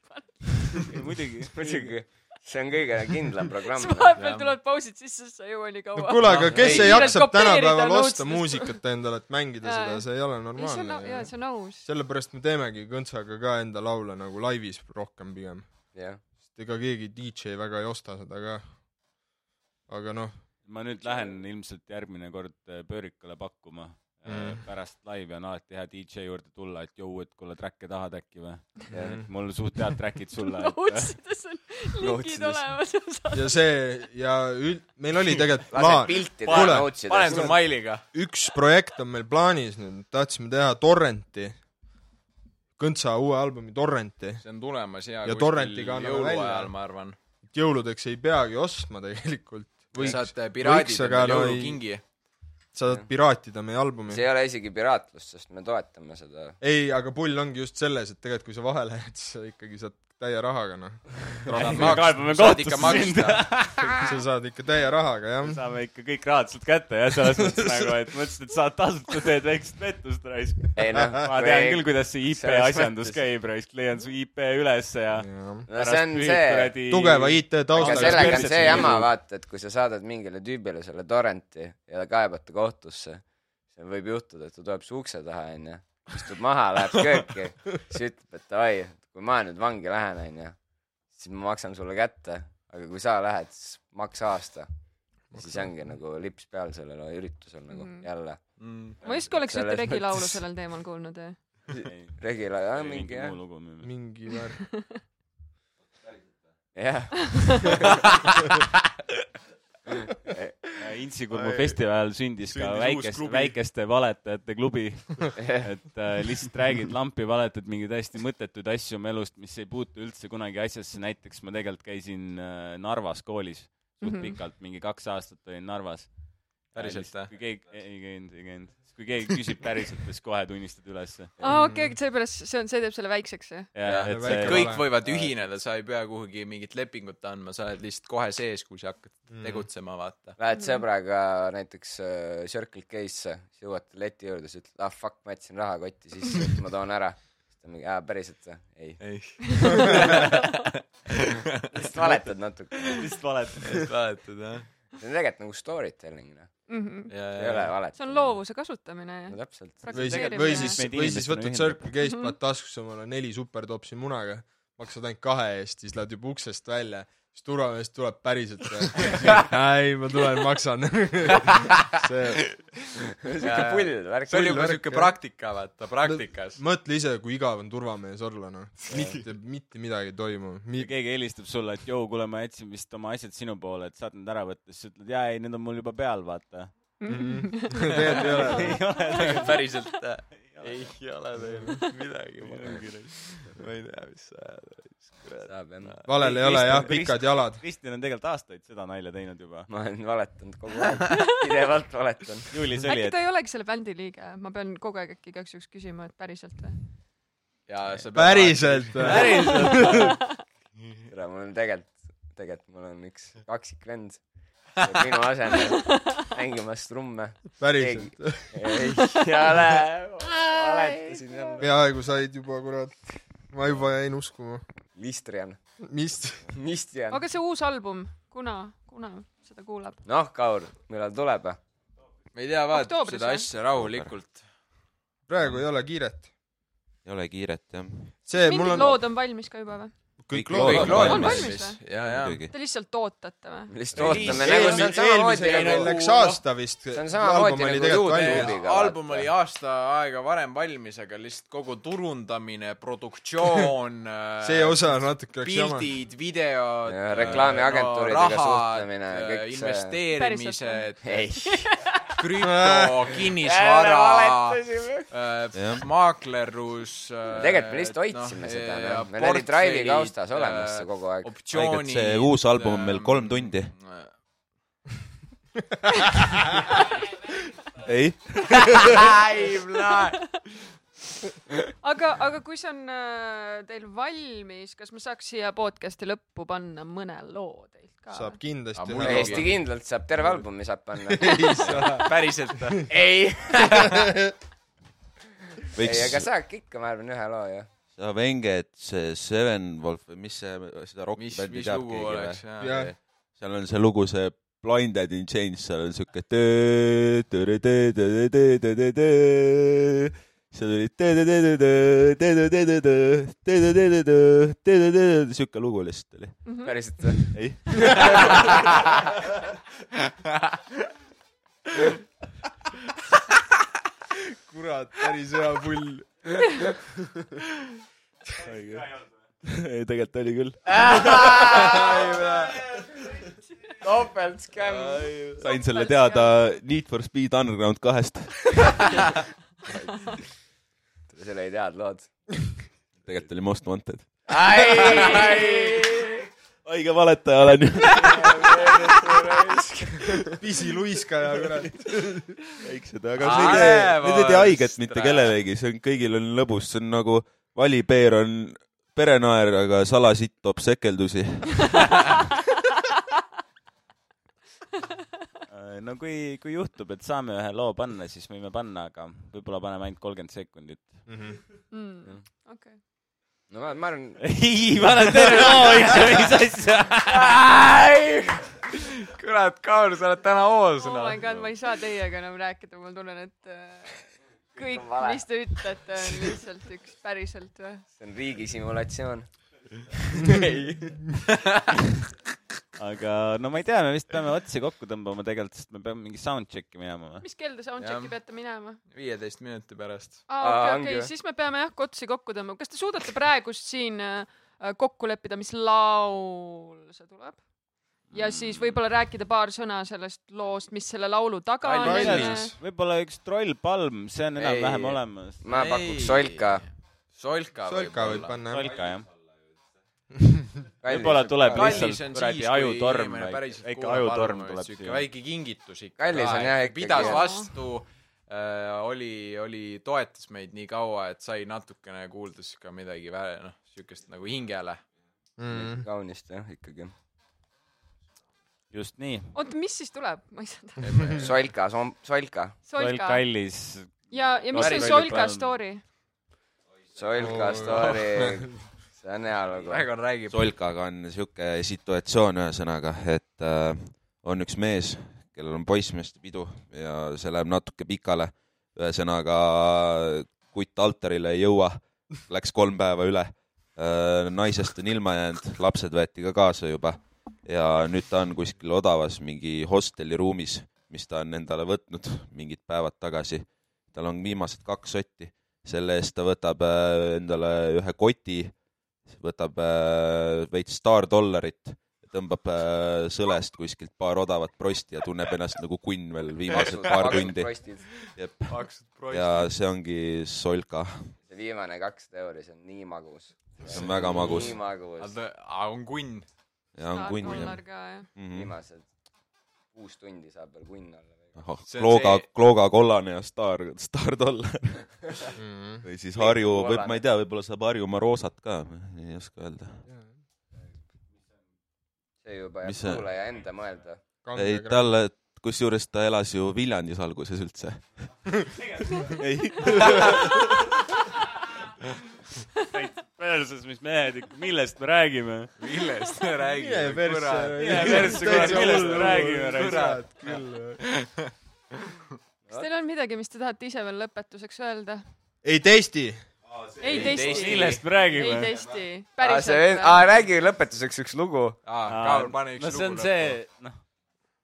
muidugi .
muidugi , see on kõige kindlam
siis
programm . noh.
vahepeal tulevad pausid sisse , siis sa ei jõua nii
no
kaua .
kuule , aga kes
Ei,
ei jaksa
kiirelt kopeerida
tänapäeval osta
notes'idest.
muusikat endale , et mängida
Jaa,
seda
jah. ,
see ei ole
ei , see on ,
normaalne
jaa ,. see on aus .
sellepärast me teemegi Kõntsaga ka enda laule nagu laivis rohkem pigem .
jah ,
sest ega keegi DJ väga ei osta seda ka . aga noh ,
ma nüüd lähen ilmselt järgmine kord äh, pöörikule pakkuma mm. . pärast laivi on alati hea DJ juurde tulla , et jõu , et kuule , track'e tahad äkki või ? mul suht head track'id sulle . äh,
Notes-ides on linkid
Notes-ides.
olemas .
ja see ja üld- , meil oli tegelikult
lased
plaan ,
pilti
kuule,
teha
panen
notsidest
su . mailiga .
üks projekt on meil plaanis nüüd , tahtsime teha torrenti , Kõntsa uue albumi torrenti ,
see on tulemas ja
Ja torrentiga anname
jõuluajal
välja. ,
ma arvan .
et jõuludeks ei peagi ostma tegelikult . võiks ,
saate piraadid
võiks, aga
endale
no ei-
jõulukingi .
saad piraatida meie albumi
see . ei ole isegi piraatlus , sest me toetame seda .
ei , aga pull ongi just selles , et tegelikult kui sa vahele jääd , siis sa ikkagi saad täie rahaga noh .
kaebame
saad ikka
kohtusse sind .
maksta .
sa saad ikka täie rahaga jah .
saame ikka kõik rahad sealt kätte jah , selles mõttes nagu , et mõtlesin , et saad tasuta , teed väikest pettust raisk .
ei noh ,
ma tean küll , kuidas see IP
selles
asjandus
mõttes.
käib raisk , leian su IP ülesse ja
no see on see ,
kuradi
tugeva IT
aga
taustaga .
sellega on
perset
see
ei
jama ,
jõua.
vaata , et kui sa saadad mingile tüübile selle torrenti ja ta kaebate kohtusse , siis võib juhtuda , et ta tuleb su ukse taha , onju , istub maha , läheb kööki , siis ütleb , et davai , kui ma nüüd vangi lähen , onju , siis ma maksan sulle kätte , aga kui sa lähed , siis maksa aasta . siis ongi nagu lips peal sellel üritusel nagu mm.
Mhm.
jälle .
Mm.
ma justkui oleks ühte
Selles
Regi laulu
mõttes.
sellel teemal kuulnud .
Mm.
ei
Regila , jah , mingi jah ,
mingi värk .
jah ,
Äh, Intsikurmu festival sündis ka väikest , väikeste valetajate klubi , et äh, lihtsalt räägid lampi , valetad mingeid hästi mõttetuid asju oma elust , mis ei puutu üldse kunagi asjasse , näiteks ma tegelikult käisin äh, Narvas koolis suht mm
Mhm.
-hmm. pikalt , mingi kaks aastat olin Narvas .
Päriselt või?
või ? kui keegi , ei käinud , ei käinud . kui keegi küsib päriselt , siis kohe tunnistad ülesse .
aa Ah, okei , seepärast see on , see teeb selle väikseks jah ?
ja , et see
väike
kõik
kõik võivad ühineda , sa ei pea kuhugi mingit lepingut andma , sa oled lihtsalt kohe sees , kui sa hakkad
Mm.
tegutsema , vaata .
lähed
Mm.
sõbraga näiteks äh, Circle K-sse , siis jõuad leti juurde , siis ütled ah fuck , ma jätsin rahakotti sisse , et ma toon ära . siis ta mingi , aa päriselt või ? ei .
ei ,
lihtsalt valetad natuke .
lihtsalt valetab .
vaatad jah .
see on tegelikult nagu storytelling noh , ei ole
ja ,
valet .
Mhm. see on . loovuse kasutamine
no
ja
täpselt .
või siis ,
praktiseerimine .
või siis
Meid ,
või siis
inimestena
võtad
ühendab.
Circle K-st ,
Mhm.
paned taskusse omale neli supertopsi munaga , maksad ainult kahe eest , siis lähed juba uksest välja , siis turvamees tuleb päriselt ja ei , ma tulen maksan . see ,
siuke pull värk .
see oli juba siuke
jah.
praktika , vaata , praktikas .
mõtle ise , kui igav on turvamees olla , noh . mitte , mitte midagi ei toimu Mi .
keegi helistab sulle , et jõu , kuule , ma jätsin vist oma asjad sinu poole , et saad need ära võtta , siis sa ütled jaa , ei , need on mul juba peal , vaata .
tegelikult ei ole .
päriselt äh, ei ole teinud midagi , ma ma ei tea , mis sa ajad .
saab jah .
valel ei ole jah , pikad jalad .
Kristjan on tegelikult aastaid seda nalja teinud juba .
ma olen valetanud kogu aeg , pidevalt valetan .
juulis oli ,
äkki
et
ta ei olegi selle bändi liige , ma pean kogu aeg äkki igaks juhuks küsima , et päriselt või ?
ja sa pead .
päriselt või ?
tere , mul on tegelikult , tegelikult mul on üks kaksikvend . minu asendajal mängimas trumme .
päriselt .
ei ole , valetasin jälle .
peaaegu said juba , kurat . ma juba jäin uskuma .
Listrian ,
mis ?
Mistian .
aga see uus album , kuna , kuna seda kuuleb ?
noh , Kaur , millal tuleb ?
ma ei tea , vaata
Oktoobris,
seda
jah?
asja rahulikult .
praegu ei ole kiiret .
ei ole kiiret jah .
see , mul
mingid
on
lood on valmis ka juba või ?
Kõik
kõik
lood
lood
kõik
on
lood
valmis. On
on valmis
valmis .
ja , ja .
muidugi .
Te lihtsalt ootate või ?
lihtsalt ootame ,
Eelmise-
nagu see on samamoodi
eelmisel
nagu
läks aasta vist .
see on samamoodi nagu Youtube'i.
kallim .
Klubiga,
album
vaata.
oli aasta aega varem valmis , aga lihtsalt kogu turundamine , produktsioon äh,
see osa on natuke läks jama .
pildid , videod äh,
Ja , reklaamiagentuuridega suhtlemine ja kõik see.
investeerimised ,
ei ,
krüpto ,
Jälle
kinnisvara
Jah. ,
maaklerlus .
tegelikult me lihtsalt hoidsime seda, noh. äh, Meil oli Drive'i kaustas
äh,
olemas see kogu aeg.
haigelt , see uus album on meil kolm . tundi .
äh.
ei ,
aga , aga kui see on äh, teil valmis , kas ma saaks siia podcast'i lõppu panna mõne loo teilt ka ?
saab kindlasti
Aga mul
ühe
ei-
täiesti kindlalt saab terve albumi saab panna .
päriselt või ?
ei , ei , aga
võiks ,
saabki ikka , ma arvan , ühe loo ju .
saab Enge , et see Seven Wolf või mis see , seda
mis ,
rokkbändi
mis
teab
lugu
keegi või
oleks ?.
ja
seal on see lugu , see Blinded in Chains , seal on siuke töö , töö , töö , töö , töö , töö , töö , seal oli tõ-tõ-tõ-tõ-tõ, tõ-tõ-tõ-tõ-tõ, tõ-tõ-tõ-tõ-tõ, tõ-tõ-tõ-tõ-tõ, siuke lugu lihtsalt oli .
päriselt või ?
ei ,
kurat , päris hea pull .
ei tegelikult oli küll .
topeltskämm .
sain selle teada Need for Speed Underground kahest .
selle ei teadnud lood .
tegelikult oli Most Wanted .
ai ,
haige valetaja olen ju .
pisiluiskaja , kurat .
väiksed , aga see ei tee , need ei tee haiget mitte kellelegi , see on , kõigil on lõbus , see on nagu valipeer on perenaer , aga salasitt toob sekeldusi .
Äh, no kui , kui juhtub , et saame ühe loo panna , siis võime panna , aga võib-olla paneme ainult kolmkümmend sekundit .
mm. . okei okay. .
no ma , ma arvan ,
ei , ma olen terve loo ikka veits asja .
kurat , Kaur , sa oled täna hoos ,
oh
noh
my . god , ma ei saa teiega enam rääkida , ma tunnen , et äh, kõik ,
vale.
mis te ütlete , on lihtsalt üks päriselt või ?
see on riigisimulatsioon .
aga no ma ei tea , me vist peame otsi kokku tõmbama tegelikult , sest me peame mingi soundchecki minema või ?
mis kell te soundchecki
Jah.
peate minema ?
viieteist minuti pärast .
aa ,
Aa,
okei ,
ongi
okei ,
või?
siis me peame jah , kotsi kokku tõmbama . kas te suudate praegust siin äh, kokku leppida , mis laul see tuleb ? ja siis võib-olla rääkida paar sõna sellest loost , mis selle laulu taga on .
Palm
okei
Islands.
võib-olla üks trollpalm , see on enam-vähem
Ei.
olemas .
ma
Ei.
pakuks solka .
solka .
solka võib . panna , jah .
Solka jah . võib-olla tuleb
kallis
lihtsalt
on
kuradi
siis , kui
ajutorm
inimene
väike-
päriselt
väike
kuulab
ajutorm
arvamust,
tuleb
sihuke
siia.
väike kingitus ikka .
Kallis on jah ikkagi,
pidas
jah.
vastu äh, , oli , oli , toetas meid nii kaua , et sai natukene kuulda siis ka midagi vä- , noh , siukest nagu hingele .
Mm.
Mm. kaunist jah , ikkagi .
just nii .
oota , mis siis tuleb ? ma ei saa aru .
solka , solka ,
troll
Solka .
kallis .
ja , ja mis
Päris
on
palju
Solka
palm.
story ?
solka story . see on hea lugu .
Raegon räägib .
solkaga on siuke situatsioon , ühesõnaga , et äh, on üks mees , kellel on poissmeeste pidu ja see läheb natuke pikale . ühesõnaga kutt altarile ei jõua , läks kolm päeva üle äh, . naisest on ilma jäänud , lapsed võeti ka kaasa juba ja nüüd ta on kuskil odavas mingi hosteli ruumis , mis ta on endale võtnud mingid päevad tagasi . tal on viimased kaks sotti , selle eest ta võtab äh, endale ühe koti siis võtab äh, veits staardollarit , tõmbab äh, sõlest kuskilt paar odavat prosti ja tunneb ennast nagu kunn veel viimased paar tundi .
see
jep , ja see ongi solka ,
viimane kakssada euri , see on nii magus .
see on väga magus
nii magus .
aga on kunn .
ja on kunn jah
dollar ka jah .
mm -hmm. .
viimased kuus tundi saab veel kunn olla .
See on
Klooga
see- ,
Klooga kollane ja staar , staardollar
Mhm.
või siis Harju , või
kollane.
ma ei tea , võib-olla saab Harjumaa roosat ka , ei oska öelda .
see juba
Mis
jääb
see-
kuulaja enda mõelda .
ei , talle , kusjuures ta elas ju Viljandis alguses üldse . ei
perses , mis mehed ikka , millest me räägime ?
millest me räägime , kurat .
kurat , küll .
kas teil on midagi , mis te tahate ise veel lõpetuseks öelda ?
ei testi .
ei testi .
millest me
ei
räägime ?
testi .
see
päriselt
vend , aa . räägi lõpetuseks üks lugu .
aa , Kaur , pane üks
no
lugu .
see on see , noh ,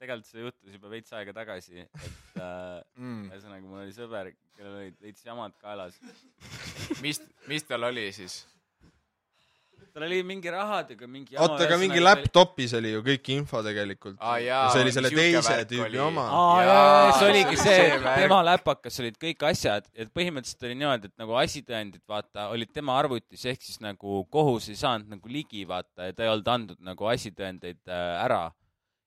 tegelikult see juhtus juba veits aega tagasi , et äh,
mm. .
ühesõnaga mul oli sõber , kellel olid veits jamad kaelas .
mis , mis tal oli siis ?
tal oli mingi rahadega mingi jama .
oota , aga mingi . laptop'is oli ju kõik info tegelikult .
Aa, jaa,
see oli selle
siuke
teise
värk
tüübi
oli.
oma .
aa jaa , jaa , see oligi see,
See
see ,
värk.
tema läpakas olid kõik asjad , et põhimõtteliselt oli niimoodi , et nagu asitõendid , vaata , olid tema arvutis , ehk siis nagu kohus ei saanud nagu ligi , vaata , ja ta ei olnud andnud nagu asitõendeid äh, ära .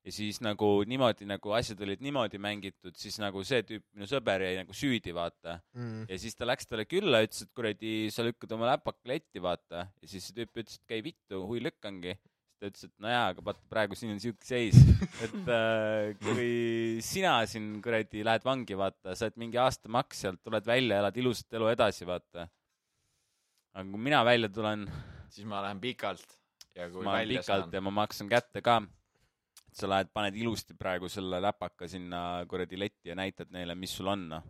ja siis nagu niimoodi nagu asjad olid niimoodi mängitud , siis nagu see tüüp , minu sõber jäi nagu süüdi , vaata .
Mm.
ja siis ta läks talle külla , ütles , et kuradi , sa lükkad oma läpaka letti , vaata . ja siis see tüüp ütles , et käi vittu , hui lükkangi . siis ta ütles , et nojaa , aga vaata praegu siin on siuke seis , et äh, kui sina siin kuradi lähed vangi , vaata , saad mingi aastamaks sealt , tuled välja , elad ilusat elu edasi , vaata . aga kui mina välja tulen ,
siis ma lähen pikalt . ja kui
ma olen
välja saan
pikalt . ja ma maksan kätte ka . sa lähed , paned ilusti praegu selle läpaka sinna kuradi letti ja näitad neile , mis sul on , noh .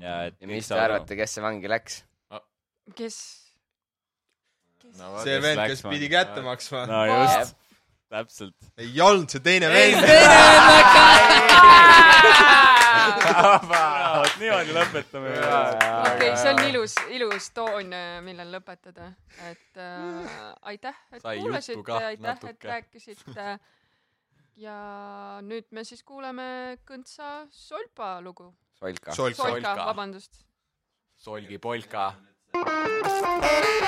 ja et
ja
kõik
mis te
saavad
arvate , kes see vangi läks ?
kes ?
Mm.
see vend , kes pidi kätte
aru.
maksma ,
no just , täpselt .
ei olnud see teine vend .
vot niimoodi lõpetame .
okei , see on ilus , ilus toon , millel lõpetada , et äh, aitäh , et
Sai juttu
kuulasite ,
kah
aitäh , et
natuke.
rääkisite . ja nüüd me siis kuulame Kõntsa Solpa lugu .
Solka .
solk ,
Solka ,
Solka.
vabandust .
solgi polka .
Solka,